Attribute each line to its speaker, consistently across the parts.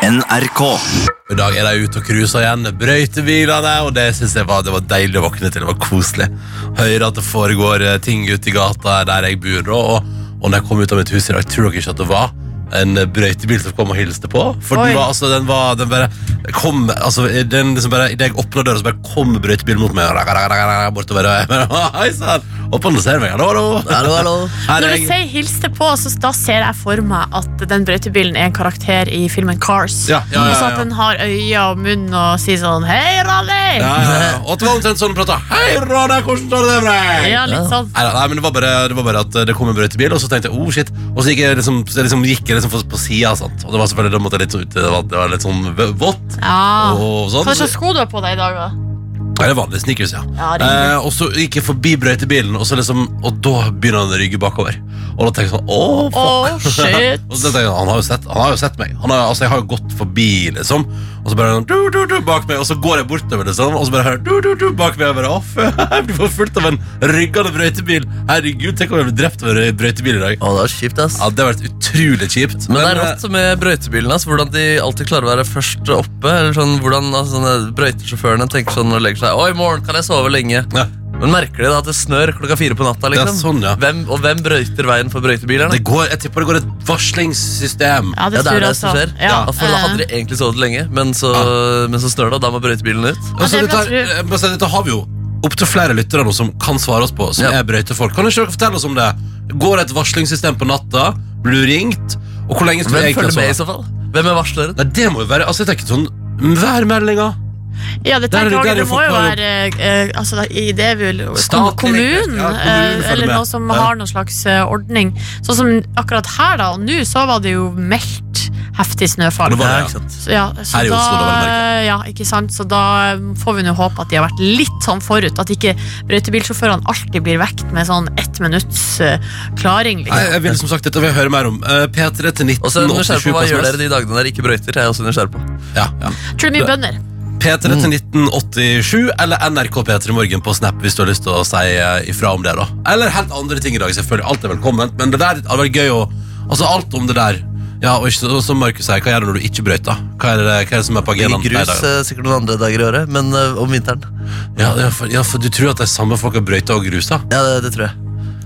Speaker 1: NRK.
Speaker 2: I dag er de ute og cruiser igjen, brøytebilene, og det synes jeg var, det var deilig å våkne til. Det var koselig. Hører at det foregår eh, ting ute i gata der jeg bor, da, og, og når jeg kom ut av mitt hus i dag, tror dere ikke at det var en eh, brøytebil som kom og hilste på? For
Speaker 3: Oi.
Speaker 2: den var, altså, den var, den bare kom, altså, den liksom bare, idet jeg åpnet døra, så bare kom brøytebilen mot meg, og rakk, rakk, rakk, rakk, bortover, og jeg bare, hei, sann, opp og ser meg, hallo, hallo.
Speaker 1: Hallo, hallo.
Speaker 2: Her
Speaker 3: Når
Speaker 2: er
Speaker 3: du
Speaker 2: jeg.
Speaker 3: sier 'hilste på', så da ser jeg for meg at den brøytebilen er en karakter i filmen Cars.
Speaker 2: Ja, ja, ja, ja.
Speaker 3: Og så at den har øyne og munn og sier sånn 'Hei, Rally!'
Speaker 2: Ja, ja, ja. Og det var omtrent sånn pratet, hei, Rane, hvordan tar du det med deg?
Speaker 3: Ja, litt sånn.
Speaker 2: Nei, nei, men det var, bare, det var bare at eh, det kom en brøytebil, og så tenkte jeg oh shit. Og så gikk jeg liksom, så jeg liksom, gikk jeg liksom på, på sida, sant. Og det var selvfølgelig da måtte jeg litt ut, det var, det var litt sånn v- vått.
Speaker 3: Ja.
Speaker 2: Og sånn.
Speaker 3: Hva slags sko du har på deg i dag, da?
Speaker 2: Eller vanlig sneakers, ja.
Speaker 3: Ja, det er
Speaker 2: eh, og så gikk jeg forbi brøytebilen, og, så liksom, og da begynner han å rygge bakover. Og da tenker jeg sånn åh, fuck.
Speaker 3: Å, shit.
Speaker 2: og så tenker jeg, han har jo sett, han har jo sett meg. Han har, altså, jeg har jo gått forbi, liksom. Og så bare sånn, du, du, du, bak meg, og så går jeg bortover, liksom. Og så bare hører jeg, du, du, du, bak meg. Og jeg bare off. Jeg blir forfulgt av en ryggende brøytebil. Herregud, tenk om jeg blir drept av en brøytebil i dag.
Speaker 1: Å, det er kjipt, ass.
Speaker 2: Ja, Det har vært utrolig kjipt. eh,
Speaker 1: Men det er rått med brøytebilene. ass, hvordan de alltid klarer å være først oppe. eller sånn, hvordan altså, sånne Brøytesjåførene tenker sånn og legger seg «Å, i morgen kan jeg sove lenge.
Speaker 2: Ja.
Speaker 1: Men merker de da at det snør klokka fire på natta?
Speaker 2: Ja,
Speaker 1: liksom?
Speaker 2: sånn, ja.
Speaker 1: hvem, og hvem brøyter veien for brøytebilene?
Speaker 2: Det går, jeg tipper det går et varslingssystem.
Speaker 3: Ja, det
Speaker 1: Ja, det
Speaker 3: tror
Speaker 1: er
Speaker 3: jeg
Speaker 1: det som
Speaker 3: også.
Speaker 1: skjer.
Speaker 3: Ja.
Speaker 1: At For da hadde
Speaker 3: Eh,
Speaker 1: de egentlig sovet lenge, men så, men så snør det, og da må brøytebilen ut.
Speaker 2: Altså,
Speaker 3: Ja, det
Speaker 2: dette,
Speaker 3: vil jeg
Speaker 2: har- eh, men altså, dette har vi jo opptil flere lyttere nå som kan svare oss på, som
Speaker 1: Ja.
Speaker 2: er brøytefolk. Kan ikke dere fortelle oss om det? Går det et varslingssystem på natta? Blir du ringt? Og hvor lenge skal du
Speaker 1: Hvem
Speaker 2: egentlig
Speaker 1: følger med i sånn-
Speaker 2: sove?
Speaker 1: så fall? Hvem er varsleren?
Speaker 2: Nei, det må jo være Altså, jeg tenker sånn Værmeldinga.
Speaker 3: Ja, det
Speaker 2: Der
Speaker 3: tenker jeg
Speaker 2: er det- der er
Speaker 3: også.
Speaker 2: det
Speaker 3: Det må jo
Speaker 2: folk-
Speaker 3: være eh, altså, da- i det vil,
Speaker 2: Statlig
Speaker 3: kom, kommunen,
Speaker 2: virksomhet, ja, kommunen
Speaker 3: eh,
Speaker 2: følger
Speaker 3: eller
Speaker 2: med.
Speaker 3: noe som
Speaker 2: Ja.
Speaker 3: har noen slags eh, ordning. Sånn som akkurat her, da. Og nå så var det jo meldt heftig snøfall.
Speaker 2: Det var det, ja.
Speaker 3: Så- Ja, så
Speaker 2: Her i
Speaker 3: da,
Speaker 2: Oslo, da, vel å
Speaker 3: ja, ikke sant? Så da eh, får vi nå håpe at de har vært litt sånn forut. At ikke brøytebilsjåførene alltid blir vekt med sånn ett minutts eh, klaring.
Speaker 2: Nei,
Speaker 3: Liksom.
Speaker 2: jeg vil som sagt dette vil jeg høre mer om. Eh, P3 til
Speaker 1: Og så er
Speaker 2: 1987
Speaker 1: jeg nysgjerrig på
Speaker 2: på
Speaker 1: hva gjør
Speaker 2: SMS.
Speaker 1: dere de dagene dere ikke brøyter? Jeg er også nysgjerrig på.
Speaker 2: Ja, ja.
Speaker 3: Tror du mye bønder?
Speaker 2: P3 til 1987 eller NRK P3 Morgen på Snap hvis du har lyst til å si eh, ifra om det. da Eller helt andre ting i dag, selvfølgelig. Alt er velkomment. Men det der hadde vært gøy å Altså alt om det der. Ja, og ikke, og som Markus sier, hva gjør du når du ikke brøyter? Hva er det, hva er det som er på
Speaker 1: Det
Speaker 2: agendaen?
Speaker 1: ligger
Speaker 2: de
Speaker 1: grus
Speaker 2: dagene?
Speaker 1: eh, sikkert noen andre dager i året, men eh, om vinteren.
Speaker 2: Ja, ja, for, ja, for du tror at de samme folka brøyter og gruser?
Speaker 1: Ja, det, det tror jeg.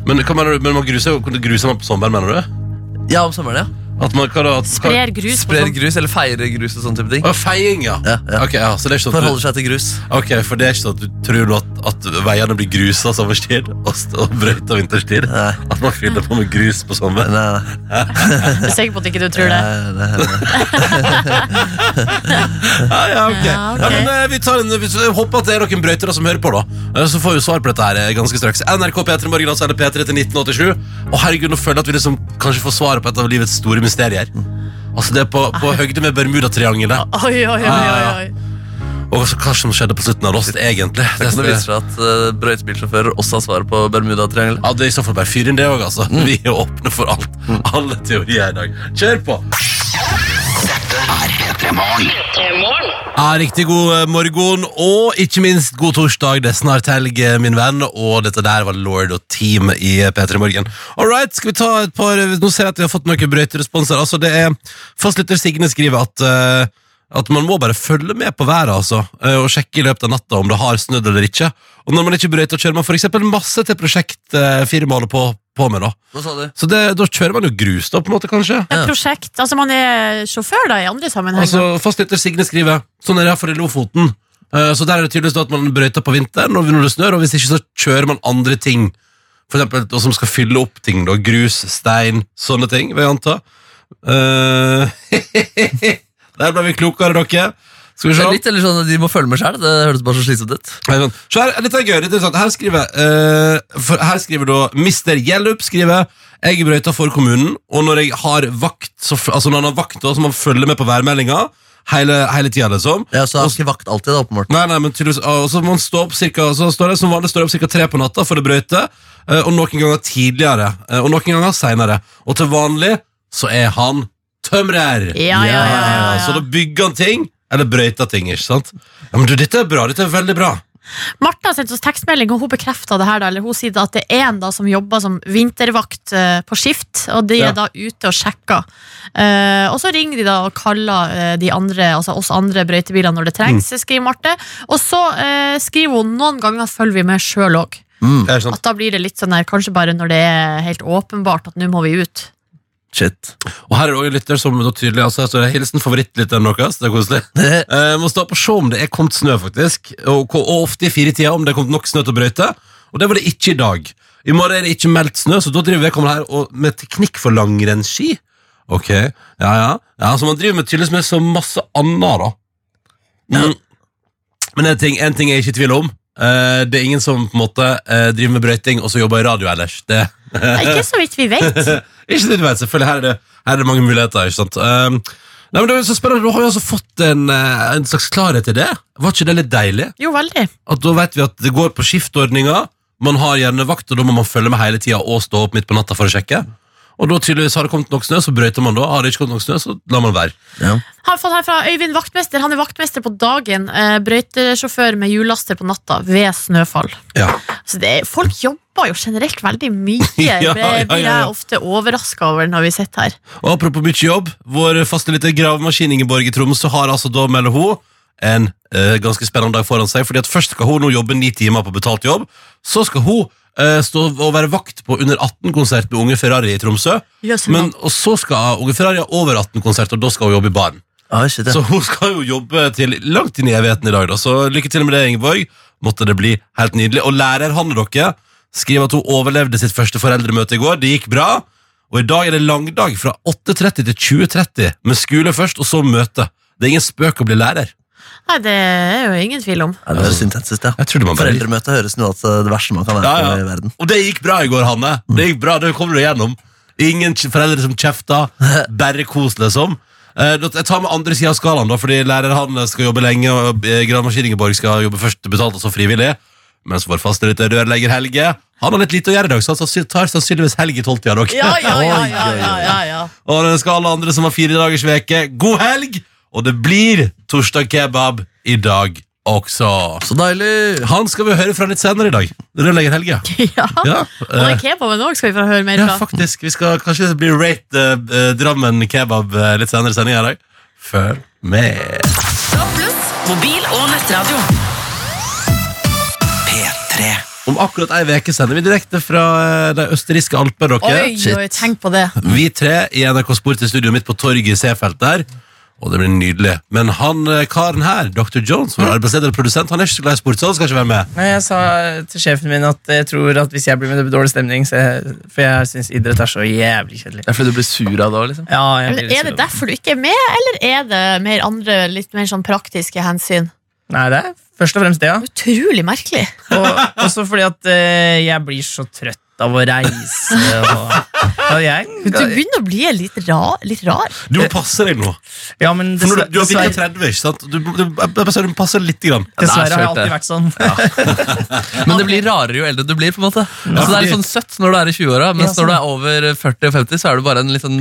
Speaker 2: Men hva mener du? Men man gruser, jo- gruser man på sommeren, mener du?
Speaker 1: Ja, om sommeren, ja.
Speaker 2: At man, hva da, at,
Speaker 3: Sprer grus på
Speaker 1: Sprer
Speaker 3: sånn.
Speaker 1: grus eller feirer grus og sånne type ting.
Speaker 2: Å, feiing, ja.
Speaker 1: Ja, ja.
Speaker 2: Ok, ja. Så det er ikke sånn at du-
Speaker 1: Forholder seg til grus.
Speaker 2: Ok, for det er ikke sånn at du tror nå at, at veiene blir grusa sommerstid og, st- og brøyta vinterstid?
Speaker 1: Nei.
Speaker 2: At man fyller på med grus på sommeren?
Speaker 1: Nei, nei,
Speaker 3: Jeg er sikker på at ikke du tror det.
Speaker 1: nei, nei, nei.
Speaker 2: Ja, ja, ok.
Speaker 3: Ja, ok.
Speaker 2: Ja, men eh, vi, tar en, vi s- håper at det er noen brøytere som hører på, da. Eh, Så får vi svar på dette her eh, ganske straks. NRK P3 Morgen, altså, eller P3 til 1987. Og herregud, nå føler jeg at vi liksom kanskje får svaret på et av livets store mysterier. Altså, det er på,
Speaker 3: Ah.
Speaker 2: på høgde med Bermudatriangelet.
Speaker 3: Oi, oi, oi, oi, oi.
Speaker 2: Og så hva som skjedde på slutten av Lost, egentlig.
Speaker 1: Det kan jo
Speaker 2: Det- sånn
Speaker 1: vise seg at eh, brøytebilsjåfører også har svaret på Bermudatriangelet.
Speaker 2: Ja, det er i så fall bare fyr inn det òg, altså. Mm. Vi er åpne for alt. Alle teorier i dag. Kjør på! Ja, riktig god eh, morgen, og ikke minst god torsdag. Det er snart helg, eh, min venn, og dette der var Lord og Team i eh, P3 Morgen. All right, skal vi ta et par eh, Nå ser jeg at vi har fått noen brøyteresponser. Altså, det er Fastlytter Signe skriver at eh, at man må bare følge med på været altså, eh, og sjekke i løpet av natta om det har snødd eller ikke. Og når man ikke brøyter, kjører man for eksempel masse til prosjektfirmaet på, på med. da.
Speaker 1: Hva sa du?
Speaker 2: Så det, da kjører man jo grus, da, på en måte, kanskje.
Speaker 3: Det er prosjekt. Altså, man er sjåfør da, i andre sammenhenger.
Speaker 2: Altså, Fastlytter Signe skriver Sånn er det for i Lofoten Eh, Så der er det tydeligvis da at man brøyter på vinteren og når det snør, og hvis ikke så kjører man andre ting For eksempel og som skal fylle opp ting da, Grus, stein, sånne ting Vil jeg anta Eh, Der ble vi klokere, dere Skal vi
Speaker 1: Det
Speaker 2: se
Speaker 1: er litt eller sånn at De må følge med sjøl. Det høres bare så slitsomt ut.
Speaker 2: Nei, sånn. Så her, dette er gøy, dette er sant. Her skriver, eh, for, her skriver da Mr. Gjellup skriver Jeg er brøyta for kommunen, og når jeg har vakt, så, f- altså når han har vakt, da, så må han følge med på værmeldinga hele, hele tida, liksom.
Speaker 1: Ja, så har ikke vakt alltid, da, åpenbart.
Speaker 2: Nei, nei, men tydeligvis Og så må man stå opp cirka Så står det som vanlig står jeg opp cirka tre på natta for å brøyte eh, Og noen ganger tidligere eh, Og noen ganger senere Og til vanlig så er han tømrer
Speaker 3: Ja, ja, ja, ja, ja.
Speaker 2: Så da bygger han ting Eller brøyter ting, ikke sant? Ja, men du, dette er bra, dette er veldig bra
Speaker 3: Martha har sendt oss tekstmelding, og hun bekrefter det her. da, eller Hun sier da at det er en da som jobber som vintervakt eh, på skift, og de
Speaker 2: Ja.
Speaker 3: er da ute og sjekker. Eh, og så ringer de da og kaller eh, de andre, altså oss andre brøytebiler når det trengs, skriver Marte. Og så eh, skriver hun noen ganger følger vi med sjøl òg.
Speaker 1: Mm.
Speaker 2: Er det sant?
Speaker 3: At da blir det litt sånn her, kanskje bare når det er helt åpenbart at nå må vi ut.
Speaker 1: Shit.
Speaker 2: Og her er det også en lytter som da tydelig altså, her står det, Hilsen favorittlytteren deres. Det er koselig.
Speaker 1: Det,
Speaker 2: Eh, må stå på og se om det er kommet snø, faktisk. Og, og ofte i fire tida om det er kommet nok snø til å brøyte. Og det var det ikke i dag. I morgen er det ikke meldt snø, så da driver vedkommende her og, med teknikk for langrennsski. Ok, ja, ja. ja så man driver med tydeligvis med så masse annet, da. Mm. Men en ting, en ting jeg er ikke i tvil om. eh, det er ingen som på en måte eh, driver med brøyting og så jobber i radio ellers. Det
Speaker 3: Det er ikke så vidt vi vet.
Speaker 2: ikke det du vet, selvfølgelig. Her er det, her er det mange muligheter. ikke sant? Um, nei, men det er jo så spennende, Du har jo altså fått en, eh, en slags klarhet i det. Var ikke det litt deilig?
Speaker 3: Jo, veldig.
Speaker 2: At Da vet vi at det går på skiftordninger. Man har gjerne vakt, og da må man følge med hele tida og stå opp midt på natta for å sjekke. Og da tydeligvis Har det kommet nok snø, så brøyter man da. Har det ikke kommet nok snø, så lar man være.
Speaker 3: Har fått her fra Øyvind Vaktmester. Han er vaktmester på dagen. Eh, brøytesjåfør med hjullaster på natta ved snøfall.
Speaker 2: Ja.
Speaker 3: Så det er, folk jobber jo generelt veldig mye.
Speaker 2: Ja, ja,
Speaker 3: Det
Speaker 2: ja,
Speaker 3: blir
Speaker 2: ja.
Speaker 3: jeg ofte overraska over når vi sitter her.
Speaker 2: Og apropos mye jobb, vår faste lille gravemaskin Ingeborg i Tromsø har altså da, melder hun, en eh, ganske spennende dag foran seg. fordi at først skal hun nå jobbe ni timer på betalt jobb. Så skal hun eh, stå og være vakt på Under 18-konsert med Unge Ferrari i Tromsø.
Speaker 3: Jøss,
Speaker 2: Men, og så skal Unge Ferrari ha Over 18-konsert, og da skal hun jobbe i baren.
Speaker 1: ah, shit, ja.
Speaker 2: Så hun skal jo jobbe til langt inn i evigheten i dag, da. Så lykke til med det, Ingeborg. Måtte det bli helt nydelig. Og lærer Hanne dere skriver at hun overlevde sitt første foreldremøte i går. Det gikk bra. Og i dag er det langdag fra 8.30 til 20.30 med skole først, og så møte. Det er ingen spøk å bli lærer.
Speaker 3: Nei, det er jo ingen tvil om.
Speaker 1: Ja, det høres intenst ut, ja.
Speaker 2: Jeg trodde man bare...
Speaker 1: Foreldremøte høres noe av det verste man kan være
Speaker 2: Ja, ja.
Speaker 1: på i verden.
Speaker 2: Og det gikk bra i går, Hanne. Det gikk bra, det kommer du gjennom. Ingen kj- foreldre som kjefter. Bare kos, liksom. Eh, da- Jeg tar med andre sida av skalaen, da, fordi lærer Hanne skal jobbe lenge, og eh, gravemaskin Ingeborg skal jobbe først betalt, og så frivillig. Mens vår faste lille rørlegger Helge Han har litt lite å gjøre i dag, så han sannsyn- tar sannsynligvis helg i tolvtida. dere.
Speaker 3: Ja, ja, ja,
Speaker 1: Oi,
Speaker 3: ja,
Speaker 1: oi,
Speaker 3: ja,
Speaker 1: oi.
Speaker 3: ja, ja.
Speaker 2: Og det skal alle andre som har fire dagers veke god helg! Og det blir torsdag kebab i dag også.
Speaker 1: Så deilig!
Speaker 2: Han skal vi høre fra litt senere i dag. Rørlegger Helge.
Speaker 3: ja.
Speaker 2: Ja,
Speaker 3: Og
Speaker 2: eh,
Speaker 3: den kebaben òg skal vi få høre mer
Speaker 2: Ja,
Speaker 3: fra.
Speaker 2: faktisk. Vi skal kanskje bli rate eh, eh, Drammen kebab eh, litt senere i sendinga i dag. Følg med.
Speaker 4: Pluss mobil og nettradio.
Speaker 1: P3.
Speaker 2: Om akkurat ei uke sender vi direkte fra eh, de østerrikske alper, dere.
Speaker 3: Oi, oi, tenk på det.
Speaker 2: Vi tre i NRK Sport i studio midt på torget i Seefeld der. Og det blir nydelig. Men han eh, karen her, Dr. Jones, vår arbeidsleder og produsent, han er ikke så glad i sport, så han skal ikke være med.
Speaker 5: Nei, jeg sa til sjefen min at jeg tror at hvis jeg blir med, det blir dårlig stemning. Så jeg, for jeg syns idrett er så jævlig kjedelig.
Speaker 6: Det er fordi du blir sur av det òg, liksom?
Speaker 5: Ja, jeg
Speaker 3: Men
Speaker 5: blir litt
Speaker 3: Er det
Speaker 5: sur.
Speaker 3: derfor du ikke er med, eller er det mer andre, litt mer sånn praktiske hensyn?
Speaker 5: Nei, det er først og fremst det, ja.
Speaker 3: Utrolig merkelig.
Speaker 5: Og også fordi at eh, jeg blir så trøtt av å reise. Og, og jeg,
Speaker 3: Du begynner å bli litt rar. Litt rar.
Speaker 2: Du må passe deg nå.
Speaker 5: ja, men
Speaker 2: For når du,
Speaker 5: dessverre,
Speaker 2: du har bikka
Speaker 5: dessverre,
Speaker 2: 30, ikke sant? Du, du, jeg bare sier du må passe deg lite grann.
Speaker 5: dessverre har jeg
Speaker 6: kjørt det.
Speaker 5: alltid vært sånn.
Speaker 1: Men det blir rarere jo eldre du blir. på en måte Altså Det er litt sånn søtt når du er i 20-åra, mens
Speaker 5: Ja,
Speaker 1: når
Speaker 5: sånn.
Speaker 1: du er over 40 og 50, så er du bare en litt sånn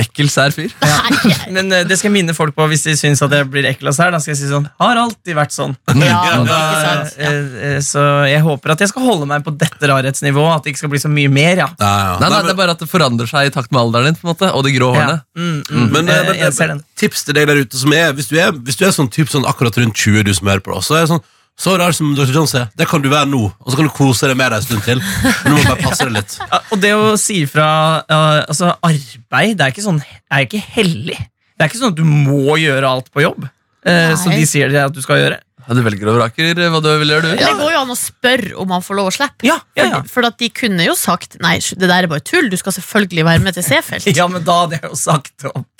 Speaker 1: ekkel, sær fyr.
Speaker 5: Men eh, det skal jeg minne folk på hvis de syns at jeg blir ekkel av seg. Da skal jeg si sånn Har alltid vært sånn.
Speaker 3: Ja,
Speaker 2: Ja,
Speaker 3: ikke
Speaker 5: Da,
Speaker 3: sant? Ja.
Speaker 5: eh, eh, så jeg håper at jeg skal holde meg på dette rarhetsnivået. At det ikke skal bli så mye mer, ja.
Speaker 2: Nei, ja.
Speaker 1: Nei, nei,
Speaker 2: men-
Speaker 1: Det er bare at det forandrer seg i takt med alderen din på en måte og de grå hårene.
Speaker 5: Ja. Mm, mm.
Speaker 2: Men,
Speaker 5: Eh,
Speaker 2: eh, men,
Speaker 5: jeg ser den.
Speaker 2: tips til deg der ute som er Hvis du er, hvis du er sånn typ sånn akkurat rundt 20 du som hører på oss, så er det sånn så rar som Dr. Jones er. Det kan du være nå. Og så kan du kose deg med deg en stund til. Men nå må du bare passe deg litt.
Speaker 5: Ja, Og det å si ifra eh, Altså, arbeid det er ikke sånn er ikke hellig. Det er ikke sånn at du må gjøre alt på jobb. eh, som
Speaker 3: Nei.
Speaker 5: de sier til deg at du skal gjøre.
Speaker 1: Ja, Du velger og vraker hva du vil gjøre, du.
Speaker 3: Det går jo an å spørre om han får lov å slippe.
Speaker 5: Ja, ja, ja.
Speaker 3: For, for at de kunne jo sagt Nei, det der er bare tull, du skal selvfølgelig være med til Seefeld.
Speaker 5: ja, men da hadde jeg jo sagt opp.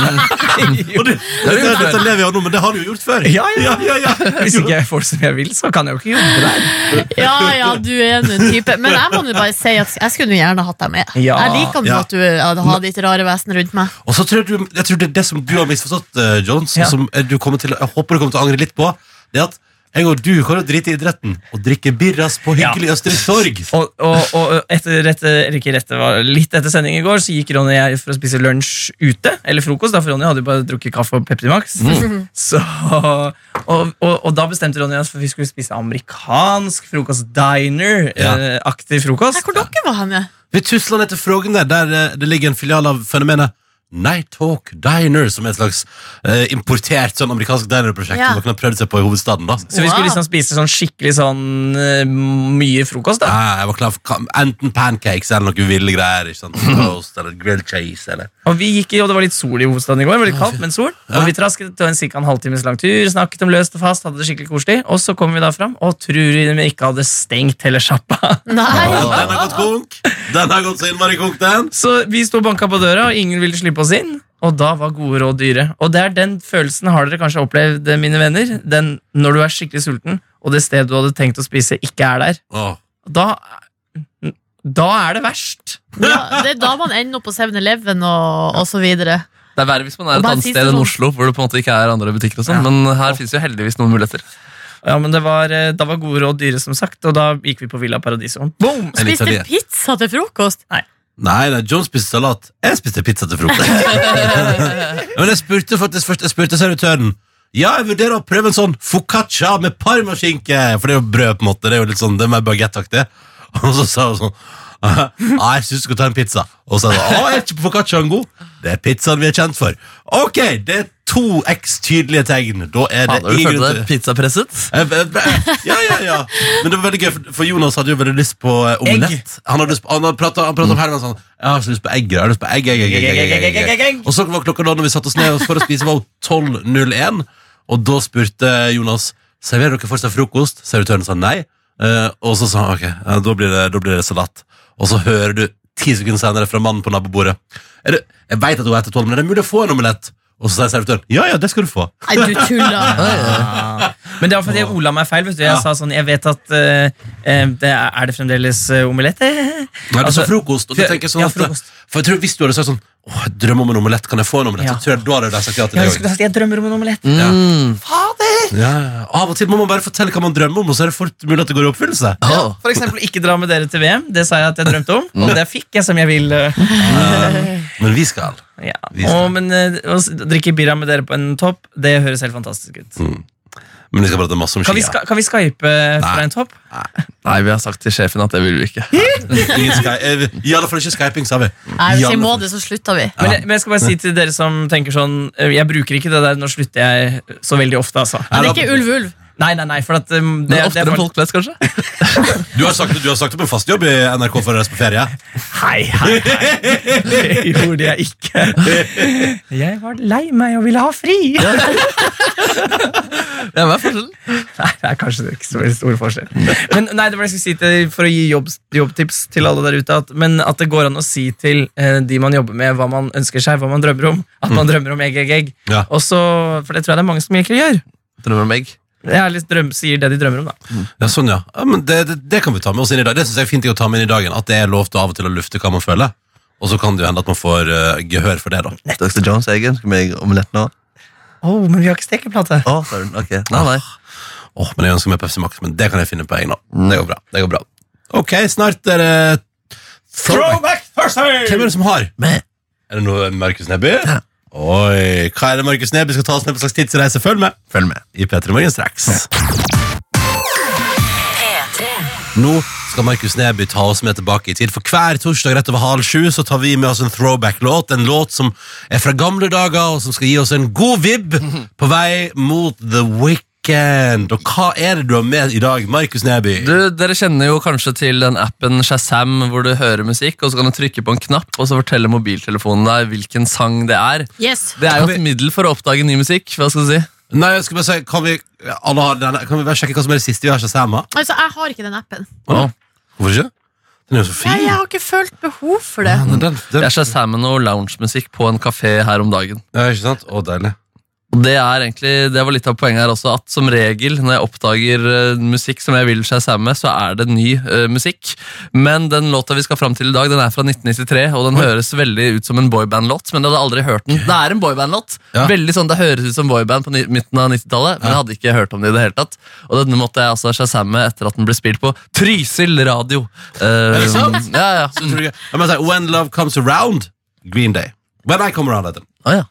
Speaker 2: Og du,
Speaker 1: er jo
Speaker 2: dette, dette lever jeg av nå, men det har du jo gjort før.
Speaker 5: Ja, ja.
Speaker 2: ja, ja.
Speaker 5: Hvis ikke jeg får det som jeg vil, så kan jeg jo ikke jobbe der.
Speaker 3: Ja, ja, du er nå en type. Men jeg må nå bare si at jeg skulle nå gjerne hatt deg med.
Speaker 5: Ja.
Speaker 3: Jeg liker nå
Speaker 2: Ja.
Speaker 3: at du eh, har ditt rare vesen rundt meg.
Speaker 2: Og så tror jeg, du, jeg tror det er det som du har misforstått, eh, Jones,
Speaker 5: Ja.
Speaker 2: som eh, du kommer til, jeg håper du kommer til å angre litt på, det er at En gang du kan jo drite i idretten og drikke birras på hyggelig Østre Torg.
Speaker 5: Og, og, og etter, etter, eller ikke etter, var litt etter sending i går så gikk Ronny og jeg for å spise lunsj ute. Eller frokost, da, for Ronny hadde jo bare drukket kaffe og Pepsi Max.
Speaker 2: Mm.
Speaker 5: Så, og, og, og da bestemte Ronny oss for vi skulle spise amerikansk frokost.
Speaker 2: Ja.
Speaker 5: Diner-aktig
Speaker 3: Nei,
Speaker 5: frokost.
Speaker 3: hvor dere var henne?
Speaker 2: Ved Tusland etter Frogner, der eh, det ligger en filial av fenomenet Nighthawk Diner, som er et slags eh, importert sånn amerikansk dinerprosjekt
Speaker 3: Ja.
Speaker 2: som noen har prøvd seg på i hovedstaden. da.
Speaker 5: Så vi skulle
Speaker 3: Wow.
Speaker 5: liksom spise sånn skikkelig sånn eh, mye frokost. da
Speaker 2: Ja, jeg var klar for kam- enten pancakes eller noe ville greier. Ikke sant? Toast eller grilled cheese eller
Speaker 5: Og vi gikk, i- og Det var litt sol i hovedstaden i går. det var litt kaldt, men sol
Speaker 2: Ja.
Speaker 5: Og Vi trasket til en cirka en halvtimes lang tur, snakket om løst og fast, hadde det skikkelig koselig. Og så kom vi da fram, og tror vi de ikke hadde stengt hele sjappa.
Speaker 2: Ja,
Speaker 3: Nei.
Speaker 2: Den har gått konk! Den har gått så innmari konk, den!
Speaker 5: Så vi sto og banka på døra, og ingen ville slippe oss inn. Og da var gode råd dyre. Og det er den følelsen har dere kanskje opplevd, eh, mine venner. Den når du er skikkelig sulten, og det stedet du hadde tenkt å spise, ikke er der.
Speaker 2: Åh.
Speaker 5: Da, da er det verst.
Speaker 3: Ja, det er da man ender opp på 7-Eleven og, og så videre.
Speaker 1: Det er verre hvis man
Speaker 3: Og
Speaker 1: er et
Speaker 3: bare
Speaker 1: annet
Speaker 3: si
Speaker 1: sted enn
Speaker 3: sånn-
Speaker 1: Oslo, hvor det på en måte ikke er andre butikker. og sånn,
Speaker 5: Ja.
Speaker 1: Men her fins jo heldigvis noen muligheter.
Speaker 5: Ja, men det var, eh, Da var gode råd dyre, som sagt, og da gikk vi på Villa Paradiso. Boom!
Speaker 2: En litt
Speaker 3: Spiste
Speaker 2: av de-
Speaker 3: pizza til frokost?
Speaker 2: Nei, nei, John spiste salat. Jeg spiste pizza til frokost. Men jeg spurte faktisk først Jeg spurte servitøren. Ja, jeg vurderer å prøve en sånn foccaccia med parmaskinke. For det er jo brød, på en måte. Det er jo litt sånn, det er mer bagettaktig. Og så sa hun sånn Nei, jeg syns du skal ta en pizza. Og så sa hun Å, er ikke foccacciaen god? Det er pizzaen vi er kjent for. Ok, det er to x tydelige tegn. Da er det
Speaker 1: Fader, du
Speaker 2: ingen grunn
Speaker 1: følte
Speaker 2: til
Speaker 1: deg pizzapresset?
Speaker 2: jeg- jeg- jeg- Eh, Ja, ja, ja. Men det var veldig gøy, for- for Jonas hadde jo veldig lyst på eh, omelett. Han hadde, lyst på- han hadde pratet, han pratet om helgen sånn Jeg har så lyst på egg. Jeg har lyst på egg, egg, egg, egg, egg, egg, egg, egg, egg. Og så var klokka da når vi satte oss ned for å spise, var jo 12.01. Og da spurte Jonas serverer dere fortsatt frokost. Servitøren sa nei. Eh, og så sa han ok, ja, da, blir det, da blir det salat. Og så hører du ti sekunder senere fra mannen på nabobordet er det, Jeg vet at hun er etter tolv, men er det mulig å få en omelett? Og så sier servitøren ja, ja, det skal du få.
Speaker 3: Nei, du tuller.
Speaker 5: Men det var fordi jeg ola meg feil. vet du Jeg
Speaker 2: Ja.
Speaker 5: sa sånn, jeg vet at eh, eh, det er, er det fremdeles eh, omelett? Eh,
Speaker 2: Nei, du sa
Speaker 5: Altså,
Speaker 2: frokost, og du
Speaker 5: ja,
Speaker 2: tenker sånn
Speaker 5: ja,
Speaker 2: at
Speaker 5: frokost.
Speaker 2: For jeg tror Hvis du hadde sagt sånn Åh, jeg drømmer om en omelett, kan jeg få en omelett?
Speaker 5: Ja.
Speaker 2: Så tror jeg da hadde de sagt ja til
Speaker 5: Jeg
Speaker 2: det
Speaker 5: husker
Speaker 2: også.
Speaker 5: at jeg drømmer om en omelett.
Speaker 2: Ja.
Speaker 1: Mm.
Speaker 2: Ja, ja. Av og til må man bare fortelle hva man drømmer om, og så er det fort mulig at det går i oppfyllelse.
Speaker 5: Ja,
Speaker 1: Ah.
Speaker 5: for eksempel ikke dra med dere til VM. Det sa jeg at jeg drømte
Speaker 1: Mm.
Speaker 5: om, og det fikk jeg som jeg vil. eh,
Speaker 2: Men vi skal.
Speaker 5: Ja.
Speaker 2: Visst.
Speaker 5: Og, men eh, å s- drikke birra med dere på en topp, det høres helt fantastisk ut.
Speaker 1: Mm.
Speaker 2: Men vi skal prate masse om
Speaker 5: Kan vi,
Speaker 2: skia.
Speaker 5: ska, kan vi skype eh, fra
Speaker 2: Nei.
Speaker 5: en topp?
Speaker 1: Nei, vi har sagt til sjefen at det vil vi ikke.
Speaker 2: Ingen Sky- eh, vi- I alle fall ikke skyping, sa vi.
Speaker 3: Nei,
Speaker 2: I
Speaker 3: hvis
Speaker 2: alle
Speaker 3: jeg må
Speaker 2: fall-
Speaker 3: det, så slutter vi.
Speaker 5: Men jeg, men jeg skal bare si til dere som tenker sånn eh, Jeg bruker ikke det der, nå slutter jeg så veldig ofte, altså.
Speaker 3: Men det er ikke ulv, ulv.
Speaker 5: Nei, nei, nei, for at um,
Speaker 1: Men
Speaker 5: det, det
Speaker 1: oftere
Speaker 5: er
Speaker 1: enn folk
Speaker 5: folk
Speaker 1: flest, kanskje?
Speaker 2: Du har sagt du har sagt opp en fast jobb i NRK for å reise på ferie.
Speaker 5: Hei, hei, hei. Det gjorde jeg ikke. Jeg var lei meg og ville ha fri. Nei,
Speaker 1: Ja, hva er forskjellen?
Speaker 5: det er kanskje ikke så veldig stor forskjell. Men nei, det var det jeg skulle si til, for å gi jobbs- jobbtips til alle der ute, at, men at det går an å si til eh, de man jobber med, hva man ønsker seg, hva man drømmer om. At
Speaker 7: Mm.
Speaker 5: man drømmer om egg, egg, egg.
Speaker 2: Ja.
Speaker 5: Og så- for det tror jeg det er mange som egentlig gjør.
Speaker 1: Drømmer om egg.
Speaker 5: Det er litt drøm, sier det de drømmer om, da.
Speaker 2: Ja, sånn, ja. ja men det, det, det kan vi ta med oss inn i dag. Det synes jeg er fint å ta med inn i dagen. At det er lov til av og til å lufte hva man føler. Og så kan det jo hende at man får eh, gehør for det, da.
Speaker 1: Dr. Jones eggen. Skal vi omelett nå?
Speaker 5: Å, men vi har ikke stekeplate.
Speaker 1: Å, søren. Ok. Nei, nei.
Speaker 2: Åh, men jeg ønsker meg Pepsi Max, men det kan jeg finne på egen hånd. Det går bra. det går bra Ok, snart er det Throwback Thursday! Hvem er det som har?
Speaker 1: Meg.
Speaker 2: Er det noe Markus Neby? Oi, hva er det Markus Neby skal ta oss med på slags tidsreise? Følg med Følg med i P3 Morgen straks. Nå skal Markus Neby ta oss med tilbake i tid, for hver torsdag rett over halv sju så tar vi med oss en throwback-låt, en låt som er fra gamle dager, og som skal gi oss en god vibb på vei mot The Weekend. Og hva er det du har med i dag, Markus Neby?
Speaker 1: Du, dere kjenner jo kanskje til den appen Shazam, hvor du hører musikk, og så kan du trykke på en knapp, og så forteller mobiltelefonen deg hvilken sang det er.
Speaker 3: Yes.
Speaker 1: Det er jo et middel for å oppdage ny musikk. Hva skal du si?
Speaker 2: Nei, jeg skal bare si, kan vi, alle har denne, kan vi bare sjekke hva som er det siste vi har Shazam av?
Speaker 3: Altså, jeg har ikke den appen.
Speaker 1: Å,
Speaker 2: Hvorfor ikke? Den er jo så fin.
Speaker 3: Nei, jeg har ikke følt behov for det.
Speaker 2: Den, den, den,
Speaker 1: Jeg Shazam med noe loungemusikk på en kafé her om dagen.
Speaker 2: ja, ikke sant? Å, deilig.
Speaker 1: Og det er egentlig, det var litt av poenget her også, at som regel når jeg oppdager eh, musikk som jeg vil shazam med, så er det ny eh, musikk. Men den låta vi skal fram til i dag, den er fra 1993, og den høres veldig ut som en boyband-låt, men jeg hadde aldri hørt den. Det er en boyband-låt.
Speaker 2: Ja.
Speaker 1: Veldig sånn, Det høres ut som boyband på ni- midten av 90-tallet, men jeg hadde ikke hørt om det i det hele tatt. Og denne måtte jeg altså shazamme etter at den ble spilt på Trysil radio. Eh,
Speaker 2: det sant?
Speaker 1: ja, ja.
Speaker 2: Så tror jeg- Jeg må si, When Love Comes Around, Green Day. When I Come Around, heter den.
Speaker 1: Å, ja.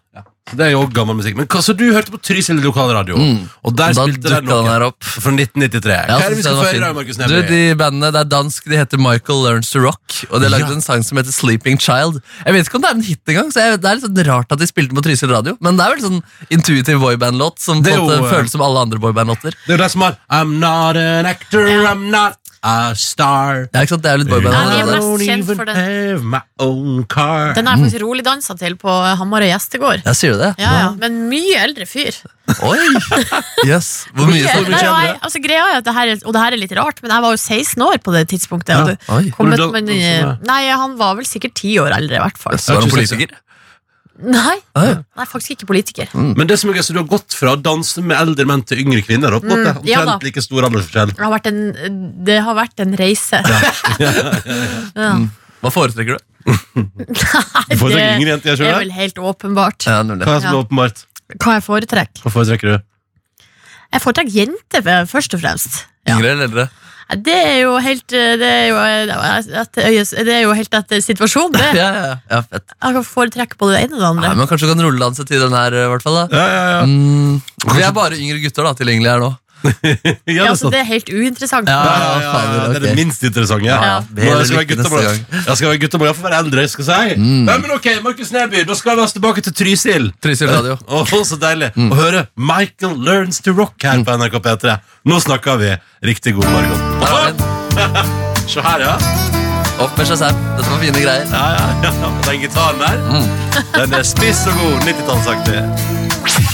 Speaker 2: Så Det er jo også gammel musikk. Men hva, så du hørte på Trysil lokalradio,
Speaker 1: Mm.
Speaker 2: og der
Speaker 1: Da
Speaker 2: spilte
Speaker 1: dukka
Speaker 2: den noe
Speaker 1: den her opp.
Speaker 2: fra 1993.
Speaker 1: Ja,
Speaker 2: Hva er det
Speaker 1: synes
Speaker 2: vi skal
Speaker 1: jeg den var
Speaker 2: få høre,
Speaker 1: fin.
Speaker 2: Markus
Speaker 1: Du,
Speaker 2: Neby?
Speaker 1: de bandene, Det er dansk, de heter Michael Learns to Rock, og de har lagd
Speaker 2: Ja.
Speaker 1: en sang som heter Sleeping Child. Jeg vet ikke om det er en hit engang, så jeg, det er litt sånn rart at de spilte på Trysil Radio, men det er vel sånn intuitiv boyband-låt som på
Speaker 2: Det er
Speaker 1: en måte
Speaker 2: jo, eh,
Speaker 1: føles som alle andre boyband-låter.
Speaker 2: Det er jo det som har I'm not an actor, I'm not a star.
Speaker 1: Ja, ikke sant? Det er jo litt boyband.
Speaker 3: Ja, de er
Speaker 1: det der.
Speaker 3: mest kjent for den.
Speaker 2: have my own car.
Speaker 3: Den har jeg faktisk rolig dansa til på eh, Hamarøy gjestegård.
Speaker 1: ja, sier du det?
Speaker 3: Ja, ja. Men mye eldre fyr.
Speaker 1: Oi! Jøss. Hvor mye
Speaker 3: Nei,
Speaker 1: så mye
Speaker 3: og
Speaker 1: kjenner
Speaker 3: jeg- altså, greia er at det her, er- Og det her er litt rart, men jeg var jo 16 år på det tidspunktet. og
Speaker 2: Ja.
Speaker 3: det
Speaker 1: Oi.
Speaker 3: kom
Speaker 2: Hvor
Speaker 3: ut
Speaker 2: da-
Speaker 3: med en
Speaker 2: altså,
Speaker 3: ny- Nei, Han var vel sikkert ti år eldre, i hvert fall.
Speaker 1: Så er han politiker?
Speaker 3: Nei,
Speaker 1: Ah, ja.
Speaker 3: nei faktisk ikke politiker.
Speaker 2: Men det som er gøy, så du har gått fra å danse med eldre menn til yngre kvinner. da, på en måte.
Speaker 3: Mm, ja da.
Speaker 2: Omtrent like stor aldersforskjell.
Speaker 3: Det har vært en, det har vært en reise. Ja.
Speaker 1: Hva foretrekker du?
Speaker 2: Du får
Speaker 3: det-
Speaker 2: en yngre jente, jeg
Speaker 3: Det er
Speaker 2: skjønner.
Speaker 3: vel helt åpenbart
Speaker 1: Ja, nemlig.
Speaker 2: Hva er det som
Speaker 3: Ja.
Speaker 2: er åpenbart?
Speaker 3: hva jeg foretrekker.
Speaker 2: Hva foretrekker du?
Speaker 3: Jeg foretrekker jenter, f- først og fremst. Ja.
Speaker 1: Yngre eller eldre?
Speaker 3: Det er jo helt eh, Det er jo, eh, etter øyes- det er jo helt etter situasjonen,
Speaker 1: Ja,
Speaker 3: det.
Speaker 1: ja, ja. ja fett.
Speaker 3: Jeg kan foretrekke både det ene og det
Speaker 1: Nei,
Speaker 3: andre.
Speaker 1: men kanskje du kan rulledanse til den her, eh, i hvert fall. da.
Speaker 2: Ja, ja, ja.
Speaker 1: Mm, vi er bare yngre gutter da, tilgjengelige her nå.
Speaker 2: ja, det
Speaker 3: Ja,
Speaker 2: er
Speaker 3: altså,
Speaker 2: sant.
Speaker 3: det er helt uinteressant.
Speaker 1: Ja,
Speaker 2: Ja, ja, ja, ja, det er det
Speaker 1: ok.
Speaker 2: minst interessante.
Speaker 1: Ja,
Speaker 2: Nå, Jeg skal være
Speaker 1: lykke neste
Speaker 2: guttemål.
Speaker 1: gang. Mm.
Speaker 2: Jeg skal være guttemål, jeg får være eldre, skal jeg si. Nei, men ok, Markus Neby, da skal vi oss tilbake til Trysil.
Speaker 1: Trysil Radio. Mm.
Speaker 2: Å, så deilig å høre Michael Learns to Rock her på NRK P3. Nå snakker vi riktig god morgen.
Speaker 1: Her har vi den.
Speaker 2: Se her, ja.
Speaker 1: Opp med Shazam. Dette var fine greier.
Speaker 2: Ja, ja, ja. Og den gitaren der, den er spiss og god. 90-tallsaktig.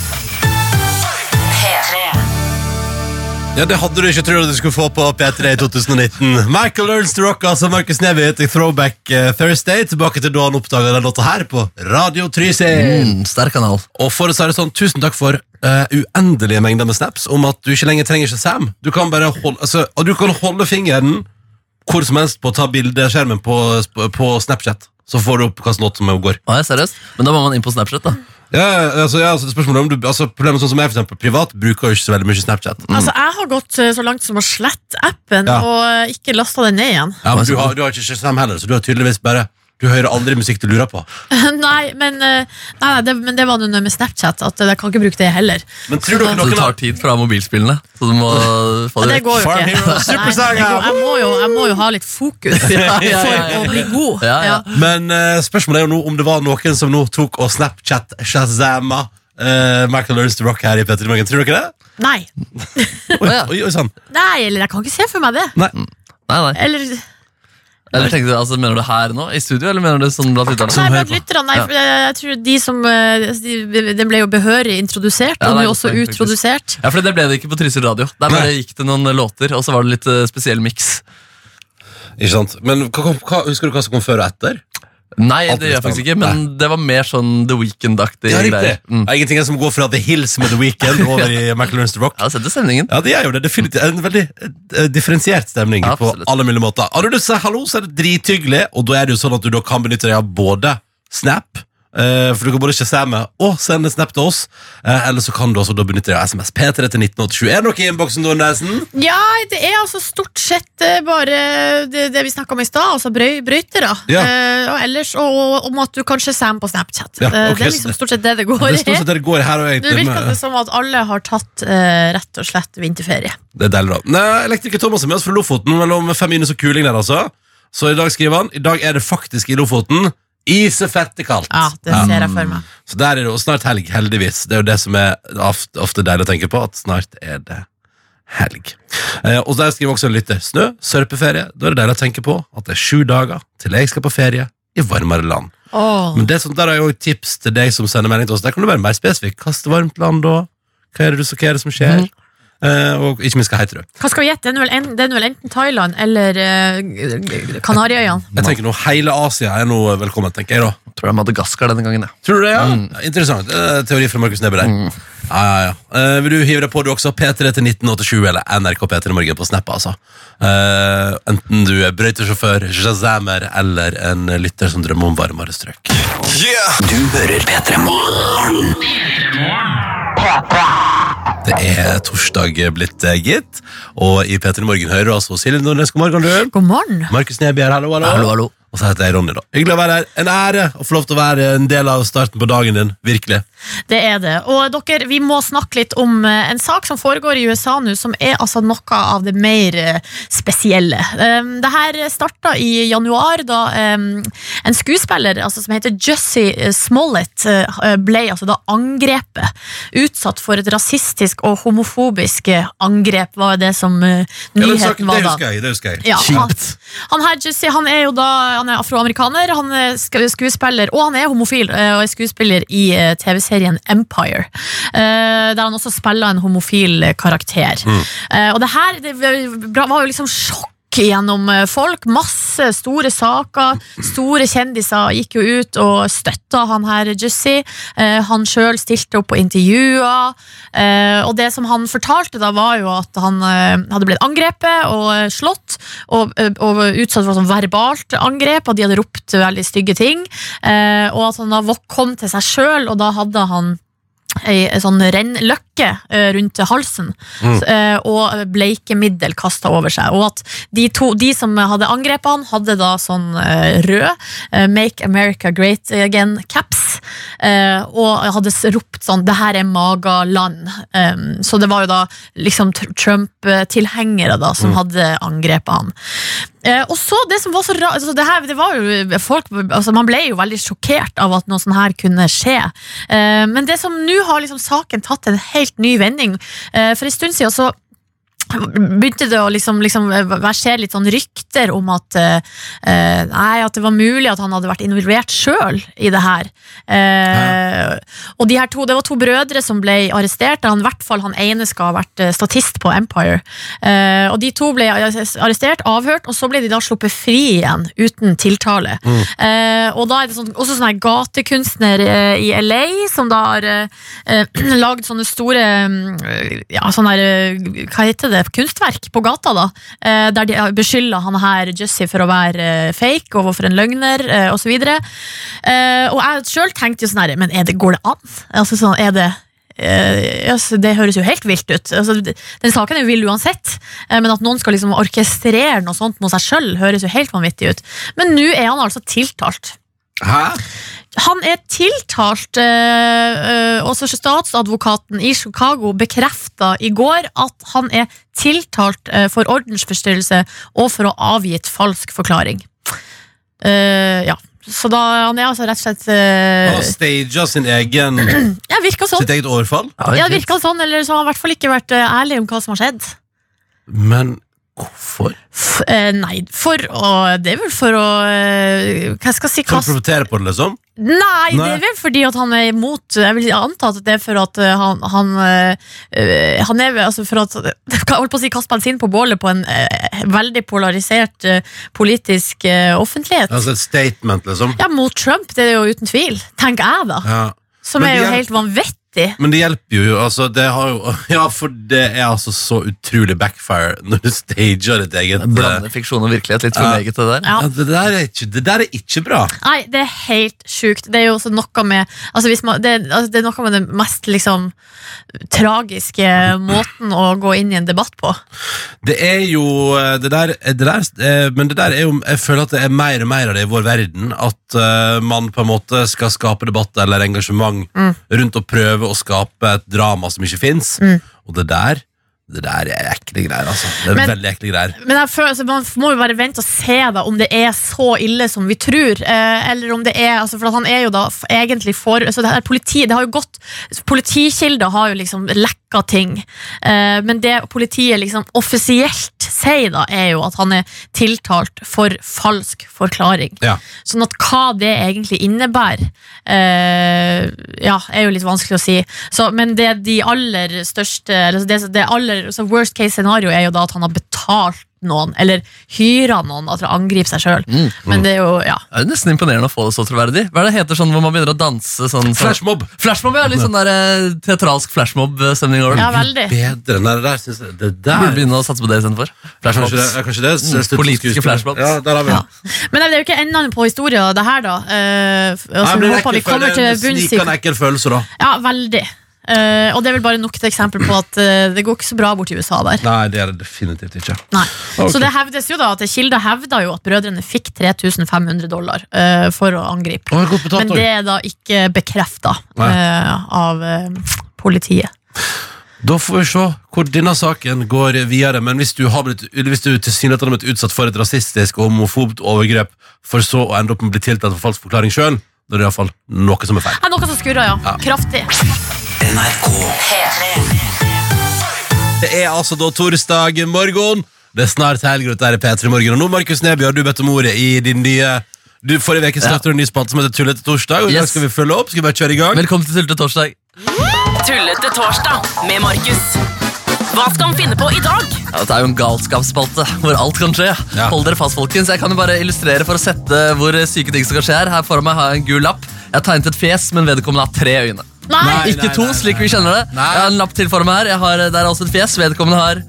Speaker 2: Ja, Det hadde du ikke trodd du skulle få på P3 i 2019. Michael Ernst Rock, altså Markus Neby, til Throwback eh, Thursday. Tilbake til da han oppdaga den låta her på Radio Trysil.
Speaker 1: Mm, sterk kanal.
Speaker 2: Og for å si det sånn, tusen takk for eh, uendelige mengder med snaps om at du ikke lenger trenger Shazam. Du kan bare holde, altså, og du kan holde fingeren hvor som helst på å ta bilde av skjermen på, på Snapchat. Så får du opp hvilken låt som går.
Speaker 1: Å, ja, seriøst? Men da må man inn på Snapchat, da.
Speaker 2: Ja, altså, ja, altså, det er spørsmålet om du, altså, problemet sånn som jeg, for eksempel, privat, bruker jo ikke så veldig mye Snapchat.
Speaker 1: Mm.
Speaker 3: Altså, jeg har gått eh, så langt som å slette appen
Speaker 2: Ja.
Speaker 3: og eh, ikke lasta den ned igjen.
Speaker 2: Ja, men du har, du har ikke Shazam heller, så du har tydeligvis bare Du hører aldri musikk du lurer på.
Speaker 3: nei, men, eh, nei, nei, det, men det var noe med Snapchat, at eh, jeg kan ikke bruke det heller.
Speaker 2: Men tror dere
Speaker 1: Så det
Speaker 2: noen
Speaker 1: tar
Speaker 2: har
Speaker 1: tid fra mobilspillene. Så du må få
Speaker 3: Og det
Speaker 1: vekk.
Speaker 3: går jo
Speaker 2: Farm
Speaker 3: ikke.
Speaker 2: Hero,
Speaker 3: Nei, det
Speaker 2: Supersaga!
Speaker 3: går- jeg, må jo, jeg må jo ha litt fokus
Speaker 1: Ja, ja, ja,
Speaker 3: for å
Speaker 1: ja.
Speaker 3: bli god.
Speaker 1: Ja, ja.
Speaker 2: Men eh, spørsmålet er jo nå om det var noen som nå tok og Snapchat Shazama eh, Michael Learns to Rock her i Petter i Morgen. Tror dere det?
Speaker 3: Nei.
Speaker 2: Oi,
Speaker 1: ja. Mm.
Speaker 2: oi, oi sann.
Speaker 3: nei, eller jeg kan ikke se for meg det.
Speaker 1: Nei, nei.
Speaker 3: Eller,
Speaker 1: Eller tenkte du, altså, Mener du her nå, i studio, eller mener du sånn blant lytterne?
Speaker 3: nei, blant lytterne. Nei, for jeg, jeg tror de som eh, de, Den ble jo behørig introdusert,
Speaker 1: Ja,
Speaker 3: og
Speaker 1: det er
Speaker 3: nå
Speaker 1: godt
Speaker 3: også
Speaker 1: poeng, faktisk.
Speaker 3: utrodusert.
Speaker 1: Ja, for Det ble det ikke på Trysil Radio. Der bare gikk det noen låter, og så var det litt eh, spesiell miks.
Speaker 2: Ikke sant? Men hva, kom- hva, husker du hva som kom før og etter?
Speaker 1: Nei,
Speaker 2: Alt
Speaker 1: det
Speaker 2: er
Speaker 1: gjør jeg faktisk ikke,
Speaker 2: spennende.
Speaker 1: men det var mer sånn The Weekend-aktig.
Speaker 2: Ja, riktig.
Speaker 1: greier. Mm.
Speaker 2: Det er Ingenting som går fra The Hills med The Weekend over i Michael Learns to Rock.
Speaker 1: Ja, setter stemningen.
Speaker 2: Ja, det er jo det. Definitivt en veldig eh, differensiert stemning
Speaker 1: Absolutt.
Speaker 2: på alle mulige måter. Har du lyst til å si hallo, så er det drithyggelig, og da er det jo sånn at du da kan benytte deg av både Snap, eh, for du kan både shazamme og sende Snap til oss, eh, eller så kan du også da benytte deg av SMS P3 til 1987. Er det noe i innboksen, Nordnesen?
Speaker 3: Ja, det er altså stort sett eh, bare det, det vi snakka om i stad, altså brøy, brøytere.
Speaker 2: Ja.
Speaker 3: Eh, og ellers og, og om at du kan shazam på Snapchat.
Speaker 2: Ja,
Speaker 3: Eh,
Speaker 2: ok,
Speaker 3: det er
Speaker 2: så
Speaker 3: liksom
Speaker 2: det-
Speaker 3: stort sett det det går
Speaker 2: Det
Speaker 3: i.
Speaker 2: står sånn at det går her og
Speaker 3: Nå
Speaker 2: egentlig
Speaker 3: virker det som at alle har tatt eh, rett og slett vinterferie.
Speaker 2: Det er deilig, da. Nei, Elektriker Thomas er med oss fra Lofoten mellom fem minus og kuling der, altså. Så i dag skriver han I dag er det faktisk i Lofoten isefette kaldt.
Speaker 3: Ja, det ser jeg for meg.
Speaker 2: Så der er det jo snart helg, heldigvis. Det er jo det som er ofte, ofte deilig å tenke på, at snart er det helg. Eh, og der skriver også en lytter snø, sørpeferie. Da er det deilig å tenke på at det er sju dager til jeg skal på ferie i varmere land.
Speaker 3: Åh.
Speaker 2: Men det er sånn, der har jeg jo et tips til deg som sender melding til oss. Der kan du være mer spesifikk. Kaste varmt land da. Hva er det du så, hva er det som skjer? Eh, og ikke minst, hva heter du?
Speaker 3: Hva skal vi gjette? Den er vel, en, den er vel enten Thailand eller uh, Kanariøyene.
Speaker 2: Jeg tenker nå hele Asia er nå velkommen, tenker jeg da.
Speaker 1: Tror det er Madagaskar denne gangen, ja.
Speaker 2: Tror du det, ja? Interessant. Eh, teori fra Markus Neby der. Ja, ja, ja. Eh, vil du hive deg på du også? P3 til 1987 eller NRK P3 Morgen på Snap, altså. Eh, enten du er brøytesjåfør, shazamer eller en lytter som drømmer om varmere strøk. Det er torsdag blitt, eh, gitt. Og i P3 Morgen hører du altså Silje Nordnes. God morgen, du.
Speaker 3: God morgen.
Speaker 2: Markus Neby her, hallo, hallo.
Speaker 1: Hallo, hallo.
Speaker 2: Og så heter jeg Ronny, da. Hyggelig å være her. En ære å få lov til å være en del av starten på dagen din. Virkelig.
Speaker 3: Det er det. Og dere, vi må snakke litt om eh, en sak som foregår i USA nå, som er altså noe av det mer eh, spesielle. Um, det her starta i januar, da um, en skuespiller altså, som heter Jussie Smollett, eh, ble altså da angrepet. Utsatt for et rasistisk og homofobisk eh, angrep, var det som eh,
Speaker 2: Ja, den saken,
Speaker 3: nyheten var
Speaker 2: det
Speaker 3: da.
Speaker 2: husker jeg. det husker jeg.
Speaker 3: Ja, han,
Speaker 2: Kjipt.
Speaker 3: han her, Jussi, han er jo da Han er afroamerikaner, han er sk- skuespiller Og han er homofil eh, og er skuespiller i eh, TV-serien Empire eh, Der han også spiller en homofil eh, karakter Eh, Og det her det var var jo liksom sjokk gjennom eh, folk, masse store saker store kjendiser gikk jo ut og støtta han her Jussi, eh, han sjøl stilte opp på intervjuer eh, og det som han fortalte da var jo at han eh, hadde blitt angrepet og eh, slått og, og utsatt for sånn verbalt angrep, og de hadde ropt veldig stygge ting. Eh, og at han da våk- kom til seg sjøl, og da hadde han ei ei sånn rennløkke eh, rundt halsen
Speaker 2: Mm.
Speaker 3: eh, og bleikemiddel kasta over seg. Og at de, to, de som hadde angrepet han, hadde da sånn eh, rød eh, Make America Great Again-caps. og hadde s- ropt sånn 'Det her er maga-land'. Eh, så det var jo da liksom tr- Trump-tilhengere da som hadde angrepet han. Eh, og så Det som var så rart altså det her, det var jo folk, altså Man ble jo veldig sjokkert av at noe sånt her kunne skje. Eh, men det som nå har liksom saken tatt en helt ny vending. Eh, for en stund siden så begynte det å liksom, liksom versere litt sånn rykter om at eh, eh, Nei, at det var mulig at han hadde vært involvert sjøl i det her. Eh, Og de her to, det var to brødre som ble arrestert. Han, i hvert fall han ene skal ha vært eh, statist på Empire. Eh, og De to ble arrestert, avhørt, og så ble de da sluppet fri igjen uten tiltale. Eh, og da er det sånn, også sånn her gatekunstner eh, i LA som da har eh, eh, lagd sånne store mm, ja, sånne her, eh, Hva heter det? Kunstverk på gata, da. Eh, der de beskylder han her Jussie for å være eh, fake og for en løgner eh, osv. Eh, og jeg sjøl tenkte jo sånn her Men er det, går det an? Altså sånn, er det eh, altså, det høres jo helt vilt ut. Altså, det- den saken er jo vill uansett, eh, men at noen skal liksom orkestrere noe sånt mot seg sjøl, høres jo helt vanvittig ut. Men nå er han altså tiltalt.
Speaker 2: Hæ?
Speaker 3: Han er tiltalt, eh, eh, også statsadvokaten i Chicago bekrefta i går at han er tiltalt eh, for ordensforstyrrelse og for å ha avgitt falsk forklaring. Eh, ja. Så da, han er altså rett og slett
Speaker 2: Han
Speaker 3: eh,
Speaker 2: har staget sin egen,
Speaker 3: Ja, virka sånn.
Speaker 2: sitt eget overfall.
Speaker 3: Ja, det virka sånn, eller så har han i hvert fall ikke vært eh, ærlig om hva som har skjedd.
Speaker 2: Men hvorfor?
Speaker 3: F eh, nei, for å Det er vel for å eh, Hva skal jeg si?
Speaker 2: For å
Speaker 3: Hva
Speaker 2: profitere på det, liksom?
Speaker 3: Nei, det
Speaker 2: Nei.
Speaker 3: er vel fordi at han er imot Jeg vil anta at det er for at eh, han Han, eh, eh, han er vel altså for at Jeg holdt på å si kast bensin på bålet på en eh, veldig polarisert eh, politisk eh, offentlighet.
Speaker 2: Altså et statement, liksom?
Speaker 3: Ja, mot Trump, det er jo uten tvil. Tenker jeg, da.
Speaker 2: Ja.
Speaker 3: Som
Speaker 2: Men
Speaker 3: er
Speaker 2: det
Speaker 3: jo
Speaker 2: hjelper-
Speaker 3: helt vanvittig.
Speaker 2: Men det hjelper jo, altså det har jo Ja, for det er altså så utrolig backfire når du stager ditt eget eh,
Speaker 1: Blande fiksjon og virkelighet litt for
Speaker 2: Ja.
Speaker 1: meget. det der
Speaker 3: Ja.
Speaker 2: ja, det, der er ikke, det der er ikke bra.
Speaker 3: Nei, det er helt sjukt. Det er jo også noe med altså hvis man, det, altså det er noe med den mest liksom tragiske måten å gå inn i en debatt på.
Speaker 2: Det er jo eh, det der, eh, det der eh, Men det der er jo Jeg føler at det er mer og mer av det i vår verden. At eh, man på en måte skal skape debatt eller engasjement
Speaker 3: Mm.
Speaker 2: rundt å prøve å skape et drama som ikke fins.
Speaker 3: Mm.
Speaker 2: Og det der Det der er ekle greier, altså. Det er
Speaker 3: Men-
Speaker 2: veldig ekle greier.
Speaker 3: Men jeg føler, altså, Man må jo bare vente og se da, om det er så ille som vi tror. Eh, eller om det er, altså, for at han er jo da f- egentlig for altså, det her politi, det har jo gått, Politikilder har jo liksom lekka ting. Eh, men det politiet liksom offisielt sier, da, er jo at han er tiltalt for falsk forklaring.
Speaker 2: Ja.
Speaker 3: Sånn at hva det egentlig innebærer, eh, ja, er jo litt vanskelig å si. Så, men det de aller største eller det, det aller, så Worst case scenario er jo da at han har betalt noen, eller hyrer noen til å angripe seg sjøl.
Speaker 2: Mm,
Speaker 3: Men det er jo ja.
Speaker 1: Det er jo nesten imponerende å få det så troverdig. Hva er det heter sånn hvor man begynner å danse? sånn... sånn-
Speaker 2: Flashmob!
Speaker 1: Flashmob, ja. Litt sånn der eh, teatralsk flashmob-stemning over det.
Speaker 3: ja, veldig.
Speaker 2: Bedre enn det der, synes jeg. Det
Speaker 1: Burde
Speaker 2: der
Speaker 1: begynne å satse på det istedenfor.
Speaker 2: Kanskje det,
Speaker 1: Flashmobs.
Speaker 2: ja, kanskje det. så jeg slutter på
Speaker 1: politiske
Speaker 2: skuespillet.
Speaker 1: flashbacks.
Speaker 2: Ja, der har vi
Speaker 3: Ja.
Speaker 2: det.
Speaker 3: Men det er jo ikke enden på historien, det her, da. Eh, f- og så
Speaker 2: Nei, men det er
Speaker 3: håper vi
Speaker 2: ekkelt,
Speaker 3: kommer
Speaker 2: for
Speaker 3: til
Speaker 2: det er en
Speaker 3: bunns i
Speaker 2: Snikende ekkel følelse, da.
Speaker 3: Ja, veldig. Eh, og det er vel bare nok et eksempel på at eh, det går ikke så bra borti USA der.
Speaker 2: Nei, det er det definitivt ikke.
Speaker 3: Nei. Så det hevdes jo da at Kilda hevda jo at brødrene fikk 3500 dollar eh, for å angripe.
Speaker 2: Å, godt betalt,
Speaker 3: Men det er da ikke bekrefta
Speaker 2: Nei.
Speaker 3: av eh, politiet.
Speaker 2: Da får vi se hvor denne saken går videre. Men hvis du har blitt, eller hvis du tilsynelatende har blitt utsatt for et rasistisk og homofobt overgrep, for så å ende opp med å bli tiltalt for falsk forklaring sjøl, da er det iallfall noe som er feil.
Speaker 3: Det er noe som skurrer, ja. Kraftig.
Speaker 2: Det er altså da torsdag morgen. Det er snart helg, og dette er P3 Morgen. Og nå, Markus Neby, har du bedt om ordet i din nye du, Forrige uke startet du en ny spalte som heter Tullete torsdag. Og i dag
Speaker 1: Yes.
Speaker 2: skal vi følge opp. Skal vi bare kjøre i gang?
Speaker 1: Velkommen til Tullete torsdag.
Speaker 4: Tullete torsdag med Markus. Hva skal han finne på i dag?
Speaker 1: Ja, det er jo en galskapsspalte hvor alt kan skje.
Speaker 2: Ja.
Speaker 1: Hold dere fast, folkens. Jeg kan jo bare illustrere for å sette hvor syke ting som kan skje her. Her foran meg har jeg en gul lapp. Jeg har tegnet et fjes, men vedkommende har tre øyne.
Speaker 3: Nei!
Speaker 2: Nei,
Speaker 1: Ikke to,
Speaker 2: nei,
Speaker 1: slik vi kjenner det.
Speaker 2: Nei.
Speaker 1: Jeg har en lapp til foran meg her. Jeg har, eh, der er også et fjes. Vedkommende har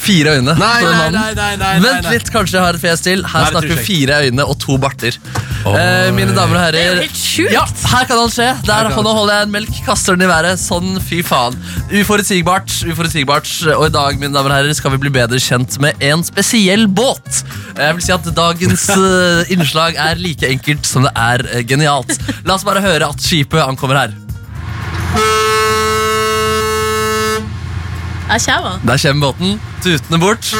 Speaker 1: fire øyne.
Speaker 2: Nei,
Speaker 1: på den
Speaker 2: nei,
Speaker 1: mannen.
Speaker 2: nei, nei, nei, nei,
Speaker 1: Vent
Speaker 2: nei.
Speaker 1: litt, kanskje jeg har et fjes til.
Speaker 2: Nei, det
Speaker 1: Her
Speaker 2: tror
Speaker 1: snakker
Speaker 2: jeg
Speaker 1: vi fire øyne og to barter. Eh, mine damer og herrer
Speaker 3: Det er jo helt sjukt.
Speaker 1: Ja, her kan alt skje.
Speaker 2: kan
Speaker 1: Der
Speaker 2: alt
Speaker 1: hånda
Speaker 2: skje.
Speaker 1: holder jeg en melk, kaster den i været. Sånn, fy faen. Uforutsigbart. uforutsigbart Og i dag mine damer og herrer, skal vi bli bedre kjent med en spesiell båt. Jeg vil si at Dagens eh, innslag er like enkelt som det er eh, genialt. La oss bare høre at skipet ankommer her.
Speaker 3: Jeg kommer.
Speaker 1: Der kommer båten, tutende bort.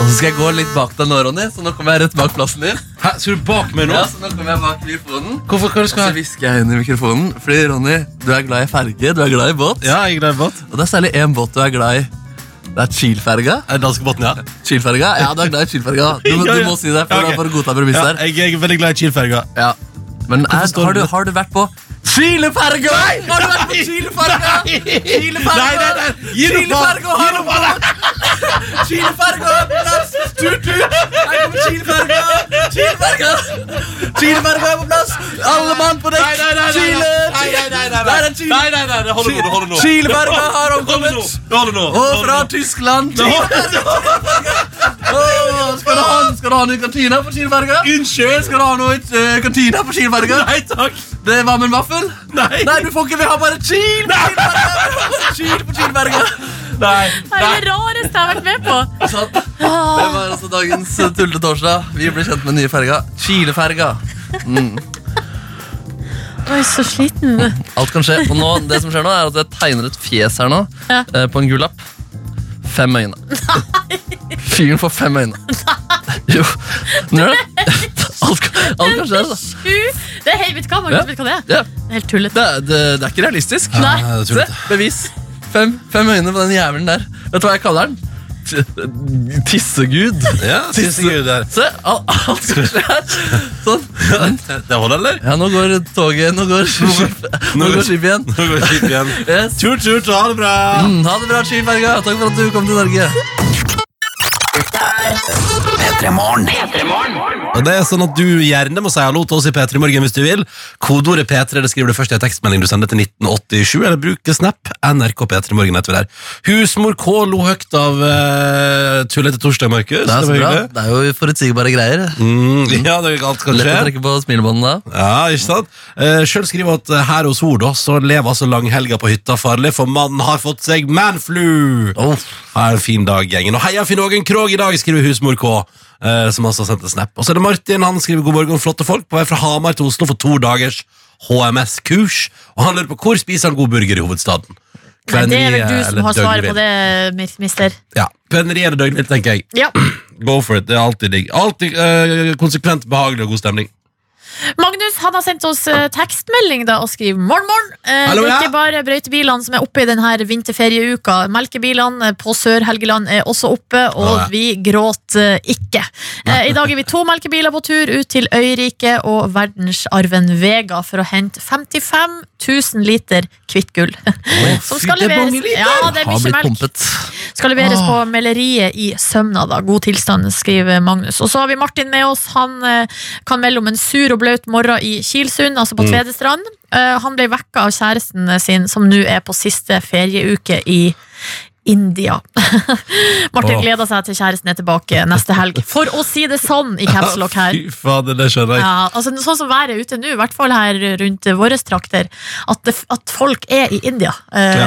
Speaker 1: Og så skal jeg gå litt bak deg nå, Ronny, så nå kommer jeg rett bak plassen din.
Speaker 2: Hæ, skal du bak meg nå?
Speaker 1: Ja, så nå kommer jeg bak mikrofonen.
Speaker 2: Hvorfor hva du
Speaker 1: Og så
Speaker 2: skal
Speaker 1: hvisker jeg inn i mikrofonen, fordi Ronny, du er glad i ferge, du er glad i båt.
Speaker 2: Ja, jeg gleder meg.
Speaker 1: Og det er særlig én båt du er glad i. Det er Kiel-ferga.
Speaker 2: Danskebåten, ja.
Speaker 1: Kiel-ferga? Ja, du er glad i Kiel-ferga. Du, må-
Speaker 2: Ja,
Speaker 1: du
Speaker 2: ja.
Speaker 1: må si det, for
Speaker 2: Ja,
Speaker 1: det
Speaker 2: ok.
Speaker 1: er bare å godta premiss
Speaker 2: ja
Speaker 1: der.
Speaker 2: jeg, jeg er veldig glad i Kiel-ferga.
Speaker 1: Ja. Men er,
Speaker 2: står
Speaker 1: har,
Speaker 2: du-
Speaker 1: du, har du vært på Kileferga? Har du vært på Kileferga? Kileferga!
Speaker 2: Nei, nei, nei. Gi nå faen.
Speaker 1: Kileferga har du vært på! Kileferga! Tut, tut! Her kommer Kileferga! Kileferga! Kileferga er på plass! Alle mann på dekk! Chile! Det er en Chile.
Speaker 2: Nei, nei, nei, det holder nå, det holder nå.
Speaker 1: Kileferga har
Speaker 2: Det holder nå,
Speaker 1: omkommet!
Speaker 2: det holder nå.
Speaker 1: Og fra Tyskland til Åh, Skal du ha skal du ha noe i kantina på Kielberga?
Speaker 2: Unnskyld.
Speaker 1: Skal du ha noe i eh, kantina på Kielberga?
Speaker 2: Nei takk.
Speaker 1: Det var med en vaffel?
Speaker 2: Nei.
Speaker 1: Nei, du får ikke, vi har bare Kiel på Kielberga! Kiel på Kielberga!
Speaker 2: Nei.
Speaker 3: Det er det rareste jeg har vært med på.
Speaker 1: Sånn. Det var altså dagens eh, tullete torsdag. Vi ble kjent med den nye ferga. Kileferga.
Speaker 3: Oi, så sliten.
Speaker 1: Alt kan skje. Og nå, det som skjer nå, er at jeg tegner et fjes her nå,
Speaker 3: Ja.
Speaker 1: eh, på en gul lapp. Fem øyne. Fyren får fem øyne. Jo. Nå gjør det. Alt, kan- alt kan skje, altså.
Speaker 3: Sju. Det er helt, vet du hva, Markus,
Speaker 1: Ja.
Speaker 3: vet du hva det er?
Speaker 1: Ja.
Speaker 3: Det er helt tullete.
Speaker 1: Det, er- det, det er ikke realistisk.
Speaker 3: Nei.
Speaker 2: Nei, det er
Speaker 1: Se,
Speaker 2: tullete.
Speaker 1: bevis. Fem, fem øyne på den jævelen der. Vet du hva jeg kaller den? T- Tissegud.
Speaker 2: Ja, siste gud der.
Speaker 1: Se, alt, alt kan skje her. Sånn.
Speaker 2: Det holder, eller?
Speaker 1: Ja, nå går toget. Nå går, nå går skipet igjen.
Speaker 2: Nå går skipet igjen.
Speaker 1: Yes.
Speaker 2: Tur, tur, ta det bra.
Speaker 1: Mm, Ha det bra, Skilberga. Takk for at du kom til Norge.
Speaker 2: Og det er sånn at du gjerne må si hallo til oss i P3 Morgen hvis du vil. Kodeordet P3 det skriver du først i en tekstmelding du sender til 1987, eller bruker Snap. NRK P3 Morgen heter vi der. Husmor K lo høyt av uh, tullete torsdag, Markus.
Speaker 1: Det er så
Speaker 2: var
Speaker 1: bra.
Speaker 2: hyggelig.
Speaker 1: Det er jo forutsigbare greier.
Speaker 2: Mm, ja, det er galt,
Speaker 1: Lett
Speaker 2: kanskje.
Speaker 1: å trekke på smilebåndet da.
Speaker 2: Ja, ikke sant? Eh, Sjøl skriver hun at eh, her hos henne da, så lever altså langhelga på hytta farlig, for mannen har fått seg manflu! Oh. Ha en fin dag, gjengen. Og heia Finn-Ågen Krog i dag, skriver husmor K. eh, Som altså sendte snap. Og så er det Martin. Han skriver god morgen, flotte folk. På vei fra Hamar til Oslo for to dagers HMS-kurs. Og han lurer på hvor spiser han god burger i hovedstaden.
Speaker 3: Nei, det er vel
Speaker 2: Kveneri,
Speaker 3: du
Speaker 2: eller
Speaker 3: som har svaret
Speaker 2: døgnvill?
Speaker 3: på det, mis- mister.
Speaker 2: Ja. Kveneri eller døgnvill, tenker jeg.
Speaker 3: Ja.
Speaker 2: Go for it. Det er alltid digg. Alltid eh, konsekvent, behagelig og god stemning.
Speaker 3: Magnus han har sendt oss eh, tekstmelding da, og skriver morgen, morgen. Eh,
Speaker 2: Hallo,
Speaker 3: det er
Speaker 2: ja.
Speaker 3: ikke bare brøytebilene som er oppe i denne vinterferieuka. Melkebilene eh, på Sør-Helgeland er også oppe, og
Speaker 2: Å, ja.
Speaker 3: vi gråter ikke. Eh, I dag er vi to melkebiler på tur ut til Øyrike og verdensarven Vega for å hente 55 000 liter kvitt gull. Som skal
Speaker 2: det er
Speaker 3: leveres
Speaker 2: mange liter!
Speaker 3: Ja, det er
Speaker 1: Har
Speaker 3: mye
Speaker 1: blitt
Speaker 3: melk.
Speaker 1: pumpet.
Speaker 3: Skal leveres på
Speaker 2: Ah.
Speaker 3: meleriet i Sømna, da. God tilstand, skriver Magnus. Og så har vi Martin med oss. Han eh, kan melde om en sur og blaut morgen i Kilsund, altså
Speaker 2: Mm.
Speaker 3: på Tvedestrand. Eh, Han ble vekka av kjæresten sin, som nå er på siste ferieuke i India. Martin
Speaker 2: Åh.
Speaker 3: gleder seg til kjæresten er tilbake neste helg. For å si det sånn i caps lock her.
Speaker 2: Fy fader, det skjønner jeg.
Speaker 3: Ja, altså Sånn som været er ute nå, i hvert fall her rundt våre trakter, at, det, at folk er i India. Eh,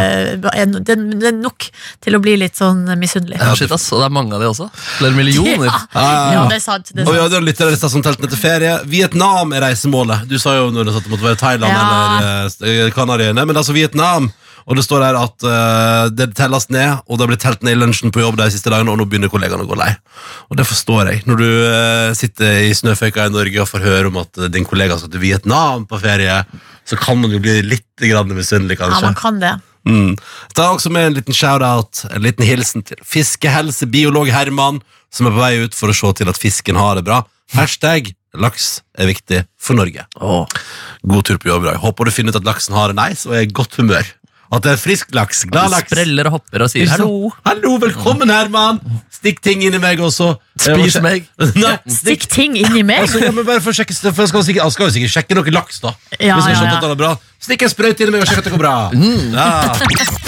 Speaker 3: er- det, det er nok til å bli litt sånn misunnelig.
Speaker 1: Ja, shit, ass. Og det er mange av de også. Flere millioner.
Speaker 3: Ja.
Speaker 2: Ja, ja.
Speaker 3: Ja, det er sant. Det er
Speaker 2: Og vi
Speaker 3: sant.
Speaker 2: hadde jo lyttere i Stadsomteltene til ferie. Vietnam er reisemålet. Du sa jo når du satt det måtte være Thailand
Speaker 3: Ja.
Speaker 2: eller eh, Kanariøyene, men altså Vietnam. Og det står her at eh, det telles ned, og det har blitt telt ned i lunsjen på jobb de siste dagene, og nå begynner kollegaene å gå lei. Og det forstår jeg. Når du eh, sitter i snøføyka i Norge og får høre om at eh, din kollega skal til Vietnam på ferie, så kan man jo bli litt grann misunnelig,
Speaker 3: Ja,
Speaker 2: kanskje.
Speaker 3: man kan det.
Speaker 2: Mm. Ta også med en liten shout-out, en liten hilsen til fiskehelsebiolog Herman, som er på vei ut for å se til at fisken har det bra. Hashtag laks er viktig for Norge. God tur på jobb i dag. Håper du finner ut at laksen har det nice og er i godt humør. At det er frisk laks. Glad
Speaker 1: De
Speaker 2: laks.
Speaker 1: spreller og hopper og sier hallo.
Speaker 2: Hallo, hallo, velkommen, Herman! Stikk ting inn i meg også.
Speaker 1: Spis meg.
Speaker 2: Nei, stikk.
Speaker 3: Stikk ting inni meg!
Speaker 2: Altså, ja, men bare for å sjekke, for jeg skal, sikkert, jeg skal jo sikkert sjekke noe laks, da.
Speaker 3: Ja,
Speaker 2: Hvis jeg
Speaker 3: ja,
Speaker 2: skjønner
Speaker 3: ja.
Speaker 2: at det er bra. Stikk en sprøyte inn i meg og sjekk at det går bra. Ja.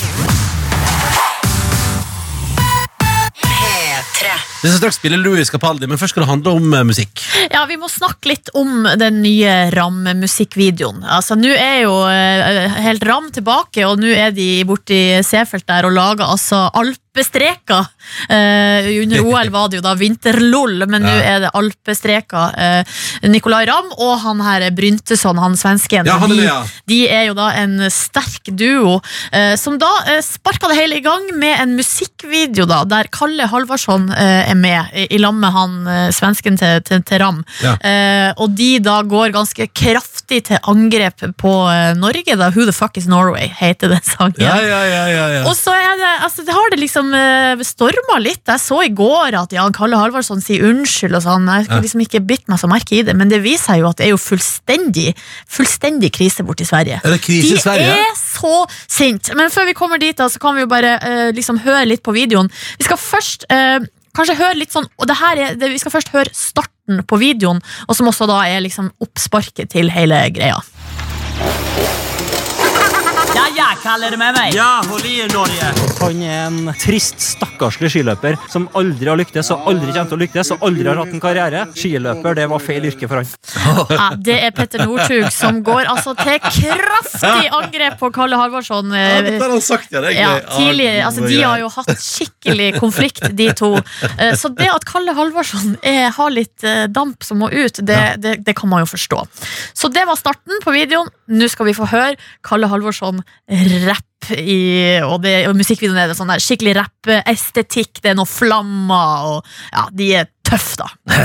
Speaker 2: Vi skal straks spille Louis Capaldi, men først skal det handle om eh, musikk.
Speaker 3: Ja, Vi må snakke litt om den nye Ram-musikkvideoen. Altså, Nå er jo eh, helt Ram tilbake, og nå er de borti Seefeld der og lager altså alpestreker. Eh, under OL var det jo da vinterlol, men nå
Speaker 2: Ja.
Speaker 3: er det alpestreker. Eh, Nicolay Ramm og han her Bryntesson, han svensken.
Speaker 2: Ja, han er
Speaker 3: de,
Speaker 2: det, ja.
Speaker 3: de er jo da en sterk duo, eh, som da eh, sparka det hele i gang med en musikkvideo, da, der Kalle Halvorsson eh, er med, i- i lag med han eh, svensken til, til, til Ram.
Speaker 2: Ja.
Speaker 3: Eh, og de da går ganske kraftig til angrep på eh, Norge, da. Who the fuck is Norway, heter den sangen.
Speaker 2: ja, ja, ja,
Speaker 3: Og så er det, altså, det har det liksom uh, storma litt. Jeg så i går at Jan Kalle Halvorsson sier unnskyld og sånn. Jeg skulle liksom ikke bitt meg så merke i det, men det viser seg jo at det er jo fullstendig, fullstendig krise borti Sverige.
Speaker 2: Er det krise i Sverige?
Speaker 3: De er så sint Men før vi kommer dit, da, så kan vi jo bare eh, liksom høre litt på videoen. Vi skal først eh, kanskje høre litt sånn og det her er, det, Vi skal først høre starten på videoen, og som også da er liksom oppsparket til hele greia.
Speaker 4: Ja, jeg kaller det med meg.
Speaker 6: Ja, hold i Norge! Han er en trist, stakkarslig skiløper som aldri har lyktes og aldri kommer til å lyktes og aldri har hatt en karriere. Skiløper, det var feil yrke for han.
Speaker 3: Ja, det er Petter Northug som går altså til kraftig angrep på Kalle Halvorsson. eh,
Speaker 2: har han sagt, ja. Det
Speaker 3: Ja, tidligere, altså De har jo hatt skikkelig konflikt, de to. Eh, Så det at Kalle Halvorsson er, har litt eh, damp som må ut, det, det, det kan man jo forstå. Så det var starten på videoen. Nå skal vi få høre Kalle Halvorsson rappe. I, og, det, og musikkvideoen er det sånn der skikkelig rapp-estetikk. Det er noe flammer og Ja, de er tøffe, da.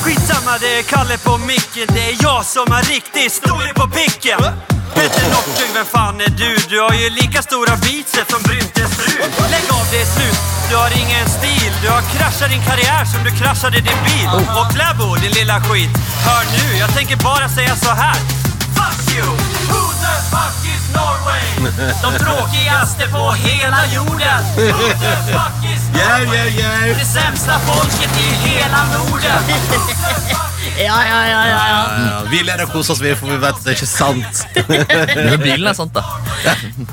Speaker 6: Skitsamma, det er Kalle på mikken. Det er jeg som er riktig storlig på pikken. Petter Northug, hvem faen er du? Du har jo like store biceps som Bryntes fru. Legg av, det er slutt. Du har ingen stil. Du har krasjat din karriär som du krasjade din bil. Och Klæbo, din lilla skit. Hør nu, jeg tänker bara säga så här. Fuck you! Who the fuck is Norway? De tråkigaste på hela jorden. Who the fuck is Norway? Det sämsta folket i hela Norden.
Speaker 3: Ja, ja, ja, ja, ja.
Speaker 2: Vi ler og koser oss, vi, for vi vet at det er ikke sant.
Speaker 1: Men bilen er sant, da.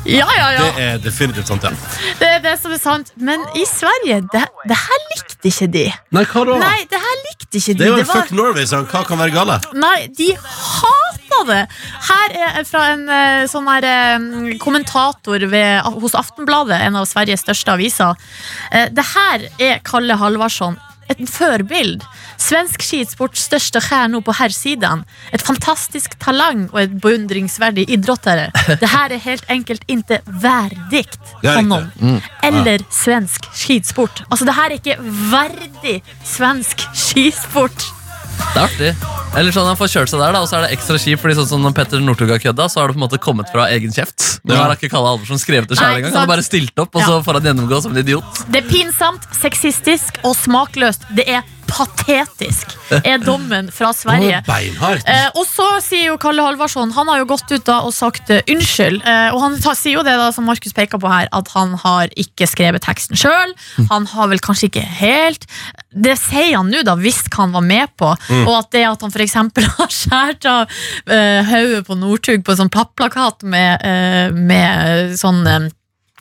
Speaker 3: ja, ja, ja.
Speaker 2: Det er definitivt sant, ja.
Speaker 3: Det er det som er sant. Men i Sverige, det, det her likte ikke de.
Speaker 2: Nei, hva da?
Speaker 3: Nei, det her likte ikke de.
Speaker 2: det er jo
Speaker 3: Det
Speaker 2: en
Speaker 3: var-
Speaker 2: fuck Norway-sang. Hva kan være gale?
Speaker 3: Nei, de hata det! Her er fra en eh, sånn her eh, kommentator ved, hos Aftenbladet, en av Sveriges største aviser. Eh, Det her er Kalle Halvarsson. Et förbild. Svensk skidsports största stjärnor på herrsidan. Ett fantastiskt talang och ett beundringsvärdig idrottare. Det här är helt enkelt inte värdigt
Speaker 2: Ja, riktigt.
Speaker 3: honom. Eller svensk skidsport. Alltså det här är inte värdig svensk skidsport.
Speaker 1: Det er artig. Eller sånn Han får kjørt seg der, da og så er det ekstra kjipt. Fordi sånn som når Petter Northug har kødda, så har det på en måte kommet fra egen kjeft. Nå har ikke Kalle Alversen skrevet det
Speaker 3: Nei,
Speaker 1: sjæl engang. Han
Speaker 3: sant.
Speaker 1: har bare stilt opp, og så får han gjennomgå som en idiot.
Speaker 3: Det er pinsamt, sexistisk og smakløst. Det er patetisk, er dommen fra Sverige.
Speaker 2: Det var Beinhardt.
Speaker 3: Eh, og så sier jo Kalle Halvarsson Han har jo gått ut da og sagt eh, unnskyld. Eh, og han tar, sier jo det da som Markus peker på her, at han har ikke skrevet teksten sjøl. Han har vel kanskje ikke helt Det sier han nå, da, hvis hva han var med på. Og at det at han f.eks. har skåret av eh, hodet på Northug på en sånn papplakat med, eh, med sånn eh,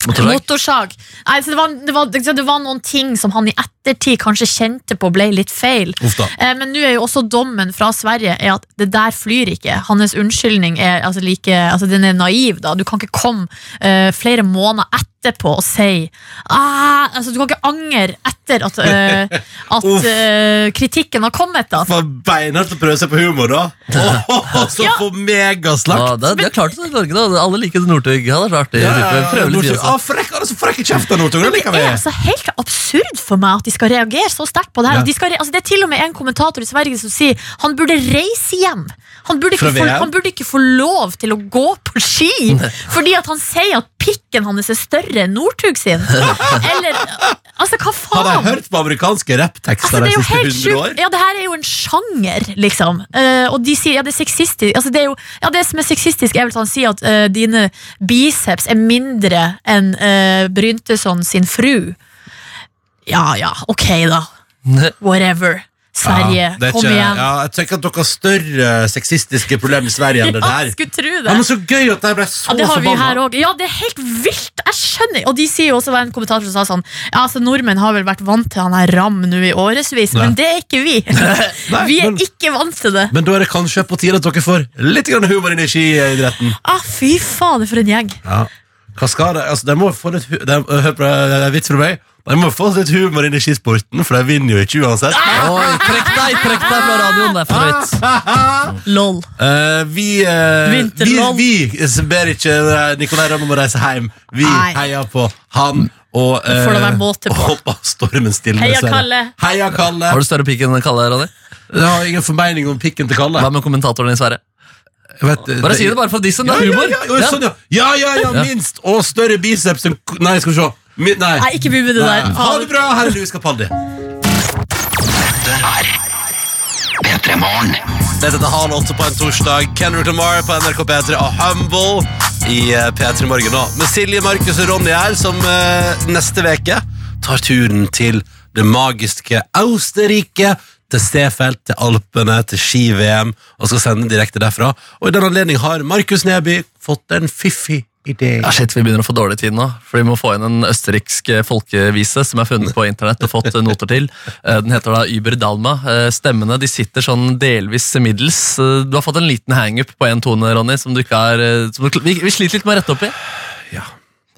Speaker 1: Motorsag?
Speaker 3: Motorsag. Nei, så det, var, det, var, så det var noen ting som han i ettertid kanskje kjente på ble litt feil.
Speaker 2: Uff da.
Speaker 3: Eh, Men nå er jo også dommen fra Sverige er at det der flyr ikke. Hans unnskyldning er, altså like, altså den er naiv. da. Du kan ikke komme eh, flere måneder etterpå og si ah, altså Du kan ikke angre etter at, eh, at
Speaker 2: Uff.
Speaker 3: eh, kritikken har kommet. da.
Speaker 2: For beinhardt å prøve seg på humor, da. Åh, så
Speaker 3: Ja.
Speaker 2: for megaslakt!
Speaker 1: Ja, det, det er klart det i Norge, da. Alle liker Northug. Ja, det er klart. Det,
Speaker 2: Ja, ja,
Speaker 1: type.
Speaker 2: ja,
Speaker 1: Prøve litt vi
Speaker 2: Northug.
Speaker 1: også.
Speaker 2: Ah, frekk, han er så frekk i kjeften, Northug. Det liker
Speaker 3: Det
Speaker 2: vi.
Speaker 3: er altså helt absurd for meg at de skal reagere så sterkt på det her.
Speaker 2: Ja.
Speaker 3: Og De skal, re- altså det er til og med en kommentator i Sverige som sier han burde reise hjem. Han burde, ikke
Speaker 2: Fra
Speaker 3: få,
Speaker 2: VM?
Speaker 3: han burde ikke få lov til å gå på ski fordi at han sier at pikken hans er større enn Northug sin. Eller Altså, hva
Speaker 2: Har
Speaker 3: faen?
Speaker 2: de hørt på amerikanske
Speaker 3: Altså,
Speaker 2: rapptekster
Speaker 3: det
Speaker 2: de
Speaker 3: er jo
Speaker 2: siste
Speaker 3: helt
Speaker 2: 100 år?
Speaker 3: sjukt. Ja, det her er jo en sjanger, liksom. Eh, og de sier ja, det er sexistisk. Altså, det, er jo, ja, det som er sexistisk, er vel at han sier at eh, dine biceps er mindre enn eh, Bryntesson sin fru. Ja ja, ok, da. Whatever. Sverige,
Speaker 2: det er
Speaker 3: kom
Speaker 2: ikke-
Speaker 3: igjen.
Speaker 2: Ja, jeg tenker at dere har større sexistiske problemer i Sverige enn det der.
Speaker 3: skulle tro det.
Speaker 2: Ja, men så gøy at de ble så
Speaker 3: Ja, det har vi
Speaker 2: forbanna.
Speaker 3: her også. Ja, det er helt vilt! Jeg skjønner Og de sier jo også, det var en kommentator som sa sånn Ja, altså Nordmenn har vel vært vant til han her Ram nå i årevis, men det er ikke vi. vi
Speaker 2: men-
Speaker 3: er ikke vant til det.
Speaker 2: Men da er det kanskje på tide at dere får litt grann humor inn i skiidretten.
Speaker 3: Ah, fy fader, for en gjeng.
Speaker 2: Ja. Hva skal det? Altså, de må få litt hu- de, Hør på det, det er vits fra meg. De må få litt humor inn i skisporten, for de vinner jo ikke uansett.
Speaker 1: Oi, trekk deg trekk deg fra radioen, det er for høyt.
Speaker 3: Lol.
Speaker 2: Eh, vi, eh,
Speaker 3: Vinterland.
Speaker 2: vi, vi ber ikke eh, Nicolai Ramm om å reise hjem. Vi
Speaker 3: Nei.
Speaker 2: heier på han. Og, eh,
Speaker 3: får det være måte på.
Speaker 2: og håper stormen stiller
Speaker 3: Heia
Speaker 2: seg.
Speaker 3: Kalle.
Speaker 2: Heia Kalle!
Speaker 1: Har du større pikk enn Kalle, Ronny?
Speaker 2: Jeg har ingen formening om pikken til Kalle.
Speaker 1: Hva med kommentatoren i Sverige?
Speaker 2: Jeg vet, eh,
Speaker 1: Bare si det bare for dissen, det er humor.
Speaker 2: Ja, ja, ja, sånn, ja. ja, ja, ja,
Speaker 1: Ja.
Speaker 2: minst! Og større biceps enn k- Nei, skal vi se. Mi- Nei.
Speaker 3: Nei, ikke begynn med det
Speaker 2: Nei.
Speaker 3: der.
Speaker 2: Ha det bra, her er Louis Capaldi. Dette er halv åtte på en torsdag. Kendrick Lamar på NRK P3 og Humble i eh, P3 Morgen nå. Med Silje, Markus og Ronny her, som eh, neste veke tar turen til det magiske Austerrike. Til Seefeld, til Alpene, til ski-VM, og skal sende direkte derfra. Og i den anledning har Markus Neby fått en fiffig idé.
Speaker 1: Ja, shit, Vi begynner å få dårlig tid nå, for vi må få inn en østerriksk eh, folkevise som er funnet på internett og fått eh, noter til. Eh, Den heter da Über Dalma. Eh, Stemmene de sitter sånn delvis middels. Eh, Du har fått en liten hangup på én tone, Ronny, som du ikke er eh, som du, vi, vi sliter litt med å rette opp i.
Speaker 2: Ja.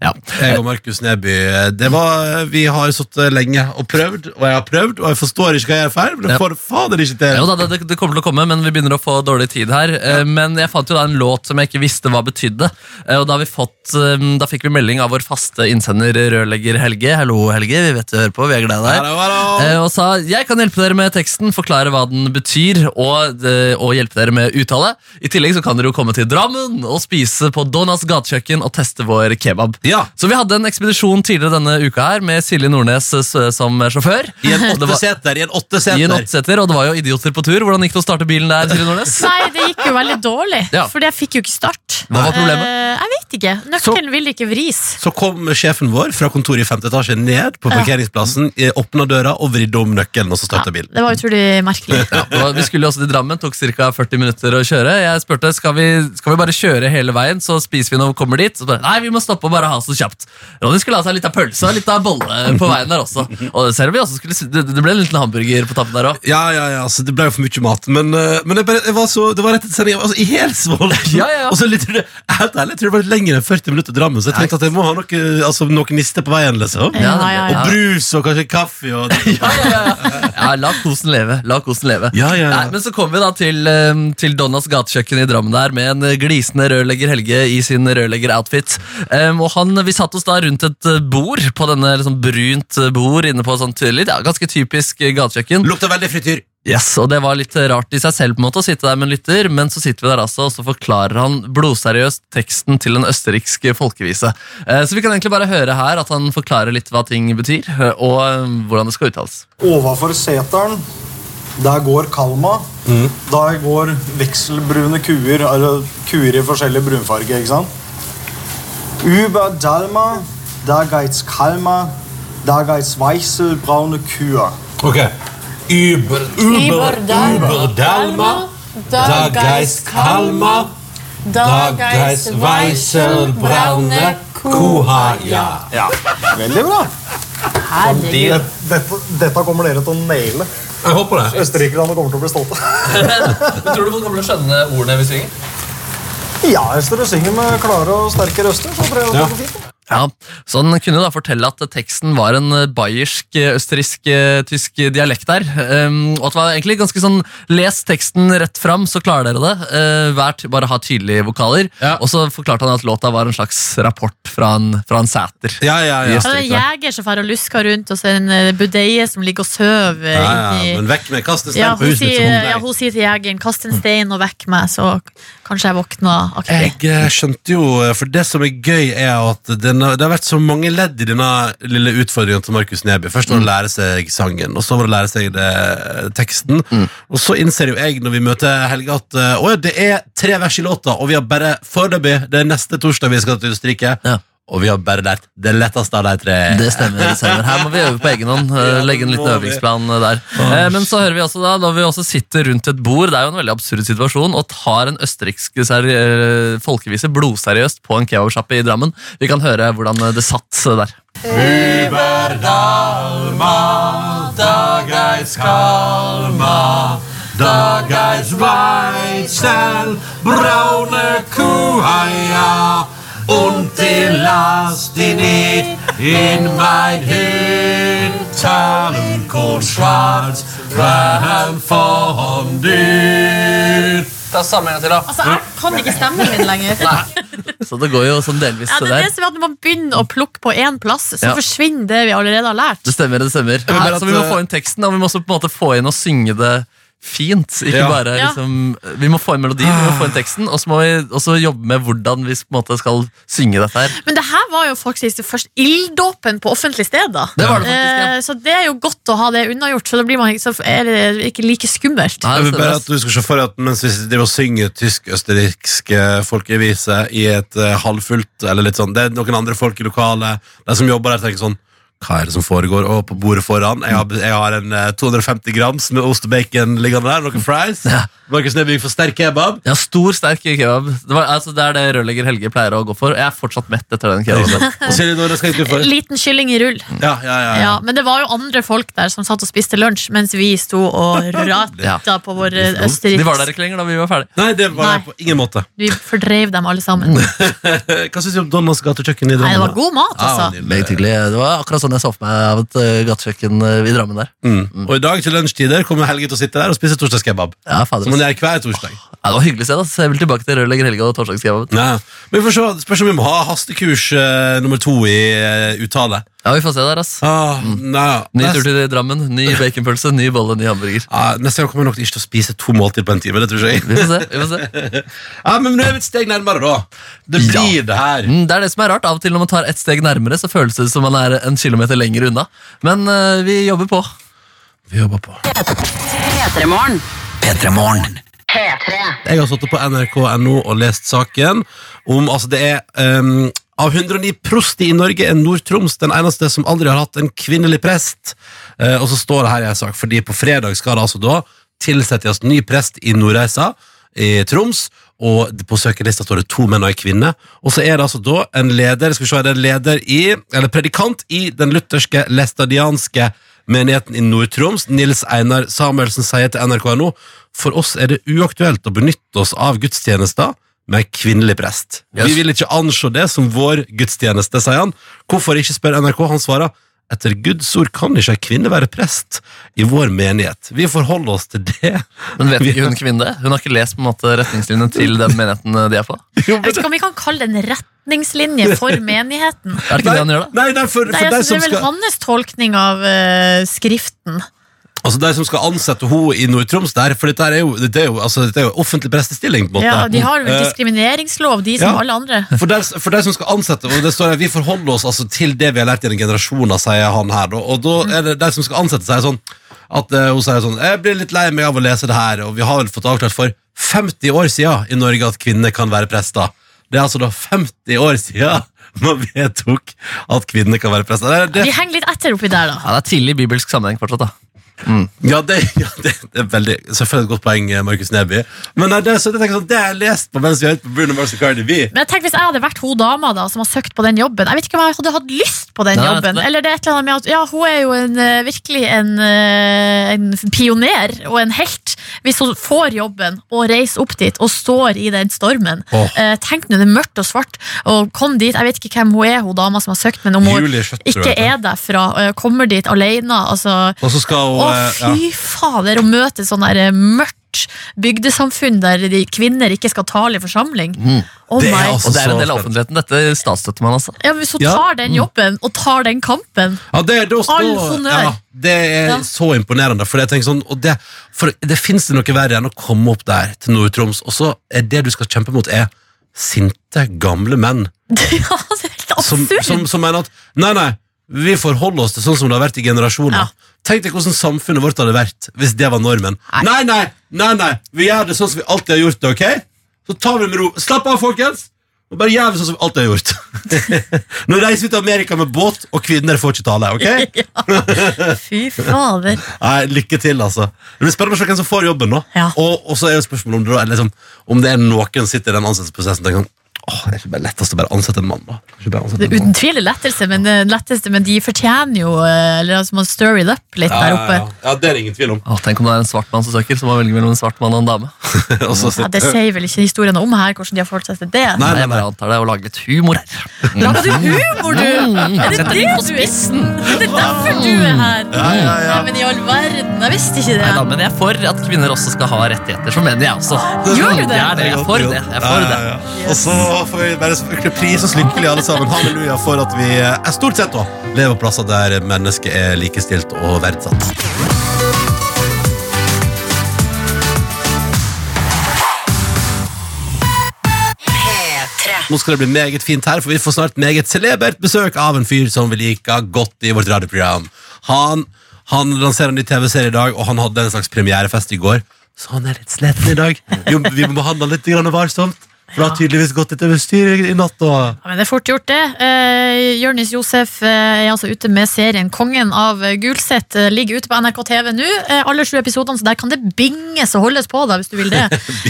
Speaker 1: Ja.
Speaker 2: Jeg og Markus Neby, det var, vi har sittet lenge og prøvd, og jeg har prøvd, og jeg forstår ikke hva jeg gjør feil, men
Speaker 1: Ja.
Speaker 2: jeg får fader ikke til.
Speaker 1: Jo da, det, det kommer til å komme, men vi begynner å få dårlig tid her. Eh, Men jeg fant jo da en låt som jeg ikke visste hva betydde. Eh, Og da, har vi fått, eh, da fikk vi melding av vår faste innsender rørlegger Helge. Hallo, Helge. Vi vet du hører på. Vi er glad i deg.
Speaker 2: Hallo, hallo.
Speaker 1: Eh, Og sa jeg kan hjelpe dere med teksten, forklare hva den betyr, og, eh, og hjelpe dere med uttale. I tillegg så kan dere jo komme til Drammen og spise på Donas gatekjøkken og teste vår kebab.
Speaker 2: Ja.
Speaker 1: Så vi hadde en ekspedisjon tidligere denne uka her med Silje Nordnes eh, s- som sjåfør.
Speaker 2: I en
Speaker 1: Og det var-
Speaker 2: åtteseter, i en
Speaker 1: i en
Speaker 2: åtteseter.
Speaker 1: åtteseter, og det var jo idioter på tur. Hvordan gikk det å starte bilen der? Silje Nordnes?
Speaker 3: Nei, det gikk jo veldig dårlig,
Speaker 1: Ja.
Speaker 3: for jeg fikk jo ikke start.
Speaker 1: Hva var problemet?
Speaker 3: Eh, jeg vet ikke. Nøkkelen ville ikke vris.
Speaker 2: Så kom sjefen vår fra kontoret i femte etasje ned på parkeringsplassen, eh, åpna døra og vridde om nøkkelen, og så starta bilen.
Speaker 3: Det var utrolig merkelig.
Speaker 1: Ja, det var- vi skulle jo også til Drammen, tok ca. 40 minutter å kjøre. Jeg spurte skal vi skal vi bare kjøre hele veien, så spiser vi når vi kommer dit. Så bare, Nei, vi må stoppe og bare ha så kjapt. Ronny skulle ha seg litt av pølse og litt av bolle på veien der også. Og selv om vi også skulle, s- det, det ble en liten hamburger på tappen der òg.
Speaker 2: Ja, ja, ja, altså, Det ble jo for mye mat. Men, eh, men jeg bare, jeg var så, det var rett etter sending. Jeg var altså, i helsvål.
Speaker 1: Ja, ja, ja.
Speaker 2: Og så litt, helt ærlig, jeg tror det var lenger enn 40 minutter til Drammen, så jeg tenkte at jeg må ha noe, altså, noe niste på veien. liksom
Speaker 3: Ja, ja,
Speaker 2: Og
Speaker 3: ja.
Speaker 2: brus og kanskje kaffe. Og,
Speaker 1: Ja, ja, ja. ja, la kosen leve. La kosen leve.
Speaker 2: Ja, ja, ja.
Speaker 1: Nei, men så kom vi da til, eh, til Donnas gatekjøkken i Drammen der med en eh, glisende rørlegger Helge i sin rørlegger-outfit. Em, og han, Vi satt oss da rundt et eh, bord på denne liksom brunt eh, bord inne på et sånt eh, litt, ja, ganske typisk eh, gatekjøkken.
Speaker 2: Lukta veldig frityr.
Speaker 1: Yes, og Det var litt rart i seg selv på en måte å sitte der med en lytter, men så sitter vi der altså, og så forklarer han blodseriøst teksten til en østerriksk folkevise. Eh, Så vi kan egentlig bare høre her um, at han forklarer litt hva ting betyr, eh, og eh, hvordan det skal uttales.
Speaker 8: Overfor seteren Der går Kalma.
Speaker 2: Mm.
Speaker 8: Der går vekselbrune kuer, eller kuer i forskjellig brunfarge, ikke sant? Über Dalma, der geht's Kalma, der geht's weißelbraune Kühe.
Speaker 2: Ok. Uber, Uber, Uber Dalma, da geist Kalma, da geist Weiselbraune Kuhaja.
Speaker 8: Veldig bra!
Speaker 3: Herregud.
Speaker 8: Dette, dette kommer dere til å naile.
Speaker 2: Jeg håper det.
Speaker 8: Østerrikerne kommer til å bli stolte.
Speaker 1: Tror du folk kommer til å skjønne ordene vi synger?
Speaker 8: Ja, hvis dere synger med klare og sterke røster, så tror jeg det
Speaker 2: Ja.
Speaker 8: går fint.
Speaker 1: Ja, så Han kunne da fortelle at teksten var en eh, bayersk, eh, østerriksk, eh, tysk dialekt der. ehm, og at det var egentlig ganske sånn Les teksten rett fram, så klarer dere det. Eh, vær ty- bare ha tydelige vokaler.
Speaker 2: Ja.
Speaker 1: Og så forklarte han at låta var en slags rapport fra en, fra en sæter.
Speaker 2: Ja, ja, ja.
Speaker 1: Yes.
Speaker 3: Ja, det er en jeger som drar og lusker rundt, og så er det en eh, budeie som ligger og sover. eh,
Speaker 2: ja, ja.
Speaker 3: inni-
Speaker 2: Men vekk med kastestein
Speaker 3: Ja,
Speaker 2: på
Speaker 3: hun
Speaker 2: huset mitt. sånn
Speaker 3: sier,
Speaker 2: som hun
Speaker 3: ja,
Speaker 2: pleier.
Speaker 3: hun sier til jegeren 'kast en stein og vekk meg', så k- kanskje jeg våkner aktig.
Speaker 2: Jeg eh, skjønte jo, eh, for det som er gøy er at denne, det har vært så mange ledd i denne lille utfordringen til Markus Neby. Først
Speaker 1: Mm.
Speaker 2: var det å lære seg sangen, og så var det å lære seg det, teksten.
Speaker 1: Mm.
Speaker 2: Og så innser jo jeg når vi møter Helge at eh, åja, det er tre vers i låta, og vi har bare foreløpig, det er neste torsdag vi skal til Østerrike,
Speaker 1: Ja.
Speaker 2: og vi har bare lært det letteste av de tre.
Speaker 1: Det stemmer. det stemmer. Her må vi øve på egen hånd. eh,
Speaker 2: Ja,
Speaker 1: Legge en
Speaker 2: det
Speaker 1: liten
Speaker 2: må
Speaker 1: øvingsplan eh, der. Eh, Men så hører vi også da, når vi også sitter rundt et bord, det er jo en veldig absurd situasjon, og tar en østerriksk seri- eh, folkevise blodseriøst på en kebabsjappe i Drammen. Vi kan høre hvordan eh, det satt eh, der. Ta samme gang til, da.
Speaker 3: Altså, jeg kan ikke stemmen min lenger.
Speaker 1: Så det går jo sånn delvis
Speaker 3: Ja,
Speaker 1: det
Speaker 3: det er
Speaker 1: der.
Speaker 3: det som er at Når man begynner å plukke på én plass, så
Speaker 1: Ja.
Speaker 3: forsvinner det vi allerede har lært.
Speaker 1: Det stemmer, det stemmer.
Speaker 2: vil bare
Speaker 1: Her, så vi må
Speaker 2: at, eh,
Speaker 1: få inn teksten, og vi må også på en måte få inn og synge det fint. Ikke
Speaker 2: Ja.
Speaker 1: bare
Speaker 3: Ja.
Speaker 1: liksom Vi må få inn melodien, vi må få inn teksten, og så må vi også jobbe med hvordan vi på en måte skal synge dette her.
Speaker 3: Men det her var jo faktisk det første ilddåpen på offentlig sted. da
Speaker 1: Det var det faktisk, ja.
Speaker 3: Eh, Så det er jo godt å ha det unnagjort, så da blir man ikke, så er det ikke like skummelt.
Speaker 1: Nei,
Speaker 2: Jeg
Speaker 1: det
Speaker 2: vil bare
Speaker 1: stemmer,
Speaker 2: at du skal se for deg at mens vi driver og synger tysk-østerriksk eh, folkevise i et eh, halvfullt eller litt sånn, Det er noen andre folk i lokalet, de som jobber der, tenker sånn Hva er det som foregår? Og på bordet foran Jeg har, jeg har en eh, 250 grams med ost og bacon liggende der, noen fries. Markus Neby gikk for sterk kebab.
Speaker 1: Ja, stor, sterk kebab. Det, var, altså, det er det rørlegger Helge pleier å gå for. Jeg er fortsatt mett etter den kebaben.
Speaker 2: Og Silje Nordnes hva gikk du for?
Speaker 3: Liten kylling i rull.
Speaker 2: Ja, ja, ja, ja.
Speaker 3: Ja, men det var jo andre folk der som satt og spiste lunsj mens vi sto og
Speaker 1: Ja.
Speaker 3: rata på vår
Speaker 1: De var der
Speaker 3: østerriksk
Speaker 1: ikke lenger da vi var ferdig.
Speaker 2: Nei, det var jeg
Speaker 3: Nei.
Speaker 2: på ingen måte.
Speaker 3: Vi fordreiv dem alle sammen. Nei,
Speaker 2: Eh, Hva syns du om Donnas gatekjøkken i Drammen?
Speaker 3: det var god mat,
Speaker 2: Ah,
Speaker 3: altså.
Speaker 2: nydelig.
Speaker 1: Det var akkurat sånn jeg så for meg av et uh, gatekjøkken eh, i Drammen der.
Speaker 2: Mm. Og i dag til lunsjtider kommer Helge til å sitte der og spise torsdagskebab.
Speaker 1: Ja, fader. altså.
Speaker 2: Som han gjør hver torsdag.
Speaker 1: Ja, det var hyggelig sted. ass. Jeg vil tilbake til rørlegger Helge og torsdagskebaben.
Speaker 2: Ja. Men vi får se, det spørs om vi må ha hastekurs eh, nummer to i eh, uttale.
Speaker 1: Ja, vi får se der, ass.
Speaker 2: Ah, nei,
Speaker 1: Ny
Speaker 2: nest-
Speaker 1: tur til Drammen, ny baconpølse, ny bolle, ny hamburger.
Speaker 2: Ah, neste gang kommer jeg nok ikke til å spise to måltider på en time. Det tror ikke jeg
Speaker 1: Vi får se. vi får se
Speaker 2: Ja, Men nå er vi et steg nærmere, da. Det
Speaker 1: Ja.
Speaker 2: blir det her.
Speaker 1: Mm, Det er det som er rart. Av og til når man tar et steg nærmere, så føles det som man er en kilometer lenger unna. Men eh, vi jobber på.
Speaker 2: Vi jobber på.
Speaker 4: P3morgen.
Speaker 2: Jeg har stått opp på nrk.no og lest saken om altså det er ehm, Av 109 prosti i Norge er Nord-Troms den eneste som aldri har hatt en kvinnelig prest. Eh, og så står det her i en sak, fordi på fredag skal det altså da tilsettes ny prest i Nordreisa i Troms. Og på søkerlista står det to menn og ei kvinne. Og så er det altså da en leder skal vi se, er det en leder i, eller predikant i den lutherske læstadianske Menigheten i Nord-Troms, Nils Einar Samuelsen, sier til NRK nå for oss er det uaktuelt å benytte oss av gudstjenester med kvinnelig prest.
Speaker 1: Yes.
Speaker 2: Vi vil ikke anse det som vår gudstjeneste, sier han. Hvorfor ikke, spør NRK. Han svarer etter Guds ord kan ikke ei kvinne være prest i vår menighet. Vi forholder oss til det.
Speaker 1: Men vet ikke hun kvinne det? Hun har ikke lest på en måte retningslinjene til den menigheten eh, de er på?
Speaker 3: Jeg vet ikke om vi kan kalle det en retningslinje for menigheten.
Speaker 1: Er det ikke det han gjør, da?
Speaker 2: Nei, nei, for, for
Speaker 3: Nei, altså,
Speaker 2: de
Speaker 3: det
Speaker 2: som
Speaker 3: er vel
Speaker 2: skal...
Speaker 3: hans tolkning av eh, skriften.
Speaker 2: Altså de som skal ansette henne i Nord-Troms der, for dette er jo, dette er jo, altså, dette er jo offentlig prestestilling, på en måte.
Speaker 3: Ja, de har vel
Speaker 2: Eh,
Speaker 3: diskrimineringslov, de som
Speaker 2: ja.
Speaker 3: alle andre.
Speaker 2: For de, for de som skal ansette, og det står her, vi forholder oss altså til det vi har lært gjennom generasjoner, sier han her. da. Og da er det de som skal ansette, sier sånn At eh, hun sier sånn Jeg blir litt lei meg av å lese det her, og vi har vel fått avklart for 50 år siden i Norge at kvinner kan være prester. Det er altså da 50 år siden man vedtok at kvinner kan være prester. Det, er- det
Speaker 3: Vi henger litt etter oppi der, da.
Speaker 1: Ja, det er tidlig bibelsk sammenheng fortsatt, da.
Speaker 2: Altså, Ja, det, ja, det, det er veldig, selvfølgelig et godt poeng, eh, Markus Neby. Men nei, det, er så, det, tenker jeg sånn, det har jeg lest på mens vi hørte på Bruno Mars og Cardi B.
Speaker 3: Men jeg tenker Hvis jeg hadde vært hun dama da, som har søkt på den jobben Jeg vet ikke om jeg hadde hatt lyst på den
Speaker 2: altså,
Speaker 1: Nei,
Speaker 3: jobben.
Speaker 1: nei.
Speaker 3: Eller det er et eller annet med at ja, hun er jo en, eh, virkelig en, eh, en pioner og en helt. Hvis hun får jobben og reiser opp dit og står i den stormen
Speaker 2: Åh.
Speaker 3: eh, Tenk nå, det er mørkt og svart, og kom dit. Jeg vet ikke hvem hun er, hun dama som har søkt, men om hun
Speaker 2: Julie Skjøtt, tror
Speaker 3: ikke
Speaker 2: jeg. det
Speaker 3: er derfra, eh, kommer dit alene altså,
Speaker 2: Og så skal hun
Speaker 3: Å,
Speaker 2: eh, ja.
Speaker 3: fy fader, å møte sånn der eh, mørkt bygdesamfunn der de kvinner ikke skal tale i forsamling. Oh
Speaker 2: Det er
Speaker 3: my.
Speaker 2: altså-
Speaker 1: Og det er en
Speaker 2: så
Speaker 1: del av offentligheten. Dette statsstøtter man, altså.
Speaker 3: Ja, men Hvis hun
Speaker 2: Ja. Mm.
Speaker 3: tar den jobben og tar den kampen
Speaker 2: Ja, det, er- da- da-
Speaker 3: All honnør.
Speaker 2: Ja, det er
Speaker 3: Ja.
Speaker 2: så imponerende. For jeg tenker sånn, og det, for det fins det noe verre enn å komme opp der til Nord-Troms, og så er det du skal kjempe mot, er sinte, gamle menn
Speaker 3: Ja, det er helt
Speaker 2: som,
Speaker 3: absurd!
Speaker 2: som, som mener at nei, nei, vi forholder oss til sånn som det har vært i generasjoner.
Speaker 3: Ja.
Speaker 2: Tenk deg hvordan samfunnet vårt hadde vært hvis det var normen. Nei, nei, nei, nei, vi gjør det sånn som vi alltid har gjort det, ok? Så tar vi det med ro. Slapp av, folkens! Og bare gjør vi sånn som vi alltid har gjort. Nå reiser vi til Amerika med båt, og kvinner får ikke tale, ok?
Speaker 3: Fy fader.
Speaker 2: Nei, lykke til, altså. Det blir spennende å se hvem som får jobben nå.
Speaker 3: Ja.
Speaker 2: Og, og så er jo spørsmålet om det, da, er liksom, om det er noen som sitter i den ansettelsesprosessen og tenker sånn, åh, det er ikke bare lettest å bare ansette en mann, da. Det er ikke bare å ansette
Speaker 3: Det
Speaker 2: en
Speaker 3: er
Speaker 2: mann.»
Speaker 3: uten tvil det letteste, men, det letteste, men de fortjener jo eh, Eller altså, man stir it up litt der oppe.
Speaker 2: Ja, ja, ja. ja, det er det ingen tvil om.
Speaker 1: Å, tenk om det er en svart mann som søker, så må man velge mellom en svart mann og en dame.
Speaker 2: Og så
Speaker 3: Ja,
Speaker 2: sitter-
Speaker 3: det sier vel ikke historien om her, hvordan de har forholdt seg til det.
Speaker 2: Nei, nei,
Speaker 1: Jeg
Speaker 2: nei.
Speaker 1: bare antar det, og lage litt humor her.
Speaker 3: Lager du humor, du? Er det det du er? Det er derfor du er her? Nei, men i all verden, jeg visste ikke det.
Speaker 1: Neida, men jeg er for at kvinner også skal ha rettigheter som menn, jeg også.
Speaker 3: Gjør du det?
Speaker 1: Jeg er, det. Jeg er for det. Jeg er for det.
Speaker 2: Ja, ja, ja. Og så får vi bare selvfølgelig pris oss lykkelige alle sammen. Halleluja for at vi er stort sett da lever på plasser der mennesket er likestilt og verdsatt. Nå skal det bli meget fint her, for vi får snart meget celebert besøk av en fyr som vi liker godt i vårt radioprogram. Han, han lanserer en ny TV-serie i dag, og han hadde en slags premierefest i går. Så han er litt sliten i dag. Jo, vi må behandle han litt grann varsomt, for det har tydeligvis gått litt over styr i natt. Og
Speaker 3: Ja, men Det er fort gjort, det. Eh, Jørnis Josef eh, er altså ute med serien Kongen av Gulset. Eh, ligger ute på NRK TV nå. Eh, alle sju episodene, så der kan det binges og holdes på, da, hvis du vil det.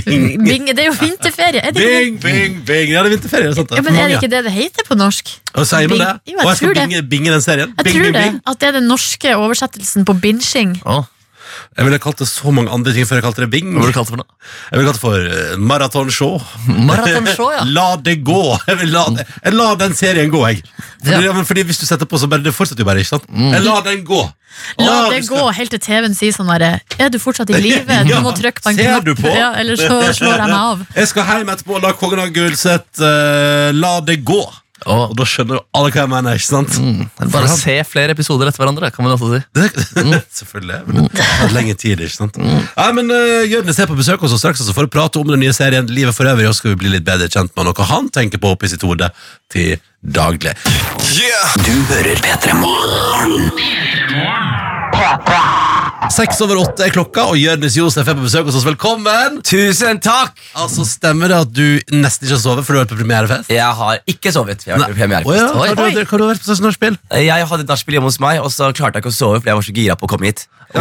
Speaker 2: Bing.
Speaker 3: Binge, det er jo vinterferie. Er det ikke det?
Speaker 2: Bing, bing, bing! Ja, det er vinterferie. Sant? det?
Speaker 3: Ja, men Er det ikke det det heter på norsk?
Speaker 2: Og sier man
Speaker 3: Bing-
Speaker 2: det?
Speaker 3: Jo,
Speaker 2: Og
Speaker 3: jeg
Speaker 2: jeg skal
Speaker 3: tror det.
Speaker 2: binge, binge den serien?
Speaker 3: Jeg
Speaker 2: Bing,
Speaker 3: tror
Speaker 2: bing,
Speaker 3: det.
Speaker 2: bing.
Speaker 3: At det er den norske oversettelsen på binging.
Speaker 1: Å,
Speaker 2: Jeg ville kalt det så mange andre ting før jeg kalte det bing.
Speaker 1: Hva ble du kalt for noe?
Speaker 2: Jeg ville kalt det for eh, maratonshow.
Speaker 1: Maratonshow, ja.
Speaker 2: La det gå! Jeg, vil la, det- jeg lar den serien gå, jeg. Fordi,
Speaker 1: Ja.
Speaker 2: ja. men fordi hvis du setter på, så bare, det fortsetter jo bare, ikke sant? Jeg lar den gå.
Speaker 3: Mm. La
Speaker 2: Å,
Speaker 3: det
Speaker 2: vi skal-
Speaker 3: gå helt til TV-en sier sånn derre Er du fortsatt i live? Du
Speaker 2: Ja,
Speaker 3: må trykke på en
Speaker 2: ser du
Speaker 3: knapp,
Speaker 2: på?
Speaker 3: ja, eller så slår jeg meg av.
Speaker 2: Jeg skal hjem etterpå og la kongen av Gulset eh, la det gå. Og da skjønner jo alle hva jeg mener, ikke sant?
Speaker 1: Bare se flere episoder etter hverandre, kan man også si.
Speaker 2: Det, selvfølgelig. Men det tar lenge tid, ikke sant? Nei, men uh, Jørnes er på besøk hos oss straks, og så får vi prate om den nye serien Livet for øvrig, og så skal vi bli litt bedre kjent med noe han tenker på oppi sitt hode til daglig. Seks over åtte er klokka, og Jørnes Josef er på besøk hos oss. Velkommen!
Speaker 7: Tusen takk!
Speaker 2: Altså, Stemmer det at du nesten ikke har sovet, for du har vært på premierefest?
Speaker 7: Jeg har ikke sovet. Jeg, har vært
Speaker 2: Å
Speaker 7: på
Speaker 2: ja,
Speaker 7: premierefest.
Speaker 2: hva har du, hva har du vært på slags nachspiel?
Speaker 7: jeg hadde et nachspiel hjemme hos meg, og så klarte jeg ikke å sove fordi jeg var så gira på å komme hit.
Speaker 1: Ah.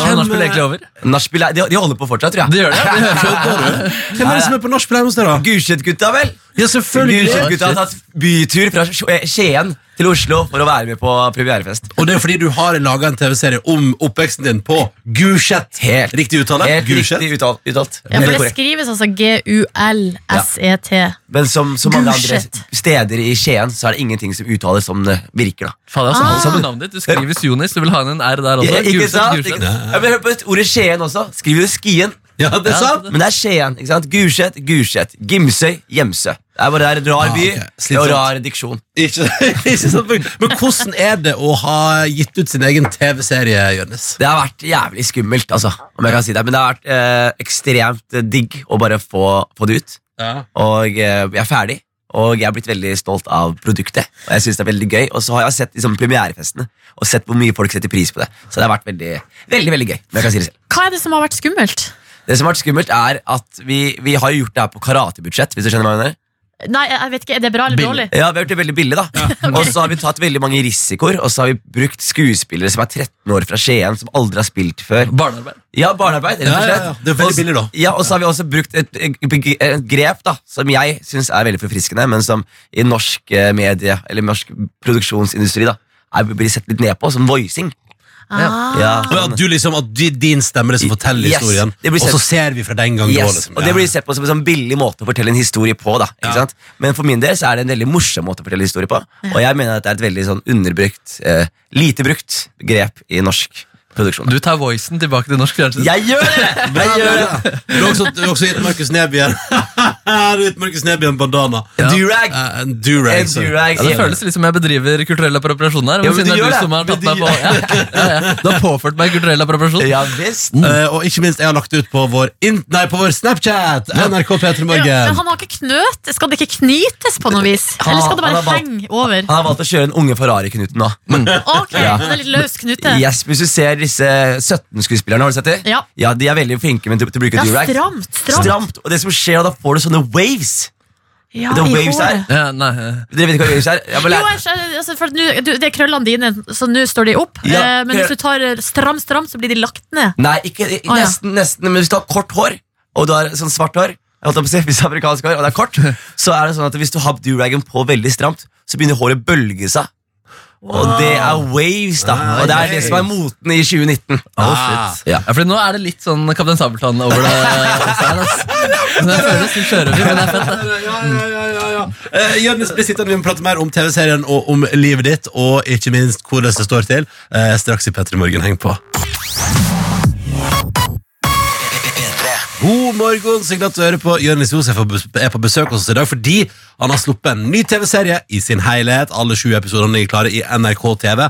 Speaker 1: Nå er nachspiel egentlig over.
Speaker 7: Nachspiel er- de, de holder på fortsatt, tror jeg.
Speaker 1: Det gjør det. det hører jeg.
Speaker 2: Hvem er det som er på nachspiel hjemme hos deg, da?
Speaker 7: Gulset-gutta, vel?
Speaker 2: Ja, selvfølgelig!
Speaker 7: Gulset-gutta har tatt bytur fra Sk- eh, Skien til Oslo for å være med på premierefest.
Speaker 2: Og det er fordi du har laga en TV-serie om oppveksten din på Gulset.
Speaker 7: Helt
Speaker 2: Riktig uttale?
Speaker 7: Helt
Speaker 2: Gulset.
Speaker 7: riktig uttalt. uttalt.
Speaker 3: Ja, for
Speaker 7: Helt
Speaker 3: det
Speaker 7: korrekt.
Speaker 3: skrives altså G-U-L-S-E-T.
Speaker 7: Men som, som alle andre
Speaker 3: Gulset.
Speaker 7: steder i Skien, så er det ingenting som uttales som det virker. da
Speaker 1: Faen, det er sånn som navnet ditt. Du skriver Jonis, du vil ha inn en R der også.
Speaker 7: Ja, Ikke
Speaker 1: Gulset,
Speaker 7: sant?
Speaker 1: Gulset.
Speaker 7: Ikke- Ja, men hør på ordet Skien også. Skriver du Skien?
Speaker 2: Ja, det er sant.
Speaker 7: Men det er Skien. ikke sant? Gulset, Gulset. Gimsøy, Gjemsø. Det er bare det er en rar by
Speaker 2: Ah, ok.
Speaker 7: og
Speaker 2: Slitsomt.
Speaker 7: rar diksjon.
Speaker 2: Ikke, ikke sant? Men hvordan er det å ha gitt ut sin egen TV-serie, Jonis?
Speaker 7: Det har vært jævlig skummelt, altså, om jeg kan si det. Men det har vært eh, ekstremt eh, digg å bare få, få det ut.
Speaker 2: Ja.
Speaker 7: Og eh, jeg er ferdig. Og jeg har blitt veldig stolt av produktet. Og jeg synes det er veldig gøy Og så har jeg sett liksom, premierefestene og sett hvor mye folk setter pris på det. Så det har vært veldig, veldig, veldig gøy. Men jeg kan si det selv
Speaker 3: Hva er det som har vært skummelt?
Speaker 7: Det som har vært skummelt, er at vi, vi har jo gjort det her på karatebudsjett. Hvis du skjønner hva jeg mener
Speaker 3: Nei, jeg jeg vet ikke, Er det bra eller dårlig?
Speaker 7: Ja, vi har gjort det veldig billig, da. Og så har vi tatt veldig mange risikoer, og så har vi brukt skuespillere som er 13 år fra Skien, som aldri har spilt før.
Speaker 1: Barnearbeid.
Speaker 7: Ja, barnearbeid, rett og
Speaker 2: Ja, ja,
Speaker 7: slett.
Speaker 2: ja. Det er veldig
Speaker 7: Og s-
Speaker 2: billig, da.
Speaker 7: Ja, og så har vi også brukt et, et grep da, som jeg syns er veldig forfriskende, men som i norsk eh, medie, eller norsk produksjonsindustri, da, er, blir sett litt ned på, som voicing.
Speaker 3: Ah.
Speaker 7: Ja.
Speaker 2: Og at, du liksom, at di- din stemme er det som forteller
Speaker 7: Yes,
Speaker 2: historien,
Speaker 7: det blir
Speaker 2: og så
Speaker 7: sett-
Speaker 2: ser vi fra den gangen det var,
Speaker 7: Yes,
Speaker 2: liksom.
Speaker 7: og Det blir sett på som en sånn billig måte å fortelle en historie på. da, ikke
Speaker 2: Ja.
Speaker 7: sant? Men for min del så er det en veldig morsom måte å fortelle historie på. Og jeg mener at det er et veldig sånn underbrukt, eh, lite brukt grep i norsk produksjon.
Speaker 1: Du tar voicen tilbake til norsk fjernsyn.
Speaker 7: Jeg gjør det! Jeg gjør det!
Speaker 2: Du har også, du har også gitt Markus Neby en Du har gitt Markus Neby en bandana.
Speaker 7: En durag.
Speaker 2: Eh, En durag.
Speaker 7: En
Speaker 2: så-
Speaker 7: durag.
Speaker 1: Ja, det føles litt som jeg bedriver kulturell appropriasjon her.
Speaker 7: Ja, men
Speaker 1: men
Speaker 7: du
Speaker 1: siden det er
Speaker 7: gjør
Speaker 1: du
Speaker 7: det.
Speaker 1: som har tatt
Speaker 2: Men
Speaker 1: meg
Speaker 2: du
Speaker 1: på ja, ja, ja. Du har påført meg kulturell appropriasjon.
Speaker 7: Ja visst.
Speaker 2: Eh, og ikke minst, jeg har lagt ut på vår, in nei, på vår Snapchat! NRK
Speaker 3: Ja,
Speaker 2: P3
Speaker 3: men
Speaker 2: Morgen.
Speaker 3: han har ikke knøt, Skal det ikke knytes på noe vis? Eller skal det
Speaker 7: Han
Speaker 3: bare
Speaker 7: har valgt-
Speaker 3: henge over? Ah,
Speaker 7: Han har valgt å kjøre en unge Ferrari-Knuten nå.
Speaker 3: Ok,
Speaker 7: Ja.
Speaker 3: det er litt løs knute.
Speaker 7: Yes, Hvis du ser disse 17-skuespillerne, har du sett dem?
Speaker 3: Ja.
Speaker 7: ja, de er veldig flinke med til, til å bruke
Speaker 3: Ja,
Speaker 7: durag.
Speaker 3: stramt, stramt.
Speaker 7: Stramt. Og det som skjer, da får du sånne waves.
Speaker 3: Ja,
Speaker 7: The
Speaker 3: i
Speaker 7: waves
Speaker 3: håret.
Speaker 7: er-
Speaker 1: Ja, nei, eh,
Speaker 7: Dere vet ikke hva waves er? Jeg må
Speaker 3: Jo,
Speaker 7: lære-
Speaker 3: jeg skjønner, altså, for at nå- du, det er krøllene dine, så nå står de opp.
Speaker 7: Ja,
Speaker 3: eh, men
Speaker 7: det-
Speaker 3: hvis du tar eh, stram, stram, så blir de lagt ned.
Speaker 7: Nei, ikke, i-
Speaker 3: Å, ja.
Speaker 7: nesten, nesten, men hvis du har kort hår, og du har sånn svart hår jeg holdt på å si, Hvis det er amerikansk hår, og det er kort, så er det sånn at hvis du har duragen på veldig stramt, så begynner håret å bølge seg. Og det er waves, da. Og det er det som er moten i 2019.
Speaker 2: Ah.
Speaker 7: Ja.
Speaker 1: ja, fordi nå er det litt sånn Kaptein Sabeltann over det. Stein, ass. Men jeg føler litt sjørøver, men det er fett.
Speaker 2: Ja, ja, ja, ja, ja. Eh, Jørnes blir sittende, vi må prate mer om TV-serien og om livet ditt, og ikke minst hvordan det står til, eh, straks i P3 Morgen. Heng på. God morgen, så glad du hører på. Jørnis Josef er på bes- er på besøk hos oss i dag fordi han har sluppet en ny TV-serie i sin helhet. Alle sju episodene ligger klare i NRK TV.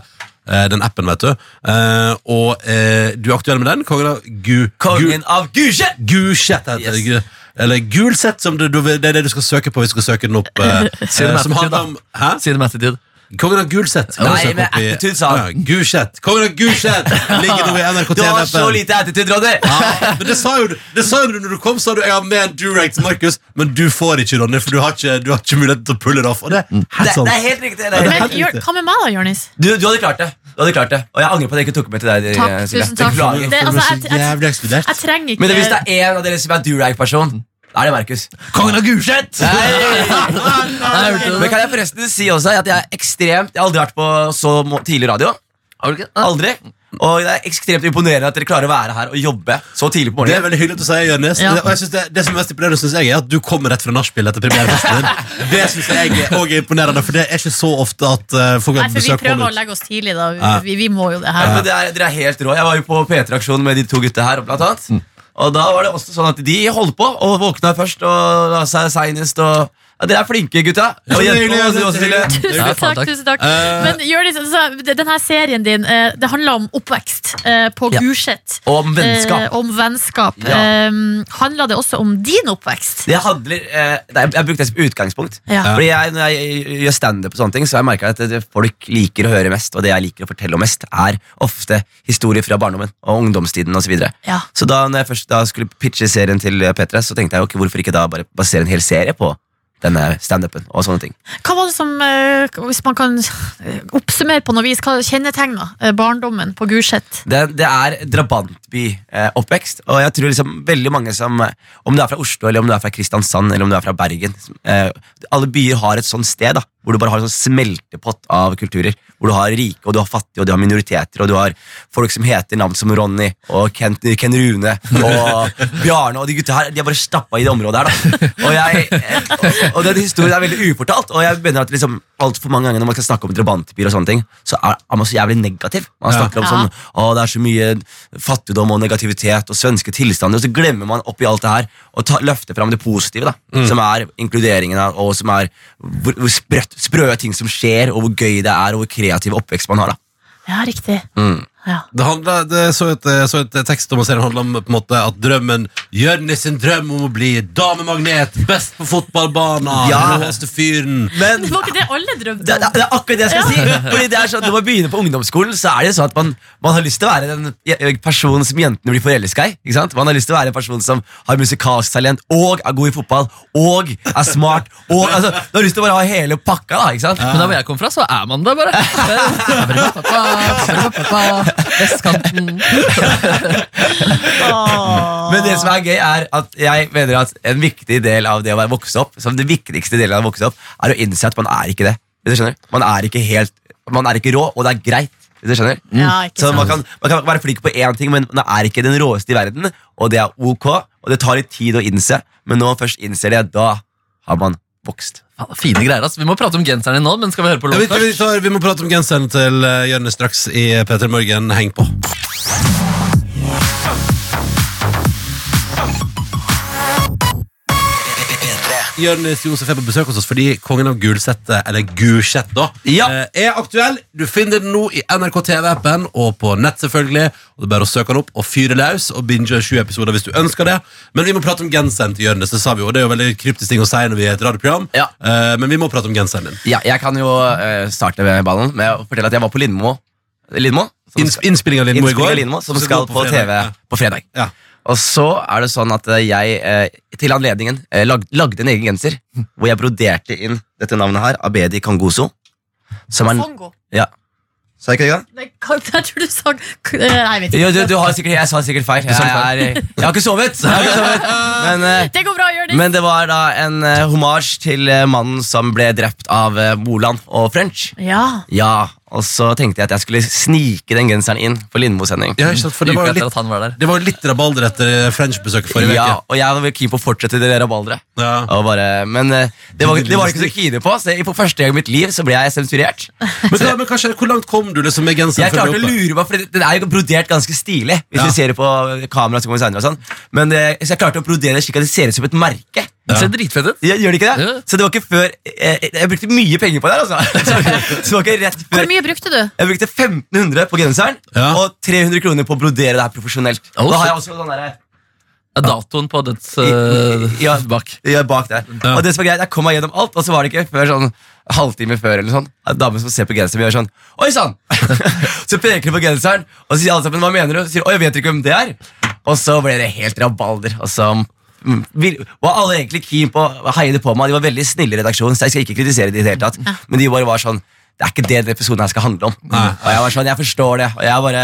Speaker 2: eh, Den appen, vet du. Eh, Og eh, du er aktuell med den? Kongen av Gu... Gu-
Speaker 7: Kongen av Gusje!
Speaker 2: Gulsett heter det.
Speaker 7: Yes.
Speaker 2: Gu- Eller Gulsett, som du, du, det er det du skal søke på hvis du skal søke den opp. eh, eh, som handler om Hæ?
Speaker 1: Side med attitude.
Speaker 2: Kongen av Gulsett. kan du
Speaker 7: Nei,
Speaker 2: søke
Speaker 7: men
Speaker 2: opp i-
Speaker 7: attitude, sa han.
Speaker 2: Å ja, Gulsett. Kongen av Gulsett ligger nå i NRK
Speaker 7: Du har så
Speaker 2: TV-appen.
Speaker 7: lite attitude, Ronny!
Speaker 2: Ja, men det sa, jo, du- det sa jo du når du kom, sa du jeg har med en durag til Markus, men du får ikke, Ronny, for du har ikke, du har ikke mulighet til å pulle det off. Og det,
Speaker 7: Mm. Det,
Speaker 2: helt sant.
Speaker 7: det er helt riktig. Det er
Speaker 3: Men
Speaker 7: helt
Speaker 2: helt
Speaker 3: gjør,
Speaker 2: riktig.
Speaker 3: hva med meg da, Jørnis?
Speaker 7: Du, du hadde klart det. Du hadde klart det Og jeg angrer på at jeg ikke tok med til deg.
Speaker 3: Takk,
Speaker 7: eh, Silje.
Speaker 3: tusen takk.
Speaker 7: Beklager.
Speaker 3: Det,
Speaker 2: For du
Speaker 3: altså,
Speaker 2: er
Speaker 3: jeg,
Speaker 2: så
Speaker 3: jeg,
Speaker 2: jævlig ekspedert.
Speaker 3: jeg trenger ikke
Speaker 7: Men hvis det er en av dere som er durag-person, da er det Markus.
Speaker 1: Kongen av Gulset!
Speaker 7: Nei!
Speaker 1: Nei, hørte du
Speaker 7: Men
Speaker 1: det?
Speaker 7: kan jeg forresten si også at jeg er ekstremt Jeg har aldri vært på så mo- tidlig radio.
Speaker 1: Har du ikke?
Speaker 7: Aldri. Og det er ekstremt imponerende at dere klarer å være her og jobbe så tidlig på
Speaker 2: Det er
Speaker 7: morgenen.
Speaker 2: veldig hyggelig at du sier, Jørnes.
Speaker 3: Ja.
Speaker 2: Det- Og jeg synes det, det som er mest imponerende, synes jeg, er at du kommer rett fra nachspiel etter premierefesten din. Det synes jeg er også imponerende, for det er ikke så ofte at eh, folk
Speaker 3: Nei,
Speaker 2: har
Speaker 3: for Altså, vi
Speaker 2: besøk
Speaker 3: prøver å
Speaker 2: kommer ut.
Speaker 3: legge oss tidlig, da. Vi,
Speaker 2: Ja.
Speaker 3: vi, vi må jo det
Speaker 7: Ja,
Speaker 3: her.
Speaker 7: men det er, dere er helt rå. Jeg var jo på P3-aksjonen med de to gutta her. Blant
Speaker 1: Mm.
Speaker 7: annet. Og da var det også sånn at de holdt på og våkna først og la seg seinest. Og ja, dere er flinke, gutta.
Speaker 2: Ja,
Speaker 7: Og
Speaker 2: det er
Speaker 7: jenter,
Speaker 2: hyggelig,
Speaker 7: og du
Speaker 2: jeg synes
Speaker 7: også,
Speaker 2: det er
Speaker 7: Silje.
Speaker 2: hyggelig.
Speaker 1: Ja,
Speaker 3: Tusen takk.
Speaker 1: faen, takk.
Speaker 3: tusen takk
Speaker 2: Eh.
Speaker 3: Men Jørnis, altså, d- denne serien din eh, Det handler om oppvekst eh, på
Speaker 7: Ja.
Speaker 3: Gulset.
Speaker 7: Og om vennskap.
Speaker 3: Eh, Om vennskap.
Speaker 7: Ja.
Speaker 3: Eh, Handler det også om din oppvekst?
Speaker 7: Det handler, eh, det er, Jeg brukte det som utgangspunkt.
Speaker 3: Ja.
Speaker 7: Fordi jeg, Når jeg gjør standup, og sånne ting, så har jeg merket at det folk liker å høre mest, og det jeg liker å fortelle om mest, er ofte historier fra barndommen og ungdomstiden osv. Så, videre.
Speaker 3: Ja.
Speaker 7: så da når jeg først da skulle pitche serien til eh, Petra, så tenkte jeg ok, hvorfor ikke da bare basere en hel serie på denne standupen og sånne ting.
Speaker 3: Hva var det som, eh, hvis man kan eh, oppsummere på noe vis, hva kjennetegna eh, barndommen på Gulset?
Speaker 7: Det, det er drabantby-oppvekst, og jeg tror liksom veldig mange som eh, Om du er fra Oslo, eller om du er fra Kristiansand eller om du er fra Bergen som, eh, Alle byer har et sånt sted da hvor du bare har en sånn smeltepott av kulturer. Hvor du har rike, og du har fattige, og du har minoriteter, og du har folk som heter navn som Ronny og Kent, Ken Rune og Bjarne. Og de gutta her de er bare stappa i det området her. da Og, jeg, eh, og, og den historien er veldig ufortalt, og jeg mener at liksom altfor mange ganger når man skal snakke om drabantbyer, og sånne ting så er, er man så jævlig negativ. Man
Speaker 2: Ja.
Speaker 7: snakker om sånn å, det er så mye fattigdom og negativitet og svenske tilstander, og så glemmer man oppi alt det her å ta, løfte fram det positive, da,
Speaker 2: Mm.
Speaker 7: som er inkluderingen, da, og som er hvor, hvor sprøtt, sprø ting som skjer, og hvor gøy det er, og hvor kreativ oppvekst man har. da.
Speaker 3: Ja, riktig. Ja.
Speaker 2: Det handler, det jeg så et, jeg så et tekst om serien handler om på en måte at drømmen Jørnis sin drøm om å bli damemagnet, best på fotballbanen,
Speaker 7: Ja.
Speaker 2: den råeste fyren.
Speaker 7: Men
Speaker 3: Det var ikke det alle
Speaker 7: det,
Speaker 3: drømte
Speaker 7: det,
Speaker 3: om.
Speaker 7: det er akkurat det jeg skal si. Fordi det er sånn, Når man begynner på ungdomsskolen, så er det sånn at man, man har lyst til å være den je- personen som jentene blir forelska i. ikke sant? Man har lyst til å være en person som har musikalsk talent og er god i fotball og er smart. og altså, Du har lyst til å bare ha hele pakka. da, ikke sant?
Speaker 1: Men der hvor jeg kom fra, så er man det bare. Vestkanten.
Speaker 7: Men det som er gøy, er at jeg mener at en viktig del av det å være vokse opp, som det viktigste delen av å vokse opp, er å innse at man er ikke det. Hvis du skjønner? Man er ikke helt, man er ikke rå, og det er greit. Hvis du skjønner?
Speaker 3: Mm. Ja, ikke
Speaker 7: Så man
Speaker 3: sant.
Speaker 7: kan, man kan være flink på én ting, men man er ikke den råeste i verden, og det er ok, og det tar litt tid å innse, men når man først innser det, da har man vokst.
Speaker 1: Faen, Fine greier, ass. Vi må prate om genseren din nå, men skal vi høre på
Speaker 2: Ja,
Speaker 1: låt
Speaker 2: vi, vi,
Speaker 1: først?
Speaker 2: tar, vi må prate om genseren til eh, Jørnis straks i P3 Morgen. Heng på. Jørnis Josef er på besøk hos oss fordi kongen av Gulsette, eller Gulsett, da,
Speaker 7: Ja.
Speaker 2: eh, er aktuell. Du finner den nå i NRK TV-appen og på nett, selvfølgelig. Og Det er bare å søke den opp og fyre løs og binge sju episoder hvis du ønsker det. Men vi må prate om genseren til Jørnis. Det sa vi jo, og det er jo veldig kryptisk ting å si når vi er et radioprogram,
Speaker 7: Ja.
Speaker 2: Eh, men vi må prate om genseren din.
Speaker 7: Ja, jeg kan jo eh, starte med ballen med å fortelle at jeg var på Lindmo. Lindmo? Som
Speaker 2: Inns-
Speaker 7: skal-
Speaker 2: Innspilling av Lindmo i
Speaker 7: Innspilling
Speaker 2: går.
Speaker 7: av Lindmo, som
Speaker 2: Så
Speaker 7: skal
Speaker 2: går
Speaker 7: på
Speaker 2: fredag.
Speaker 7: TV på fredag.
Speaker 2: Ja.
Speaker 7: Og så er det sånn at eh, jeg eh, til anledningen eh, lag, lagde en egen genser hvor jeg broderte inn dette navnet her, Abedi Kangoso. Som er,
Speaker 3: Kongo.
Speaker 7: ja. Sa jeg ikke det? engang?
Speaker 3: Det kan- Jeg tror du sa k- eh, Nei, jeg vet
Speaker 7: Jo, du,
Speaker 3: ikke.
Speaker 7: du har sikkert, jeg sa sikkert feil. Jeg, jeg, er- jeg har ikke sovet! Jeg har ikke sovet. Men, eh,
Speaker 3: Det går bra, Jørnis.
Speaker 7: men det var da en eh, hommage til eh, mannen som ble drept av eh, Moland og French.
Speaker 3: Ja.
Speaker 7: Ja, og så tenkte jeg at jeg skulle snike den genseren inn for Lindmo-sending.
Speaker 2: Ja, ikke sant, for det
Speaker 1: Uka
Speaker 2: var jo
Speaker 1: etter
Speaker 2: litt,
Speaker 1: at han var der.
Speaker 2: det var jo litt rabalder etter eh, French-besøket forrige
Speaker 7: Ja,
Speaker 2: uke.
Speaker 7: og jeg var keen på å fortsette det rabalderet.
Speaker 2: Ja.
Speaker 7: Og bare, men eh, det var, det var jeg ikke så keen på, så jeg, for første gang i mitt liv så ble jeg sensurert.
Speaker 2: Men, hva- men kanskje, Hvor langt kom du liksom med genseren?
Speaker 7: Jeg
Speaker 2: før du
Speaker 7: klarte å
Speaker 2: ble oppe?
Speaker 7: lure meg, for den er jo brodert ganske stilig. Hvis
Speaker 2: Ja.
Speaker 7: vi ser det på kamera som kommer senere og sånn. Men eh, så jeg klarte å brodere det slik at det ser ut som et merke.
Speaker 1: Det ser dritfett ut.
Speaker 7: Ja, Gjør det ikke det?
Speaker 1: Ja.
Speaker 7: Så det var ikke før eh, Jeg brukte mye penger på det her, altså. Så, så det var ikke rett
Speaker 3: Hvor
Speaker 7: før
Speaker 3: mye brukte du?
Speaker 7: jeg brukte 1500 på genseren
Speaker 2: Ja.
Speaker 7: og 300 kroner på å brodere det her profesjonelt.
Speaker 1: Oh,
Speaker 7: da har
Speaker 1: shit.
Speaker 7: jeg også sånn derre-
Speaker 1: Er datoen på dets eh,
Speaker 7: Ja.
Speaker 1: bak.
Speaker 7: Ja, bak der.
Speaker 2: Øh, Ja.
Speaker 7: Og det som er greit, jeg kom meg gjennom alt, og så var det ikke før sånn halvtime før eller sånn, at damen som ser på genseren, gjør sånn Oi sann! så peker hun på genseren, og så sier alle sammen hva mener du? Og så sier hun, Oi, jeg vet ikke hvem det er. Og så ble det helt rabalder. Og så mm, vil- var alle egentlig keen på å heie det på meg. De var veldig snille i redaksjonen, så jeg skal ikke kritisere de i det hele tatt. Men de bare var sånn Det er ikke det denne episoden her skal handle om. Og jeg var sånn, jeg forstår det. Og jeg bare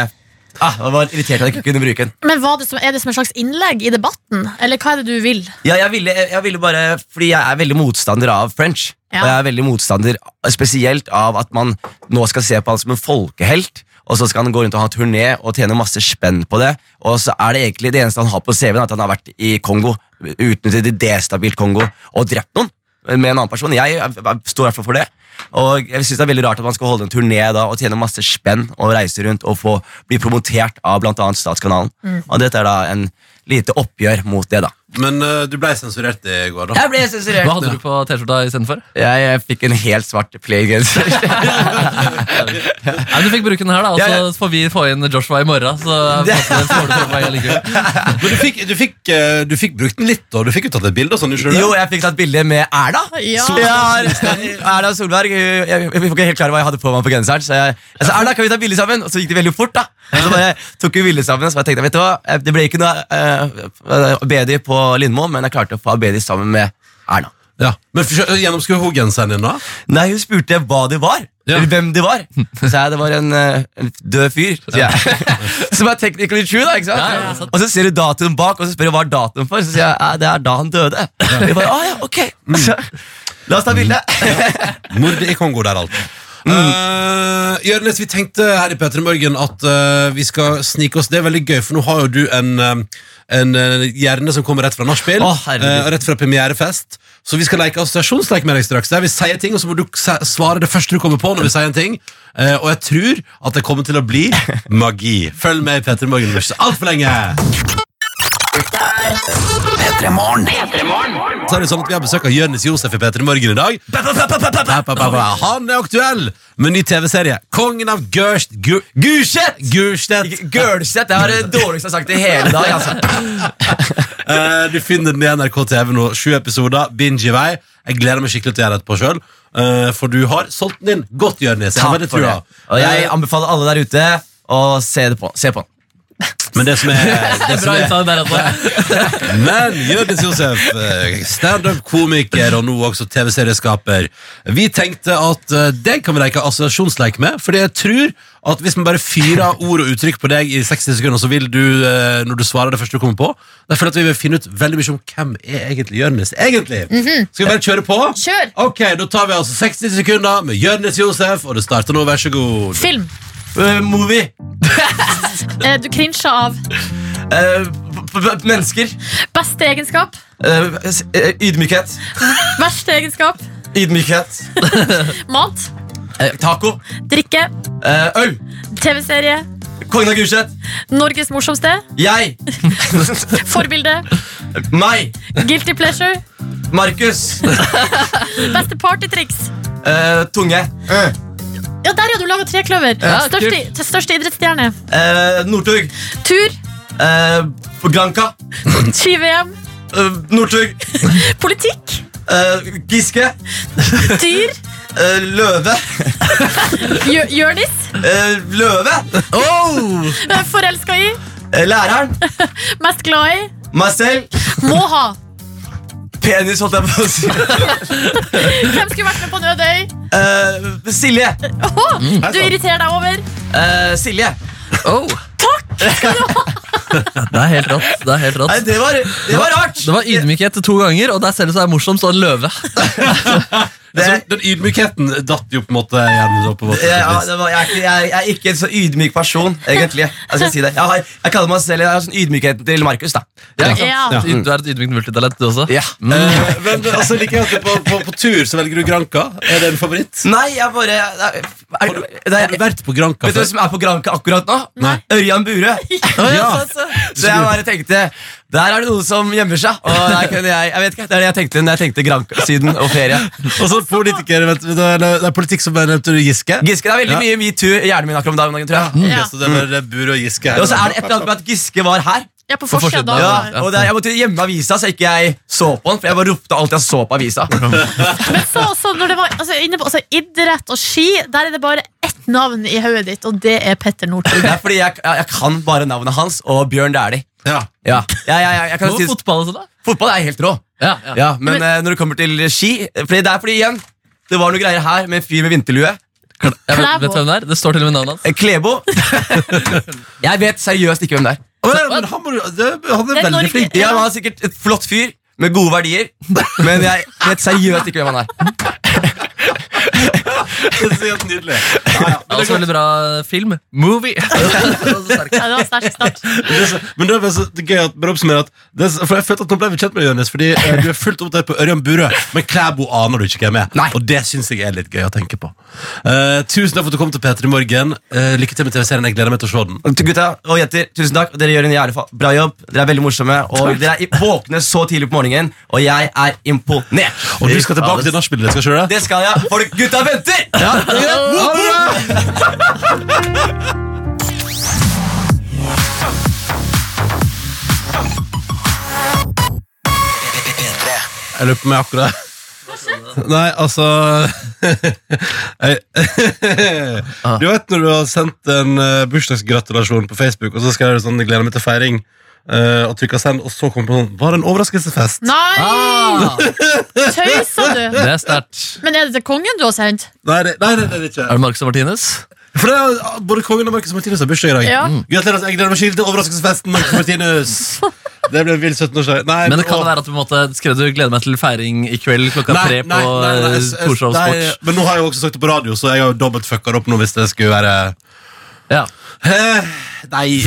Speaker 7: ah, jeg var irritert at jeg ikke kunne bruke den.
Speaker 3: Men var det som, Er det som et slags innlegg i debatten, eller hva er det du vil?
Speaker 7: Ja, jeg ville, jeg ville bare Fordi jeg er veldig motstander av French.
Speaker 3: Ja.
Speaker 7: Og jeg er veldig motstander spesielt av at man nå skal se på han som en folkehelt. Og så skal han gå rundt og ha turné og tjene masse spenn på det. Og så er det egentlig det eneste han har på CV-en, at han har vært i Kongo. Utnyttet i destabilt Kongo og drept noen med en annen person. Jeg er- er- står i hvert fall for det. Og jeg synes Det er veldig rart at man skal holde en turné da og tjene masse spenn og reise rundt og få bli promotert av bl.a. Statskanalen. Og dette er da en lite oppgjør mot det, da.
Speaker 2: Men eh, du ble sensurert i går, da.
Speaker 7: Jeg ble sensurert.
Speaker 1: Hva hadde du på T-skjorta istedenfor?
Speaker 7: Jeg, jeg fikk en helt svart playgenser.
Speaker 1: Nei, men Du fikk bruke den her, da, og
Speaker 7: Ja, ja.
Speaker 1: så får vi få inn Joshua i morgen. Så sånn får du få meg likevel.
Speaker 2: Men du fikk, du, fikk, eh, du fikk brukt den litt, og du fikk jo tatt et bilde og sånn. ikke sant?
Speaker 7: jo, jeg fikk tatt bilde med Erna.
Speaker 3: Ja.
Speaker 7: Erna Solberg. hun- Jeg, jeg, jeg var ikke helt klar over hva jeg hadde på meg på genseren. Så jeg, jeg sa Erna, kan vi ta bilde sammen? Og så gikk det veldig fort. da Og Så bare tok vi bilde sammen. Så jeg tenkte, vet du hva, eh, Det ble ikke noe uh, Abedi på Lindmo, men jeg klarte å få Abedi sammen med Erna.
Speaker 2: Ja. Men for- gjennomskuer hun genseren din, da?
Speaker 7: Nei, hun spurte hva det var.
Speaker 2: Ja.
Speaker 7: Eller hvem det var. Så jeg, det var en, eh, en død fyr. Så jeg. Som er technically true, da. ikke sant?
Speaker 1: Ja, ja, sant.
Speaker 7: Og så ser du datoen bak, og så spør du hva er datoen for. Så sier jeg «Eh, det er da han døde. Vi bare, ah, ja, ok så, La oss ta bilde.
Speaker 2: Mordet i Kongo der, alt. Eh, Jørnes, vi tenkte her i Petter Morgen at eh, vi skal snike oss Det er veldig gøy, for nå har jo du en, eh, en eh, hjerne som kommer rett fra nachspiel.
Speaker 7: Å, herregud.
Speaker 2: eh, og rett fra premierefest. Så vi skal leke assosiasjonsleik med deg straks. Der vi sier ting, og så må du se- svare det første du kommer på. når vi sier en ting Eh, Og jeg tror at det kommer til å bli magi. Følg med i Petter Morgen, vær så altfor lenge!
Speaker 4: Dette er
Speaker 2: Så er det sånn at Vi har besøk av Jonis Josef i P3 Morgen i dag. Pa, pa, pa, pa. Han er aktuell med ny TV-serie. Kongen av Gørst... Gu-
Speaker 7: Gulset!
Speaker 2: Gurstedt!
Speaker 7: Gulset, det er det dårligste jeg har sagt i hele dag. Altså.
Speaker 2: Eh, du finner den i NRK TV nå. Sju episoder. Binge i vei. Jeg gleder meg skikkelig til å gjøre det etterpå sjøl. for du har solgt den inn godt, Jonis. Jeg har veldig
Speaker 7: for det.
Speaker 2: trua.
Speaker 7: Og jeg
Speaker 2: Eh,
Speaker 7: anbefaler alle der ute å se det på. Se på den.
Speaker 2: Men det som er, det som
Speaker 1: Bra
Speaker 2: er
Speaker 1: uttale der, altså.
Speaker 2: Men Jonis Josef, eh, standup-komiker og nå også TV-serieskaper. Vi tenkte at eh, deg kan vi leke assosiasjonsleik med, fordi jeg tror at hvis man bare fyrer ord og uttrykk på deg i 60 sekunder, så vil du, eh, når du svarer det første du kommer på Da føler jeg at vi vil finne ut veldig mye om hvem er egentlig Jonis egentlig. Skal vi bare kjøre på?
Speaker 3: Kjør!
Speaker 2: Ok, da tar vi altså 60 sekunder med Jonis Josef, og det starter nå. Vær så god.
Speaker 3: Film.
Speaker 7: Eh, movie.
Speaker 3: Eh, Du crinsja av.
Speaker 7: Eh, p- p- mennesker.
Speaker 3: Beste egenskap.
Speaker 7: Eh, s- eh, ydmykhet.
Speaker 3: Verste egenskap.
Speaker 7: Ydmykhet.
Speaker 3: Mat.
Speaker 7: Eh, taco.
Speaker 3: Drikke.
Speaker 7: Eh, øl.
Speaker 3: TV-serie.
Speaker 7: Kongen av Gulset.
Speaker 3: Norges morsomste.
Speaker 7: Jeg.
Speaker 3: Forbilde.
Speaker 7: Meg.
Speaker 3: Guilty pleasure.
Speaker 7: Markus.
Speaker 3: Beste partytriks.
Speaker 7: Eh, tunge.
Speaker 3: Ja, der ja, du laga trekløver.
Speaker 1: Ja,
Speaker 3: Største,
Speaker 1: kult.
Speaker 3: til største idrettsstjerne.
Speaker 7: Eh, Northug.
Speaker 3: Tur.
Speaker 7: Eh, Granka.
Speaker 3: Ski-VM.
Speaker 7: Eh, Northug.
Speaker 3: Politikk.
Speaker 7: Eh, Giske.
Speaker 3: Dyr.
Speaker 7: Eh, løve.
Speaker 3: Jø- Jørnis.
Speaker 7: Eh, løve.
Speaker 1: Oh!
Speaker 3: Forelska i.
Speaker 7: Eh, læreren.
Speaker 3: Mest glad i.
Speaker 7: Meg selv.
Speaker 3: Må ha.
Speaker 7: Penis, holdt jeg på å si.
Speaker 3: Hvem skulle vært med på en øde øy?
Speaker 7: Eh, Silje.
Speaker 3: Åh,
Speaker 1: Mm.
Speaker 3: du irriterer deg over.
Speaker 7: Eh, Silje.
Speaker 1: oh. Takk! Det er helt rått. Det er helt
Speaker 7: Nei,
Speaker 5: Eh,
Speaker 1: rått.
Speaker 7: det var, det var rart.
Speaker 1: Det var ydmykhet to ganger, og der ser det så er morsomt, så en løve.
Speaker 2: Det er som- Altså, Den ydmykheten datt jo på en måte igjen. opp på vårt-
Speaker 7: Ja, ja, det var, jeg, er ikke- jeg, jeg er ikke en så ydmyk person, egentlig. Jeg skal si det. Jeg, har, jeg kaller meg selv jeg har sånn ydmykheten til Markus. da.
Speaker 1: Ja, ikke
Speaker 3: Ja.
Speaker 1: sant? Yd- Du er et ydmykt multitalent, du også.
Speaker 7: Ja.
Speaker 2: Eh, Men altså, liker jeg at du på, på, på tur så velger du Granka. Er det en favoritt?
Speaker 7: Nei, jeg bare jeg, er,
Speaker 2: Har du,
Speaker 7: det er-
Speaker 2: har du vært på Granka
Speaker 7: Vet du hvem
Speaker 2: før?
Speaker 7: som er på Granca akkurat nå?
Speaker 2: Nei.
Speaker 7: Ørjan Burøe.
Speaker 2: Ja.
Speaker 7: Så jeg bare tenkte Der er det noen som gjemmer seg. Og der kunne jeg, jeg vet ikke, Det er det jeg tenkte når jeg tenkte Granca-Syden og ferie.
Speaker 2: Og så politiker, vet du, det er, det er politikk som bare nevnte du Giske.
Speaker 7: Giske det er
Speaker 2: Ja.
Speaker 7: veldig mye metoo i hjernen min akkurat om dagen. tror
Speaker 1: Mm.
Speaker 7: jeg
Speaker 3: Ja.
Speaker 2: Ok, Så det er bare Bur og Giske her.
Speaker 7: Og så er det et eller annet med at Giske var her.
Speaker 3: Ja, på forsida.
Speaker 1: forsiden,
Speaker 3: da.
Speaker 7: Ja,
Speaker 1: ja.
Speaker 7: og det, Jeg måtte gjemme avisa så ikke jeg så på den. For jeg bare ropte alt jeg så på avisa.
Speaker 3: Men så også, når det var altså, inne på altså, idrett og ski, der er det bare ett navn i hodet ditt, og det er Petter Northug.
Speaker 7: Det er fordi jeg, jeg, jeg kan bare navnet hans og Bjørn Dæhlie.
Speaker 2: Ja.
Speaker 7: Ja. Jeg, jeg, jeg, jeg kan
Speaker 1: Og
Speaker 7: si,
Speaker 1: fotball også, da.
Speaker 7: fotball sånn, er helt rå,
Speaker 1: Ja, ja.
Speaker 7: ja, men eh, når det kommer til ski fordi Det er fordi igjen det var noe greier her med en fyr med vinterlue.
Speaker 1: Jeg vet,
Speaker 3: Klæbo.
Speaker 1: vet du hvem det er? Det står til og med navnet hans.
Speaker 7: Eh, Klebo. jeg vet seriøst ikke hvem det er.
Speaker 2: Å, ja, men han, må, du- det, han er
Speaker 3: Det er
Speaker 2: veldig
Speaker 3: Norge.
Speaker 2: flink.
Speaker 7: Ja, men Han er sikkert et flott fyr med gode verdier, men jeg vet seriøst ikke hvem han er.
Speaker 2: Det er helt nydelig. Ja, ja.
Speaker 1: Det er også veldig bra film. Movie!
Speaker 3: Ja, det var en sterk start.
Speaker 2: Det er så, men det er bare så det er gøy at, bare oppsummere at det er, så- For jeg følte at nå ble vi kjent med deg, Jonis, fordi eh, du er fullt opptatt på Ørjan Burøe, men Klæbo aner du ikke hvem er.
Speaker 7: Nei.
Speaker 2: Og det syns jeg er litt gøy å tenke på. Eh, tusen takk for at du kom til P3 Morgen. Eh, lykke til med TV-serien. Jeg gleder meg til å se den.
Speaker 7: Og til Gutta og jenter, tusen takk. Dere gjør en jævlig fa- bra jobb. Dere er veldig morsomme, og dere er i- våkne så tidlig på morgenen, og jeg er imponert.
Speaker 2: Og du skal tilbake til nachspielet. ditt, Skal ikke du det?
Speaker 7: Det skal jeg. Folk, gutta venter!
Speaker 2: Jeg lurer på meg akkurat Nei, altså jeg-
Speaker 7: Ah.
Speaker 2: Du vet når du har sendt en eh, bursdagsgratulasjon på Facebook, og så skal jeg sånn, jeg gleder meg til feiring, eh, og trykker send, og så kommer det sånn Var det en overraskelsesfest?
Speaker 1: Ah!
Speaker 3: Nei! Tøysa du?
Speaker 1: Det er sterkt.
Speaker 3: Men er det til kongen du har sendt?
Speaker 2: Nei, det, nei, det, det er det
Speaker 1: Er
Speaker 2: ikke.
Speaker 1: det Marcus og Martinez?
Speaker 2: For det er, ah, både kongen og Marcus Martinus har bursdag i dag.
Speaker 3: Ja.
Speaker 2: Mm. Gratulerer. Jeg gleder meg skikkelig til overraskelsesfesten, Marcus Martinus. Det blir en vill 17-årsdag. Nei,
Speaker 1: Men det kan
Speaker 2: og-
Speaker 1: være at du på en måte skrev du 'gleder meg til feiring i kveld klokka
Speaker 2: Nei,
Speaker 1: tre' på
Speaker 2: nei, nei, nei,
Speaker 1: eh,
Speaker 2: jeg- jeg-
Speaker 1: Torshov
Speaker 2: nei,
Speaker 1: Sports.
Speaker 2: Men nå har jeg jo også sagt det på radio, så jeg har jo dobbelt fucka opp nå hvis det skulle være
Speaker 1: Ja.
Speaker 2: Eh, Nei.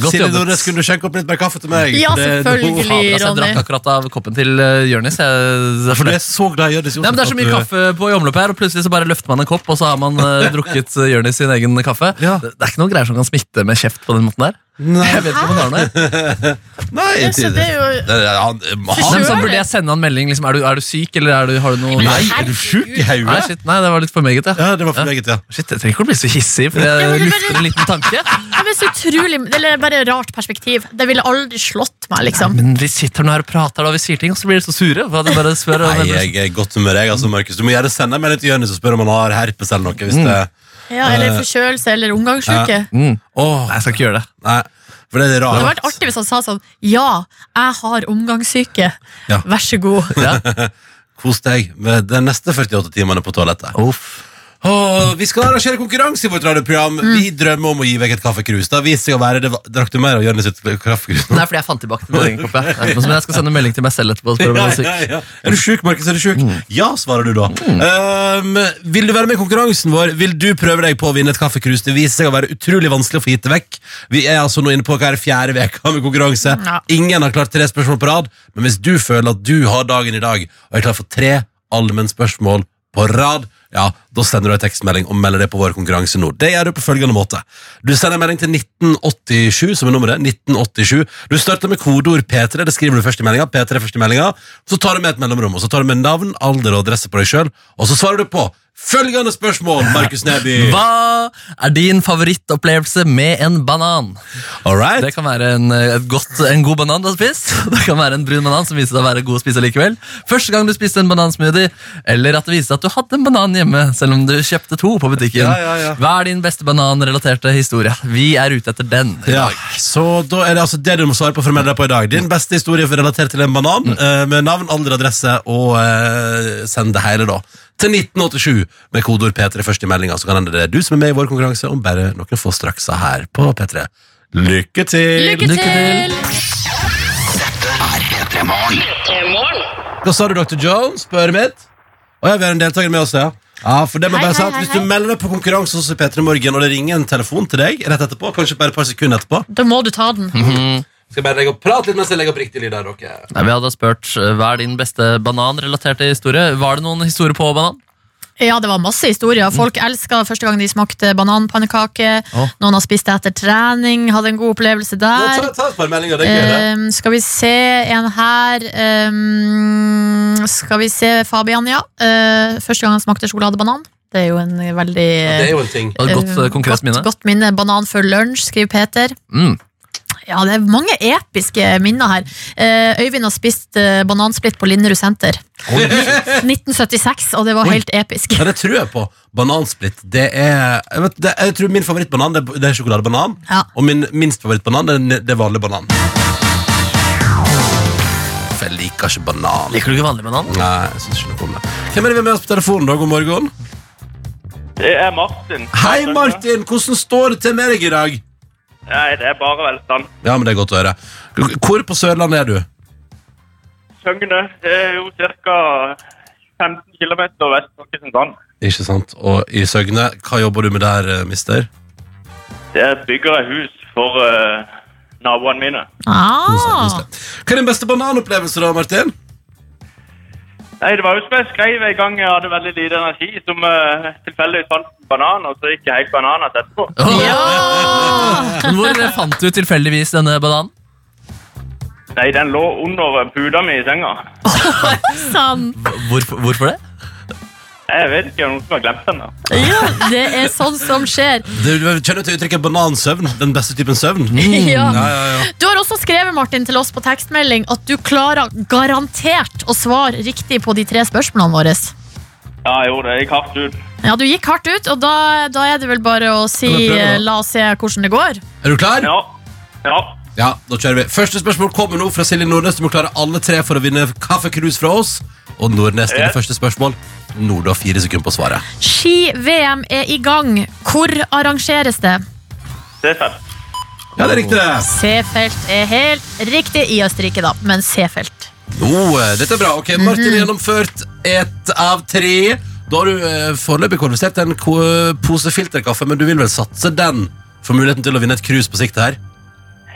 Speaker 1: Godt
Speaker 2: Silje
Speaker 1: jobbet.
Speaker 2: Nordnes, kunne du skjenke opp litt mer kaffe til meg?
Speaker 3: Ja,
Speaker 2: Det- det-
Speaker 3: selvfølgelig,
Speaker 2: Faen,
Speaker 1: Altså, jeg
Speaker 3: Ronny.
Speaker 1: drakk akkurat av koppen til eh, Jonis. Jeg, jeg er
Speaker 2: Du er
Speaker 1: fornøyd.
Speaker 2: så glad i Jonis Josef.
Speaker 1: Nei, men det er
Speaker 2: at
Speaker 1: så mye
Speaker 2: du-
Speaker 1: kaffe på i omløpet her, og plutselig så bare løfter man en kopp, og så har man eh, drukket eh, Jonis sin egen kaffe.
Speaker 2: Ja.
Speaker 1: Det, det er ikke noen greier som kan smitte med kjeft på den måten der.
Speaker 2: Nei,
Speaker 1: Jeg vet ikke om han har noe. jeg.
Speaker 2: nei
Speaker 3: Ja, så det er jo-
Speaker 2: Det er- han,
Speaker 1: Nei,
Speaker 2: han,
Speaker 1: men så burde jeg sende han melding. Liksom, er, du, er du syk, eller er du, har du noe
Speaker 2: nei, er du sjuk i
Speaker 1: Nei,
Speaker 2: hodet?
Speaker 1: shit, nei, det var litt for meget, ja.
Speaker 2: Ja, det var for meget, ja.
Speaker 1: Shit, Jeg trenger ikke å bli så hissig, for
Speaker 3: Ja, men
Speaker 1: jeg
Speaker 3: det er
Speaker 1: lufter en liten tanke.
Speaker 3: Ja, men så utrolig Eller bare rart perspektiv. Det ville aldri slått meg, liksom.
Speaker 1: Men vi sitter nå her og prater, da vi sier ting, og så blir de så sure. For at jeg bare spør om
Speaker 2: Nei,
Speaker 1: det blir-
Speaker 2: jeg er i godt humør, jeg, altså, Markus. Du må gjerne sende meg litt til Jonis og spørre om han har herpes eller noe. Hvis det,
Speaker 3: Ja, eller forkjølelse eller omgangssyke.
Speaker 2: Åh,
Speaker 1: Mm. Nei, jeg skal ikke gjøre det.
Speaker 2: nei, for det er
Speaker 3: Det hadde
Speaker 2: rart.
Speaker 3: vært artig hvis han sa sånn Ja, jeg har omgangssyke.
Speaker 2: Ja.
Speaker 3: Vær så god.
Speaker 2: Kos deg med de neste 48 timene på toalettet. Åh, vi skal arrangere konkurranse i vårt radioprogram.
Speaker 3: Mm.
Speaker 2: Vi drømmer om å gi vekk et kaffekrus. Det har vist seg å være det. va- Drakk du mer av Jonis sitt kaffekrus? nå?
Speaker 1: Nei, fordi jeg fant tilbake til min egen kopp. ja. Men jeg skal sende en melding til meg selv etterpå. og spørre om
Speaker 2: Ja,
Speaker 1: jeg er Mm. syk.
Speaker 2: ja, ja. Er du sjuk, Markus? Er du sjuk? Ja, svarer du da. Um, vil du være med i konkurransen vår? Vil du prøve deg på å vinne et kaffekrus? Det viser seg å være utrolig vanskelig å få gitt det vekk. Vi er altså nå inne på hver fjerde veka med konkurranse.
Speaker 3: Ja.
Speaker 2: Ingen har klart tre spørsmål på rad, men hvis du føler at du har dagen i dag, og er klar for tre allmennspørsmål på rad, ja, da sender du en tekstmelding og melder deg på vår konkurranse nå. Det gjør du på følgende måte. Du sender en melding til 1987, som er nummeret. 1987. Du starter med kodeord P3, det skriver du først i meldinga. P3 først i meldinga. Så tar du med et mellomrom, og så tar du med navn, alder og adresse på deg sjøl, og så svarer du på følgende spørsmål, Markus Neby.
Speaker 1: Hva er din favorittopplevelse med en banan?
Speaker 2: All right?
Speaker 1: Det kan være en, eh, et godt, en god banan du har spist. Det kan være en brun banan som viser seg å være god å spise likevel. Første gang du spiste en banansmoothie, eller at det viste seg at du hadde en banan hjemme, selv om du kjøpte to på butikken.
Speaker 2: Ja, ja, ja.
Speaker 1: Hva er din beste bananrelaterte historie? Vi er ute etter den. i
Speaker 2: Ja,
Speaker 1: dag. Mm.
Speaker 2: så da er det altså det du må svare på for å melde deg på i dag. Din beste historie for relatert til en banan, eh, med navn, alder, adresse, og eh, send det hele da til 1987 med kodeord P3 først i meldinga, så kan hende det er du som er med i vår konkurranse om bare noen få strakser her på P3. Lykke til!
Speaker 3: Lykke til!
Speaker 2: Hva sa du, Dr. Jones? Spør mitt. Å ja, vi har en deltaker med oss, ja. Ja, for det må
Speaker 3: Hei,
Speaker 2: jeg bare si
Speaker 3: hei,
Speaker 2: at
Speaker 3: hei,
Speaker 2: Hvis du
Speaker 3: hei.
Speaker 2: melder deg på konkurranse hos P3 Morgen, og det ringer en telefon til deg rett etterpå, kanskje bare et par sekunder etterpå
Speaker 3: Da må du ta den.
Speaker 2: Skal jeg bare legge opp, Prate litt mens jeg legger opp riktig lyd her, dere.
Speaker 1: Nei, vi hadde spurt eh, hva er din beste bananrelaterte historie. Var det noen historier på banan?
Speaker 3: Ja, det var masse historier.
Speaker 2: Mm.
Speaker 3: Folk elska første gang de smakte bananpannekake.
Speaker 1: Å.
Speaker 3: Noen har spist det etter trening, hadde en god opplevelse
Speaker 2: Nå,
Speaker 3: der.
Speaker 2: ta, ta et par meldinger, det er gøy, det.
Speaker 3: Ehm, skal vi se en her ehm, Skal vi se Fabian, ja. Eh, første gang han smakte sjokoladebanan. Det er jo en veldig
Speaker 2: Det er jo en ting.
Speaker 1: Og et godt eh,
Speaker 3: eh,
Speaker 1: konkret
Speaker 3: godt,
Speaker 1: minne.
Speaker 3: Godt minne. Banan før lunsj, skriver Peter.
Speaker 1: Mm.
Speaker 3: Ja, det er mange episke minner her. Eh, Øyvind har spist eh, banansplitt på Linderud senter. 1976, og det var helt episk.
Speaker 2: Ja, det tror jeg på. Banansplitt. Det er Jeg, vet, det, jeg tror min favorittbanan det, er- det er sjokoladebanan.
Speaker 3: Ja.
Speaker 2: Og min minst favorittbanan det er, ne- det er vanlig banan. For jeg liker ikke banan.
Speaker 1: Liker du ikke vanlig banan?
Speaker 2: Nei, jeg synes ikke noe om det. Hvem er det vi har med oss på telefonen? da? God morgen.
Speaker 9: Det er Martin.
Speaker 2: Hei, Martin! Hvordan står det til med deg i dag?
Speaker 9: Nei, det er bare velstand.
Speaker 2: Ja, men Det er godt å høre. Hvor på Sørlandet er du?
Speaker 9: Søgne det er jo ca. 15 km vest for Kristiansand.
Speaker 2: Ikke sant? Og i Søgne, hva jobber du med der, eh, mister?
Speaker 9: Der bygger jeg hus for eh, naboene mine.
Speaker 3: Ah,
Speaker 2: Hva er din beste bananopplevelse, da, Martin?
Speaker 9: Nei, Det var jo som jeg skrev en gang jeg hadde veldig lite energi, som uh, tilfeldigvis fant en banan, og så gikk jeg helt bananas etterpå.
Speaker 1: Men Hvor fant du tilfeldigvis denne bananen?
Speaker 9: Nei, den lå under puta mi i senga.
Speaker 3: sann!
Speaker 1: Hvorfor, hvorfor det?
Speaker 9: Jeg vet ikke om noen som har glemt den. da.
Speaker 3: Ja, det er sånn som skjer.
Speaker 2: Du, du kjenner til uttrykket banansøvn? Den beste typen søvn?
Speaker 3: Ja.
Speaker 2: Mm. Ja, ja, ja.
Speaker 3: Du har også skrevet Martin, til oss på tekstmelding at du klarer garantert å svare riktig på de tre spørsmålene våre.
Speaker 9: Ja, jeg gjorde det. Jeg gikk hardt ut.
Speaker 3: Ja, Du gikk hardt ut, og da, da er det vel bare å si
Speaker 2: Kan jeg prøve, da?
Speaker 3: eh, la oss se hvordan det går.
Speaker 2: Er du klar?
Speaker 9: Ja. ja.
Speaker 2: Ja, da kjører vi. Første spørsmål kommer nå fra Silje Nordnes. Du må klare alle tre for å vinne kaffekrus fra oss. Og Nordnes stiller
Speaker 9: Ja.
Speaker 2: første spørsmål. Nå har du fire sekunder på svaret.
Speaker 3: Ski-VM er i gang. Hvor arrangeres det?
Speaker 9: Det er fett.
Speaker 2: Ja, det er riktig. det.
Speaker 3: C-felt er helt riktig i Østerrike, da, men C-felt.
Speaker 2: Nå, eh, dette er bra. Ok, Martin har gjennomført ett av tre. Da har du eh, foreløpig konvertert en ko- eh, pose filterkaffe, men du vil vel satse den for muligheten til å vinne et krus på sikt her?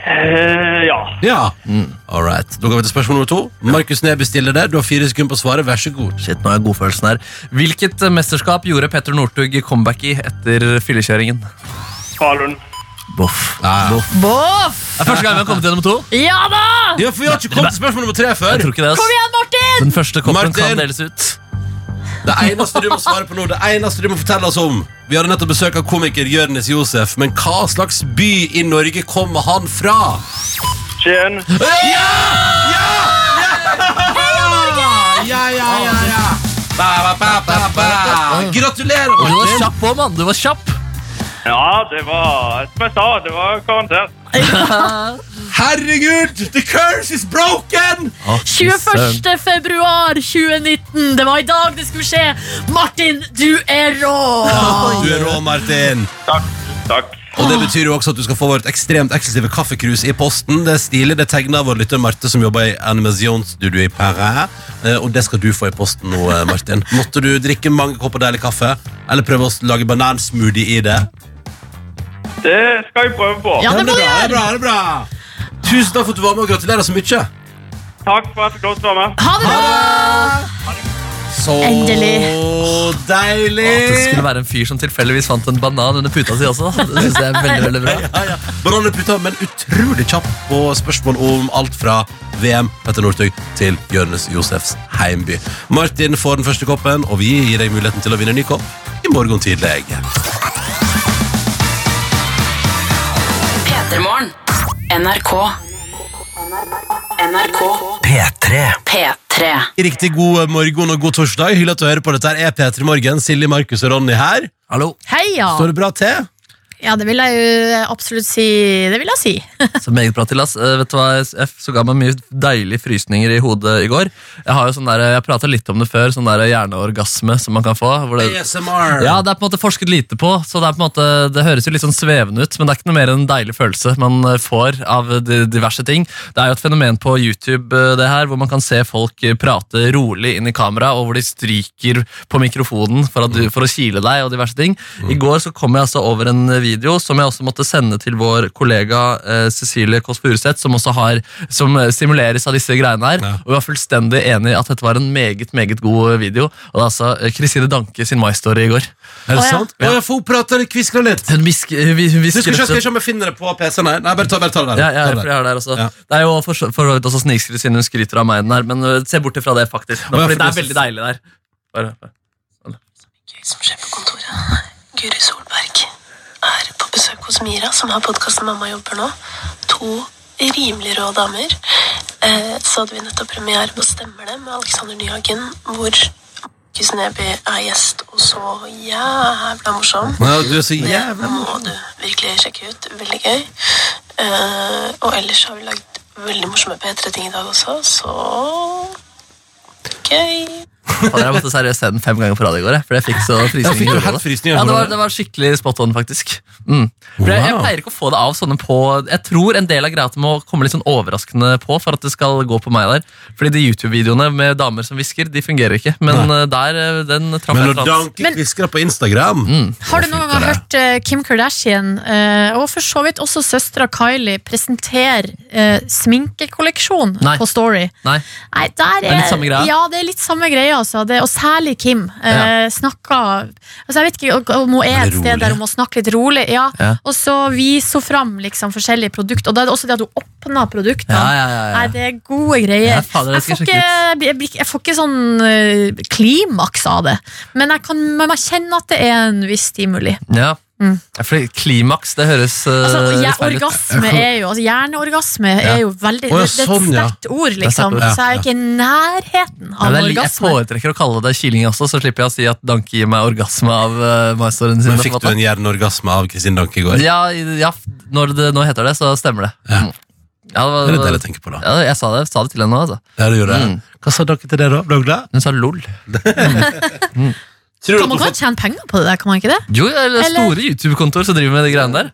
Speaker 9: Eh, ja.
Speaker 2: Ja.
Speaker 1: Mm.
Speaker 2: All right. Da går vi til spørsmål nummer to. Markus Neby stiller det. Du har fire sekunder på svaret. Vær så god.
Speaker 1: Shit, nå er godfølelsen her. Hvilket eh, mesterskap gjorde Petter Northug comeback i etter fyllekjøringen?
Speaker 9: Falun.
Speaker 7: Boff.
Speaker 2: Ja, ja.
Speaker 7: Boff.
Speaker 3: Boff!
Speaker 1: Det er første gang vi har kommet gjennom to.
Speaker 3: Ja da!
Speaker 2: Ja, for vi har ikke kommet til spørsmål nummer tre
Speaker 1: Jeg
Speaker 2: før.
Speaker 1: tror ikke det,
Speaker 3: Kom
Speaker 1: ass.
Speaker 3: igjen, Martin!
Speaker 1: Den første koppen
Speaker 2: Martin!
Speaker 1: kan deles ut.
Speaker 2: Det eneste du må svare på nå, det eneste du må fortelle oss om Vi hadde nettopp besøk av komiker Jørnes Josef, men hva slags by i Norge kommer han fra?
Speaker 9: Skien.
Speaker 2: Ja, ja, ja, ja. Ba, ba, ba, ba, ba. Gratulerer,
Speaker 1: Og du var
Speaker 2: Martin!
Speaker 1: kjapp òg, mann. Du var kjapp.
Speaker 9: Ja, det var Som jeg sa, det var garantert.
Speaker 2: Herregud, the curse is broken!
Speaker 3: 21. februar 2019. Det var i dag det skulle skje. Martin, du er rå!
Speaker 2: Du er rå, Martin.
Speaker 9: Takk. Takk.
Speaker 2: Og det betyr jo også at du skal få vårt ekstremt eksklusive kaffekrus i posten. Det er stilig, det tegner vår lytter Marte, som jobber i Animationsstudio i Paris. Eh, Og det skal du få i posten nå, eh, Martin. Måtte du drikke mange kopper deilig kaffe? Eller prøve å lage banansmoothie i det?
Speaker 9: Det skal jeg prøve på.
Speaker 3: Ja, det må du
Speaker 2: er bra, det er
Speaker 3: gjøre.
Speaker 2: bra, det er bra. Tusen takk for at du var med og gratulerer så mye.
Speaker 9: Takk for at jeg fikk lov til å være med.
Speaker 3: Ha det bra!
Speaker 2: Så
Speaker 3: Endelig.
Speaker 2: deilig.
Speaker 1: At det skulle være en fyr som tilfeldigvis fant en banan under puta si også. Det synes jeg er veldig, veldig bra.
Speaker 2: Ja, ja. Bananer putta, men utrolig kjapp på spørsmål om alt fra VM Petter Northug til Jonis Josefs heimby. Martin får den første koppen, og vi gir deg muligheten til å vinne en ny kopp i morgen tidlig.
Speaker 4: P3morgen. NRK. NRK. P3. P3.
Speaker 2: Riktig god morgen og god torsdag. Hyggelig at du hører på dette. her er Peter Morgen, Silje, Markus og Ronny her.
Speaker 1: Hallo.
Speaker 3: Heia!
Speaker 2: Står det bra til?
Speaker 3: Ja, det vil jeg jo absolutt si. Det vil jeg si.
Speaker 1: Så meget bra til, ass. Eh, vet du hva, SF så ga meg mye deilige frysninger i hodet i går. Jeg har jo sånn der, jeg pratet litt om det før, sånn der hjerneorgasme som man kan få. Hvor det,
Speaker 2: ASMR.
Speaker 1: ja, det er på en måte forsket lite på, så det, er på en måte, det høres jo litt sånn svevende ut, men det er ikke noe mer enn en deilig følelse man eh, får av de diverse ting. Det er jo et fenomen på YouTube, eh, det her, hvor man kan se folk eh, prate rolig inn i kamera, og hvor de stryker på mikrofonen for, at du, for å kile deg og diverse ting. I går så kom jeg altså over en video som jeg også måtte sende til vår kollega eh, Cecilie Kåss Furuseth, som også har, som eh, stimuleres av disse greiene her, og vi var fullstendig enig i at dette var en meget, meget god video, og det er altså eh, Christine Danke sin My Story i
Speaker 2: Er
Speaker 1: går.
Speaker 3: Å,
Speaker 2: det
Speaker 3: ja.
Speaker 2: sant? Å, jeg får prate litt, kviskre litt.
Speaker 1: Hun hvisker eh, hun hvisker
Speaker 2: Du skal ikke,
Speaker 1: rett og
Speaker 2: skal
Speaker 1: slett-
Speaker 2: ikke om jeg finner det på PC-en her. Nei, bare ta, bare ta det der.
Speaker 1: ja, ja,
Speaker 2: Ta
Speaker 1: for jeg har det her også.
Speaker 2: Ja.
Speaker 1: Det er jo for så for så vidt også snikskryt siden hun skryter av meg i den her, men øh, se bort ifra det, faktisk.
Speaker 2: Å,
Speaker 1: Nå,
Speaker 2: ja, for
Speaker 1: fordi det er
Speaker 2: det-
Speaker 1: veldig deilig der. Bare, bare.
Speaker 10: som skjer på kontoret. Guri Solberg er på besøk hos Mira, som har podkasten Mamma jobber nå. To rimelig rå damer. Eh, så hadde vi nettopp premiere på Stemmer det med Alexander Nyhagen, hvor Markus Neby er gjest og så jævla morsom.
Speaker 2: Ja, du er så jævla
Speaker 10: Det må du virkelig sjekke ut. Veldig gøy. Eh, og ellers har vi lagd veldig morsomme P3-ting i dag også, så gøy.
Speaker 1: Fader, jeg måtte seriøst se den fem ganger på radio i går, jeg, for jeg fikk så
Speaker 2: Ja, fikk
Speaker 1: frysninger.
Speaker 2: du
Speaker 1: i hodet.
Speaker 2: helt frysninger i
Speaker 1: Ja, det
Speaker 2: hodet?
Speaker 1: var, det var skikkelig spot on, faktisk. Mm. For jeg, jeg
Speaker 2: Wow.
Speaker 1: pleier ikke å få det av sånne på Jeg tror en del av greia at det må komme litt sånn overraskende på for at det skal gå på meg der. Fordi de YouTube-videoene med damer som hvisker, de fungerer ikke. Men øh, der, øh, den traff
Speaker 2: Men
Speaker 1: jeg
Speaker 2: når
Speaker 1: trans.
Speaker 2: Danke
Speaker 3: Men-
Speaker 2: kviskrer på Instagram
Speaker 1: Mm.
Speaker 3: Har du noen gang hørt eh, Kim Kardashian, eh, og for så vidt også søstera Kylie, presentere eh, sminkekolleksjon
Speaker 1: Nei.
Speaker 3: på Story?
Speaker 1: Nei.
Speaker 3: Nei, der er,
Speaker 1: Det er litt samme greia.
Speaker 3: Ja, det er litt samme greia, altså. Det, og særlig Kim. Eh, snakka altså, Jeg vet ikke om hun er
Speaker 2: Veldig
Speaker 3: et sted der
Speaker 2: rolig.
Speaker 3: hun må snakke litt rolig. Ja.
Speaker 1: Ja.
Speaker 3: Og så viser hun fram liksom, forskjellige produkter. Og da er det også det at hun åpner produktene.
Speaker 1: Ja, ja, ja, ja.
Speaker 3: Nei, det er gode greier.
Speaker 1: Ja, fader, det
Speaker 3: jeg,
Speaker 1: skal
Speaker 3: får
Speaker 1: jeg
Speaker 3: ikke, jeg, blir ikke- jeg får ikke sånn eh, klimaks av det. Men jeg kan men jeg kjenner at det er en viss stimuli.
Speaker 1: Ja. Ja, fordi klimaks, det høres øh,
Speaker 3: Mm. Altså, jeg,
Speaker 1: litt feil ut.
Speaker 3: orgasme er jo altså, Hjerneorgasme
Speaker 1: Ja.
Speaker 3: er jo veldig
Speaker 2: Å, ja,
Speaker 3: Det det er et
Speaker 2: sånn, ja.
Speaker 3: sterkt ord,
Speaker 1: er sterkt
Speaker 3: liksom.
Speaker 1: ord,
Speaker 2: ja.
Speaker 3: Så jeg er ikke i nærheten
Speaker 1: Ja,
Speaker 3: av
Speaker 1: det er, li- jeg
Speaker 3: orgasme.
Speaker 1: foretrekker å kalle det kiling også, så slipper jeg å si at Danke gir meg orgasme av uh, maistorene sine.
Speaker 2: Men fikk du en hjerneorgasme av Kristin Danke i går?
Speaker 1: Ja, i- ja f- når det nå heter det, så stemmer det.
Speaker 2: Ja.
Speaker 1: Mm. Ja, det, var-
Speaker 2: Det er det jeg tenker på da
Speaker 1: ja, jeg sa det, sa det til henne nå, altså.
Speaker 2: Ja, det gjorde jeg.
Speaker 1: Mm.
Speaker 2: Hva sa dere til det da? Ble dere glad?
Speaker 1: Hun sa lol.
Speaker 2: Tror du
Speaker 3: Kan
Speaker 2: at
Speaker 3: man
Speaker 2: hun
Speaker 3: kan
Speaker 2: fått-
Speaker 3: tjene penger på det der, kan man ikke det?
Speaker 1: Jo, det er
Speaker 3: Eller-
Speaker 1: store YouTube-kontor som driver med de greiene der.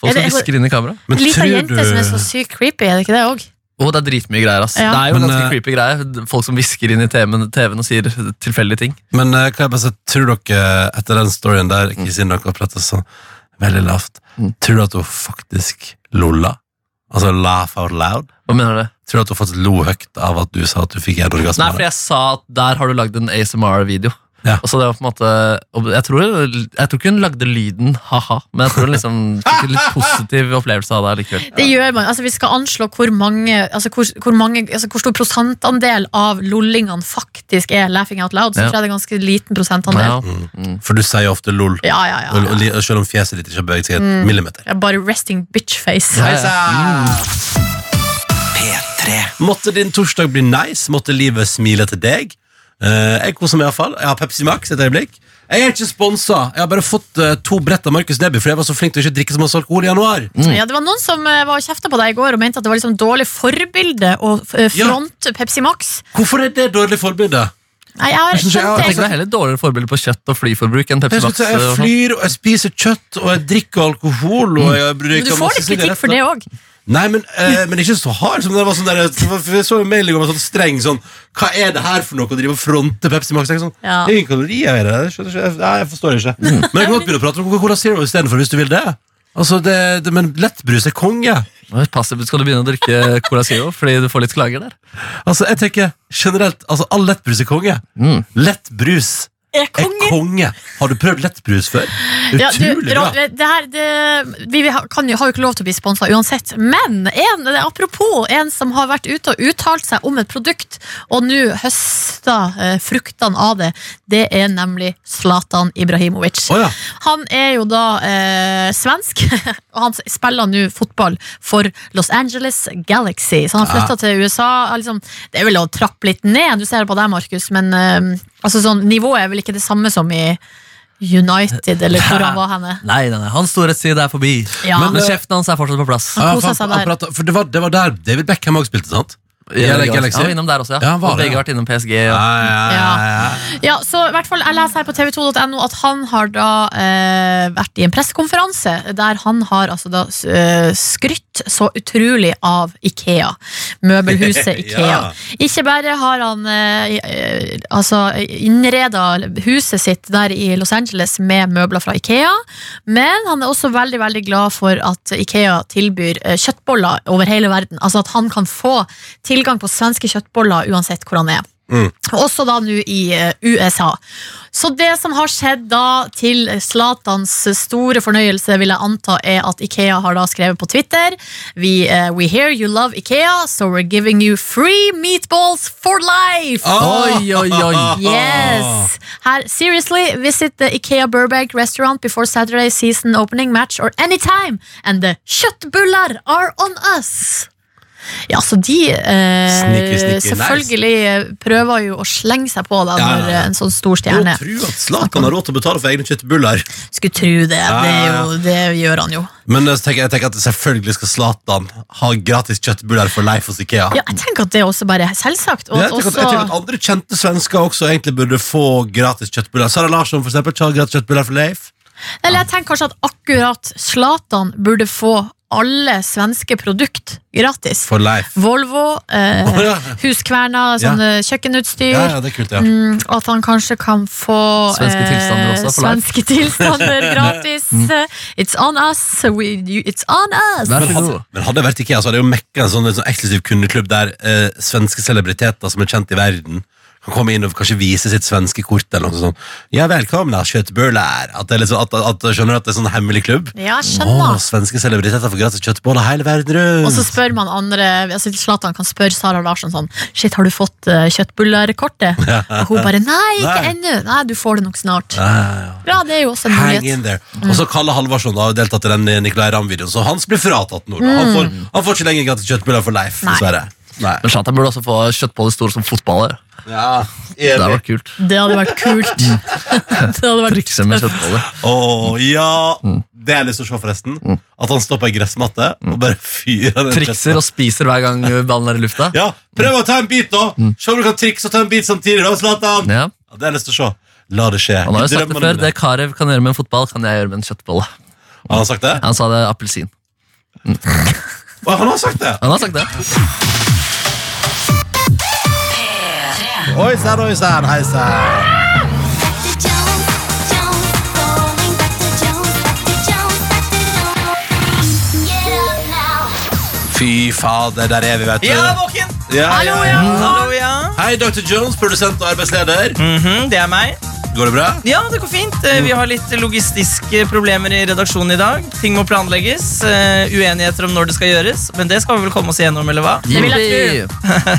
Speaker 1: Folk
Speaker 3: Er
Speaker 1: som
Speaker 3: det-
Speaker 1: hvisker inn i kamera.
Speaker 2: Men
Speaker 3: Lita
Speaker 2: tror
Speaker 3: jente
Speaker 2: du-
Speaker 3: som er så sykt creepy, er det ikke det òg?
Speaker 1: Å, det er dritmye greier, ass.
Speaker 3: Ja.
Speaker 1: Det er jo
Speaker 2: Men,
Speaker 1: ganske
Speaker 2: eh,
Speaker 1: creepy greier. Folk som hvisker inn i TV-en TV-en og sier tilfeldige ting.
Speaker 2: Men eh, kan jeg bare si, tror dere etter den storyen der Kristin Danke har pratet så veldig lavt
Speaker 1: Mm.
Speaker 2: Tror du at hun faktisk lolla? Altså laugh out loud?
Speaker 1: Hva mener du?
Speaker 2: Tror du at hun faktisk lo høyt av at du sa at du fikk
Speaker 1: Nei,
Speaker 2: hjerneorgasme?
Speaker 1: for jeg sa at der har du lagd en ASMR-video. Og så det var på en måte og jeg tror, jeg tror ikke hun lagde lyden ha-ha, men jeg tror hun liksom fikk en litt positiv opplevelse av det likevel.
Speaker 3: Det gjør man. Altså, vi skal anslå hvor mange, altså, hvor, hvor mange altså, hvor stor prosentandel av lollingene faktisk er laughing out loud. Så
Speaker 2: Ja.
Speaker 3: tror jeg det er ganske liten prosentandel.
Speaker 2: Mm. For du sier jo ofte lol,
Speaker 3: Ja, ja, ja,
Speaker 2: Og- og li- og selv om fjeset ditt ikke har beveget seg et
Speaker 3: Mm.
Speaker 2: millimeter.
Speaker 3: Det er bare resting bitch face.
Speaker 2: Ja, ja. Måtte din torsdag bli nice, måtte livet smile til deg. Eh, jeg koser meg iallfall. Jeg har Pepsi Max et øyeblikk. Jeg er ikke sponsa. Jeg har bare fått eh, to brett av Markus Neby fordi jeg var så flink til å ikke drikke så masse alkohol i januar.
Speaker 3: Ja, det var Noen som eh, var kjefta på deg i går og mente at det var liksom dårlig forbilde å eh, fronte Pepsi Max.
Speaker 2: Hvorfor er det dårlig forbilde?
Speaker 3: Nei, jeg har
Speaker 1: Jeg synes
Speaker 3: skjønt
Speaker 1: jeg tenker det
Speaker 3: det.
Speaker 1: er heller dårligere forbilde på kjøtt og flyforbruk enn Pepsi
Speaker 2: Jeg,
Speaker 1: Max.
Speaker 2: skulle si, jeg
Speaker 3: eh,
Speaker 1: og sånt.
Speaker 2: flyr, og jeg spiser kjøtt, og jeg drikker alkohol. Og jeg
Speaker 3: Mm. Men du
Speaker 2: røyker
Speaker 3: får
Speaker 2: masse
Speaker 3: litt kritikk for
Speaker 2: sigaretter.
Speaker 3: det òg.
Speaker 2: Nei, men, eh, men ikke så hard som det var sånn der for Jeg så en melding om en sånn streng sånn Hva er det her for noe å drive og fronte Pepsi Max? Jeg Sånn,
Speaker 3: Ja.
Speaker 2: Det er ingen kalorier i det. jeg skjønner ikke- jeg- Nei, jeg forstår det ikke. Men
Speaker 1: Mm.
Speaker 2: jeg kan godt begynne å prate om Coca-Cola Zero istedenfor, hvis du vil det. Altså, det, det men lettbrus er konge.
Speaker 1: Nå, Pass, sånn. skal du begynne å drikke Cola Zero fordi du får litt klager der?
Speaker 2: Altså, jeg tenker generelt Altså, all lettbrus er konge. Lettbrus
Speaker 3: Er
Speaker 2: konge. er konge. Har du prøvd lettbrus før?
Speaker 3: Ja, du,
Speaker 2: Utrolig bra.
Speaker 3: Ra- det her, det, vi vi har- kan, jo- har jo ikke lov til å bli sponsa uansett. Men en, det er apropos en som har vært ute og uttalt seg om et produkt, og nå høster eh, fruktene av det, det er nemlig Zlatan Ibrahimovic.
Speaker 2: Å ja.
Speaker 3: Han er jo da eh, svensk, og han spiller nå fotball for Los Angeles Galaxy. Så han har
Speaker 11: Ja.
Speaker 3: flytta til USA. er Liksom, det er vel å trappe litt ned, du ser det på deg, Markus, men eh, altså, sånn, nivået er vel ikke det samme som i United, eller hvor han var henne.
Speaker 1: Nei, nei, nei, hans storhetstid er forbi.
Speaker 3: Ja.
Speaker 1: Men,
Speaker 2: Men, eh,
Speaker 1: kjeften hans er fortsatt på plass.
Speaker 2: Ja, for, han- han pratet- for det, var, det var der David Beckham også spilte, sant? I
Speaker 1: Ja,
Speaker 2: LA
Speaker 1: Galaxy. Ja, innom der også, ja.
Speaker 2: han var
Speaker 1: og
Speaker 2: det,
Speaker 1: begge
Speaker 2: ja.
Speaker 1: har vært innom PSG. Ja.
Speaker 3: Ja, så i hvert fall, Jeg leser her på tv2.no at han har da eh, vært i en pressekonferanse der han har altså da eh, skrytt så utrolig av Ikea. Møbelhuset Ikea.
Speaker 11: Ja.
Speaker 3: Ikke bare har han eh, eh, altså innreda huset sitt der i Los Angeles med møbler fra Ikea, men han er også veldig veldig glad for at Ikea tilbyr eh, kjøttboller over hele verden. Altså at han kan få tilgang på svenske kjøttboller uansett hvor han er. Også da nå i eh, USA. Så det som har skjedd da til Zlatans store fornøyelse, vil jeg anta, er at Ikea har da skrevet på Twitter We, eh, we hear you love Ikea, so we're giving you free meatballs for life!
Speaker 11: Ah! Oi, oi, oi.
Speaker 2: Ah.
Speaker 3: Yes! Her, seriously, visit the Ikea Burbank restaurant before Saturday season opening match or anytime, and the kjøttbullar are on us! Ja, så de eh,
Speaker 2: Sneaky, sneaky, nice.
Speaker 3: selvfølgelig eh, prøver jo å slenge seg på da,
Speaker 2: Ja, ja,
Speaker 3: når
Speaker 2: ja.
Speaker 3: eh, en sånn stor stjerne
Speaker 2: Jeg tror at Zlatan har råd til å betale for egne kjøttbuller.
Speaker 3: Skulle tro det.
Speaker 2: Ja,
Speaker 3: Det, er
Speaker 2: ja,
Speaker 3: jo, det gjør han jo.
Speaker 2: Men jeg tenker, jeg tenker at selvfølgelig skal Zlatan ha gratis kjøttbuller for Leif hos Ikea.
Speaker 3: Ja, jeg tenker at det er også bare selvsagt. Og
Speaker 2: jeg,
Speaker 3: at
Speaker 2: tenker at, jeg tenker at
Speaker 3: også,
Speaker 2: andre kjente svensker også egentlig burde få gratis kjøttbuller. Sara Larsson for eksempel, ikke har gratis kjøttbuller for Leif.
Speaker 3: eller jeg tenker kanskje at akkurat Zlatan burde få alle svenske produkt gratis.
Speaker 2: For Leif.
Speaker 3: Volvo, eh,
Speaker 2: Å, ja.
Speaker 3: huskverna,
Speaker 2: Ja.
Speaker 3: sånne kjøkkenutstyr.
Speaker 2: Ja, ja, det er kult, ja.
Speaker 3: Mm, at han kanskje kan få eh,
Speaker 2: Svenske tilstander også, for life.
Speaker 3: svenske tilstander gratis.
Speaker 2: Mm.
Speaker 3: It's on us! We, you, it's on us!
Speaker 2: Men hadde, men hadde jeg vært Ikea, så hadde jeg jo mekka en sånn, en sånn eksklusiv kundeklubb der eh, svenske celebriteter som er kjent i verden, kan komme inn og kanskje vise sitt svenske kort eller noe sånt. Ja, velkommen, kjøttbøller. At, det er litt sånn- at, at, skjønner du at det er sånn hemmelig klubb?
Speaker 3: Ja, jeg skjønner.
Speaker 2: Å, svenske celebriteter får gratis kjøttboller hele verden rundt.
Speaker 3: Og så spør man andre altså Zlatan kan spørre Sara Larsen sånn Shit, har du fått uh, kjøttbullerkortet?
Speaker 2: Ja.
Speaker 3: Og hun bare Nei, ikke
Speaker 2: Nei.
Speaker 3: ennå. Nei, du får det nok snart.
Speaker 2: Ja, ja, ja.
Speaker 3: Ja, det er jo også en
Speaker 2: Hang in
Speaker 3: mulighet.
Speaker 2: there. Og så Kalle Halvorsen har jo deltatt i den Nicolay Ramm-videoen, så hans blir fratatt nå. da. Han,
Speaker 3: Mm.
Speaker 2: får, han får ikke lenger gratis kjøttbøller for Leif,
Speaker 3: Nei.
Speaker 2: dessverre. Nei.
Speaker 1: Men Zlatan burde også få kjøttboller store som fotballer.
Speaker 2: Ja,
Speaker 1: det hadde vært kult.
Speaker 3: Det hadde vært kult. det hadde vært
Speaker 1: Trikse med kjøttboller.
Speaker 2: Å,
Speaker 1: Mm.
Speaker 2: ja! Det er lyst til å se, forresten. At han står på ei gressmatte og bare fyrer den
Speaker 1: Trikser og spiser hver gang ballen er i lufta.
Speaker 2: Ja, Prøv å ta en bit, da! Se om du kan trikse og ta en bit samtidig, da, Zlatan!
Speaker 1: Mm. Ja.
Speaker 2: Ja, det har jeg lyst til å se. La det skje.
Speaker 1: Han har jo sagt det
Speaker 2: Drømmene
Speaker 1: før.
Speaker 2: mine.
Speaker 1: Det Karev kan gjøre med en fotball, kan jeg gjøre med en kjøttbolle.
Speaker 2: Har han sagt det?
Speaker 1: Han sa det appelsin.
Speaker 2: Å, Han har sagt det!
Speaker 1: Han har sagt det.
Speaker 2: Oi sann, oi sann, hei sann. Fy fader, der er vi, vet du.
Speaker 5: Ja, våken!
Speaker 2: Ja, ja, ja.
Speaker 1: Mm.
Speaker 5: Hallo, ja. Mm,
Speaker 2: Hei, Dr. Jones, produsent og arbeidsleder.
Speaker 5: Det er meg.
Speaker 2: Går det bra?
Speaker 5: Ja, det går fint. Eh, Vi har litt logistiske problemer i redaksjonen i dag. Ting må planlegges. eh, Uenigheter om når det skal gjøres. Men det skal vi vel komme oss igjennom, eller hva?
Speaker 3: Det vil jeg tro.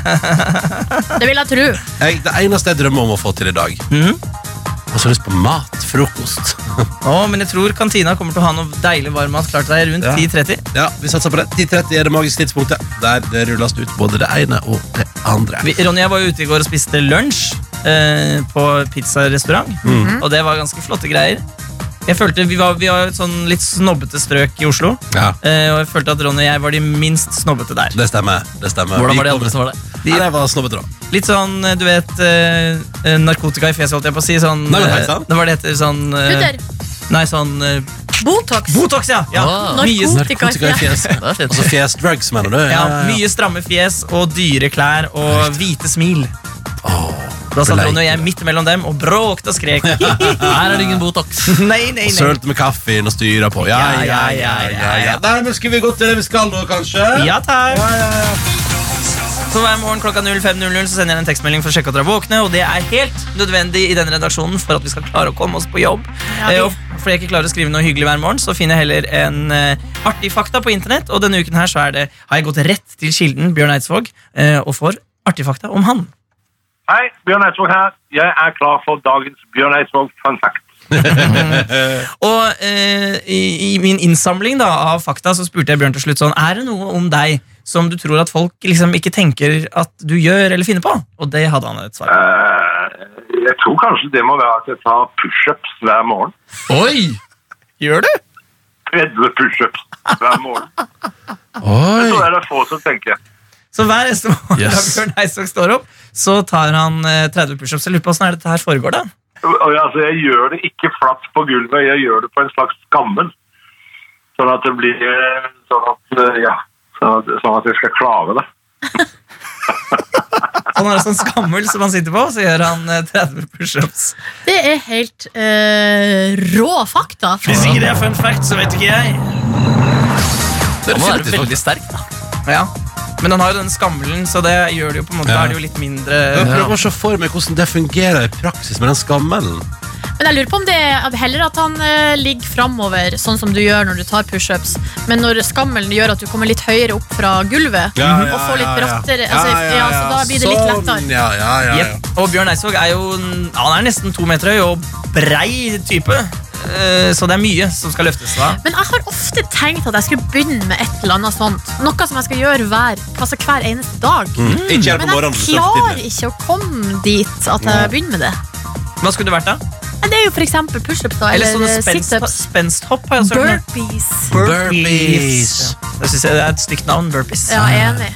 Speaker 3: Det vil jeg tro.
Speaker 2: Jeg, det eneste jeg drømmer om å få til i dag Jeg har så lyst på mat, frokost
Speaker 5: Å, men jeg tror kantina kommer til å ha noe deilig varmmat klart til deg rundt
Speaker 2: Ja.
Speaker 5: 10.30.
Speaker 2: Ja, vi satser på det 10.30 er det magiske tidspunktet Der det rulles ut både det ene og det andre
Speaker 5: Vi, Ronny og jeg var jo ute i går og spiste lunsj eh, på pizzarestaurant. Og det var ganske flotte greier. Jeg følte Vi var, vi var et sånn litt snobbete strøk i Oslo.
Speaker 2: Ja,
Speaker 5: Eh, og jeg følte at Ronny og jeg var de minst snobbete der.
Speaker 2: det stemmer, det stemmer
Speaker 1: Hvordan
Speaker 2: Vi
Speaker 1: var de
Speaker 2: kommer-
Speaker 1: andre som var der?
Speaker 2: Nei, det var snobbete da
Speaker 5: Litt sånn, eh, du vet eh, eh, Narkotika i fjeset, holdt jeg på å si. Sånn,
Speaker 2: Nei, men
Speaker 5: eh,
Speaker 2: faktisk.
Speaker 5: det var det heter sånn eh,
Speaker 3: Putter.
Speaker 5: Nei, sånn eh,
Speaker 3: Botox.
Speaker 5: Botox, ja! ja.
Speaker 1: Ah.
Speaker 5: mye,
Speaker 3: Narkotika i fjeset.
Speaker 2: fjes
Speaker 1: Det er
Speaker 2: Altså
Speaker 1: fint.
Speaker 2: fjes drugs, mener du?
Speaker 5: ja, mye stramme fjes og dyre klær og hvite smil. Da satt
Speaker 2: bleik.
Speaker 5: Ronny og jeg midt mellom dem og bråkte og skrek.
Speaker 1: Her er det ingen Botox.
Speaker 5: nei, nei, nei.
Speaker 2: Sølt med kaffen og styrer på Ja, ja, ja, ja, ja, ja. Nei, men skal vi gå til det vi skal nå, kanskje?
Speaker 5: Ja, takk. Så hver morgen klokka 05.00 så sender jeg en tekstmelding for å sjekke at dere er våkne, og det er helt nødvendig i den redaksjonen for at vi skal klare å komme oss på jobb.
Speaker 3: Ja, vi-
Speaker 5: Eh, og fordi jeg ikke klarer å skrive noe hyggelig hver morgen, så finner jeg heller en eh, artig fakta på internett, og denne uken her så er det, har jeg gått rett til kilden Bjørn Eidsvåg eh, og får artig fakta om han.
Speaker 9: Hei, Bjørn Eidsvåg her. Jeg er klar for dagens Bjørn Eidsvåg fun fact.
Speaker 5: Og eh, i, i min innsamling da, av fakta så spurte jeg Bjørn til slutt sånn, er det noe om deg som du tror at folk liksom ikke tenker at du gjør eller finner på? Og det hadde han et svar på.
Speaker 9: Eh, jeg tror kanskje det må være at jeg tar pushups hver morgen.
Speaker 1: Oi!
Speaker 5: Gjør du?
Speaker 9: 30 pushups hver morgen.
Speaker 2: Oi
Speaker 9: Så er det få som tenker.
Speaker 5: Så hver eneste morgen
Speaker 2: Yes.
Speaker 5: da Bjørn Eidsvåg står opp, så tar han eh, 30 pushups. Jeg lurer på åssen dette her foregår, da.
Speaker 9: Og jeg- Altså, jeg gjør det ikke flatt på gulvet, jeg gjør det på en slags skammel. Sånn at det blir eh, Sånn at, eh, ja, sånn at, sånn at jeg skal klare det.
Speaker 5: Han har en sånn skammel som han sitter på, så gjør han eh, 30 pushups.
Speaker 3: Det er helt eh, rå fakta.
Speaker 5: Hvis ikke det er fun fact, så vet ikke jeg.
Speaker 1: Han må være veldig sterk. da.
Speaker 5: Ja. Men han har jo den skammelen, så det gjør det jo på en måte
Speaker 2: Ja.
Speaker 5: Da er det jo litt mindre
Speaker 2: Jeg prøver å se for meg hvordan det fungerer i praksis med den skammelen.
Speaker 3: Men jeg lurer på om det er at heller at han eh, ligger framover, sånn som du gjør når du tar pushups, men når skammelen gjør at du kommer litt høyere opp fra gulvet og får litt brattere altså, ja, så Da blir det litt lettere.
Speaker 2: Mm. Sånn, ja, ja, ja, ja.
Speaker 5: Jep. Og Bjørn Eidsvåg er jo en- Han er nesten to meter høy og brei type. Eh, Så det er mye som skal løftes da.
Speaker 3: Men jeg har ofte tenkt at jeg skulle begynne med et eller annet sånt. Noe som jeg skal gjøre hver, altså hver eneste dag.
Speaker 5: Mm.
Speaker 2: Ikke gjør det på
Speaker 3: Men jeg
Speaker 2: morgenen. så
Speaker 3: klarer
Speaker 2: tidlig.
Speaker 3: ikke å komme dit at jeg begynner med det.
Speaker 5: Hva skulle det vært, da?
Speaker 3: Men det er jo for eksempel pushups, da.
Speaker 5: Eller sånne
Speaker 3: Eller eh,
Speaker 5: spenst-
Speaker 3: situps.
Speaker 5: spensthopp? har jeg også hørt om.
Speaker 3: Burpees.
Speaker 2: Burpees.
Speaker 5: Ja. Det synes jeg det er et stygt navn. Burpees.
Speaker 3: Ja, jeg er enig.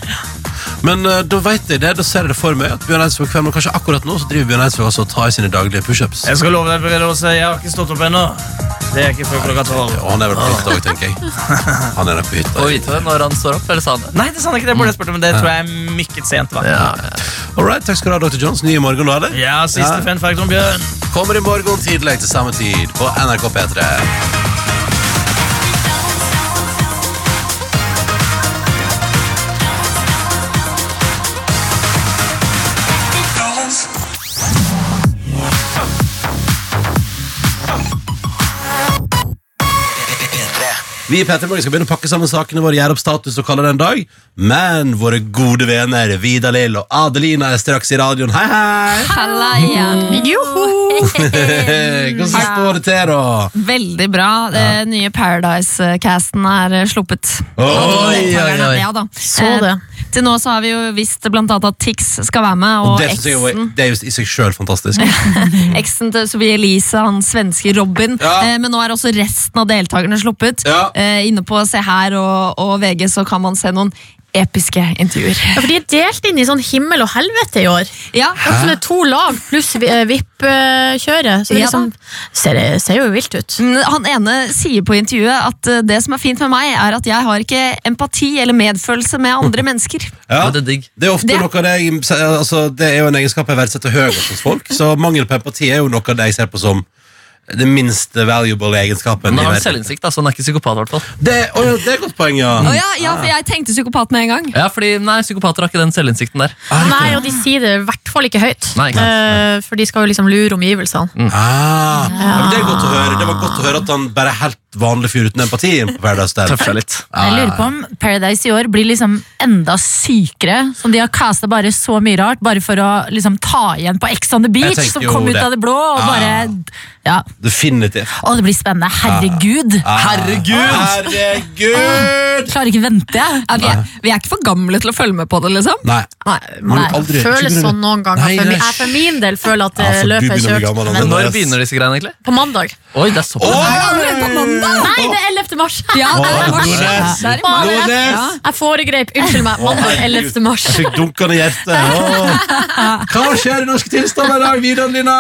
Speaker 2: Men eh, da vet jeg det, da ser jeg det for meg at Bjørn Eidsvåg kveld, men kanskje akkurat nå så driver Bjørn Eidsvåg også og tar sine daglige pushups.
Speaker 5: Jeg skal love deg, Per Åse, jeg har ikke stått opp ennå. Det er ikke før klokka tolv.
Speaker 2: Og han er vel på hytta òg, tenker jeg. Han er nok på hytta.
Speaker 1: Og vite det når han står opp, eller sa han det?
Speaker 5: Nei, det sa han ikke. Det burde jeg spurt om, men det tror jeg er mykket sent. Va? Mm. Ja.
Speaker 2: All right, takk skal du ha, Dr. Johns. Ny i morgen nå, eller?
Speaker 5: siste
Speaker 2: Ja.
Speaker 5: fun fact om Bjørn.
Speaker 2: Kommer i morgen tidlig til samme tid på NRK P3. Vi i P3 Morgen skal begynne å pakke sammen sakene våre, gjøre opp status og kalle det en dag. Men våre gode venner Vidar Lill og Adelina er straks i radioen. Hei, hei!
Speaker 11: Halla igjen.
Speaker 2: Eh, Hvordan står det til, da?
Speaker 11: Veldig bra.
Speaker 3: Eh,
Speaker 11: Det nye Paradise-casten er eh, sluppet.
Speaker 2: Oi,
Speaker 1: oi, oi.
Speaker 11: Ja da.
Speaker 3: Så det.
Speaker 11: Eh, Til nå så har vi jo visst blant annet at Tix skal være med, og
Speaker 2: Det, synes jeg,
Speaker 11: eksen,
Speaker 2: var- det er jo i seg sjøl fantastisk.
Speaker 11: eksen til Sophie Elise, han svenske Robin.
Speaker 2: Ja.
Speaker 11: Eh, Men nå er også resten av deltakerne sluppet.
Speaker 2: Ja.
Speaker 11: Eh, Inne på Se her og, og VG så kan man se noen episke intervjuer.
Speaker 3: Ja, for de er delt inn i sånn himmel og helvete i år.
Speaker 11: Ja,
Speaker 3: Det er også det er to lag pluss eh, VIP-kjøret. Så det er
Speaker 11: Ja da.
Speaker 3: liksom, ser, det- ser jo vilt ut.
Speaker 11: Mm, Han ene sier på intervjuet at eh, det som er fint med meg, er at jeg har ikke empati eller medfølelse med andre mennesker.
Speaker 2: Ja.
Speaker 1: Ja, det er digg.
Speaker 2: Det er ofte
Speaker 11: Det-
Speaker 2: noe av det jeg altså, Det er jo en egenskap jeg verdsetter høyt hos folk, så mangel på empati er jo noe av det jeg ser på som den minste valuable egenskapen.
Speaker 1: Men da
Speaker 2: i
Speaker 1: har han
Speaker 2: verden.
Speaker 1: selvinnsikt, da, så han er ikke psykopat. i hvert fall.
Speaker 2: Det, å ja, det er et godt poeng, ja.
Speaker 11: Å ja, ja, for jeg tenkte psykopat med en gang.
Speaker 1: Ja, fordi nei, Psykopater har ikke den selvinnsikten der.
Speaker 3: Nei, og de sier det i hvert fall ikke høyt.
Speaker 1: Ah, Nei, ikke sant.
Speaker 3: Eh, for de skal jo liksom lure omgivelsene.
Speaker 2: Ah, ja. men det, er godt å høre. det var godt å høre at han bare er helt vanlig fyr uten empati. inn på Paradise Hotel.
Speaker 1: Tøffer litt.
Speaker 12: Jeg lurer på om Paradise i år blir liksom enda sykere. Som de har casta bare så mye rart, bare for å liksom ta igjen på Ex on the
Speaker 2: Jeg
Speaker 12: Beach,
Speaker 2: tenker
Speaker 12: som
Speaker 2: jo
Speaker 12: kom ut
Speaker 2: det.
Speaker 12: av det blå. og
Speaker 2: Ja.
Speaker 12: bare... Ja.
Speaker 2: Definitivt.
Speaker 12: Å, det blir spennende. Herregud!
Speaker 2: Herregud! Herregud!
Speaker 12: Klarer ikke vente, jeg.
Speaker 11: Ja, vi, er, vi er ikke for gamle til å følge med på det, liksom.
Speaker 2: Nei.
Speaker 11: Nei.
Speaker 3: Det føles sånn noen ganger.
Speaker 2: Nei,
Speaker 3: for,
Speaker 2: nei.
Speaker 3: min, jeg, for min del føler at det
Speaker 2: Ja, for du
Speaker 3: løpet er
Speaker 2: begynner å bli gammel,
Speaker 3: kjørt.
Speaker 2: Anne.
Speaker 1: Men
Speaker 3: Men
Speaker 1: når begynner disse greiene, egentlig?
Speaker 3: på mandag.
Speaker 1: Oi, det er såpass.
Speaker 3: Nei, det er 11. mars!
Speaker 11: Ja,
Speaker 2: Å,
Speaker 11: det er vårt.
Speaker 2: Nordnes.
Speaker 11: Det er i morgen.
Speaker 2: Nordnes.
Speaker 11: Ja.
Speaker 3: Jeg foregrep. Unnskyld meg. Mandag 11. mars.
Speaker 2: Jeg fikk dunkende hjerte. Åh. Hva skjer i norske tilstander i dag, Vidar Lina?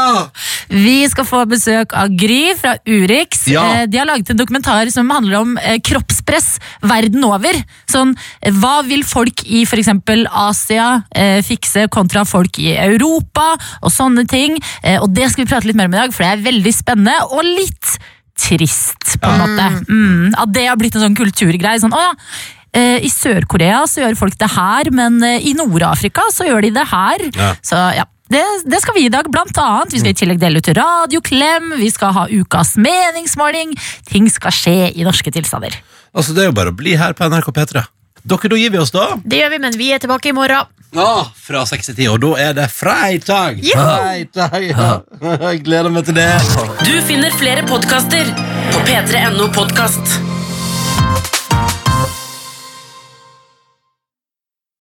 Speaker 12: Vi skal få besøk av Gry fra Urix.
Speaker 2: Ja.
Speaker 12: Eh, De har laget en dokumentar som handler om eh, kroppspress verden over. Sånn, eh, hva vil folk i f.eks. Asia eh, fikse kontra folk i Europa, og sånne ting. Eh, og det skal vi prate litt mer om i dag, for det er veldig spennende og litt trist, på en måte. Mm, at det har blitt en sånn kulturgreie. Sånn, å ja, eh, I Sør-Korea så gjør folk det her, men eh, i Nord-Afrika så gjør de det her.
Speaker 2: Ja.
Speaker 12: Så ja, det, det skal vi i dag, blant annet. Vi skal i tillegg dele ut radioklem, vi skal ha ukas meningsmåling. Ting skal skje i norske tilstander.
Speaker 2: Altså, det er jo bare å bli her på NRK P3. Dere, da gir vi oss, da.
Speaker 3: Det gjør vi, men vi er tilbake i morgen.
Speaker 2: Ja, fra 6 til 10, og da er det fredag! Fredag, ja. Jeg gleder meg til det.
Speaker 4: Du finner flere podkaster på p3.no podkast.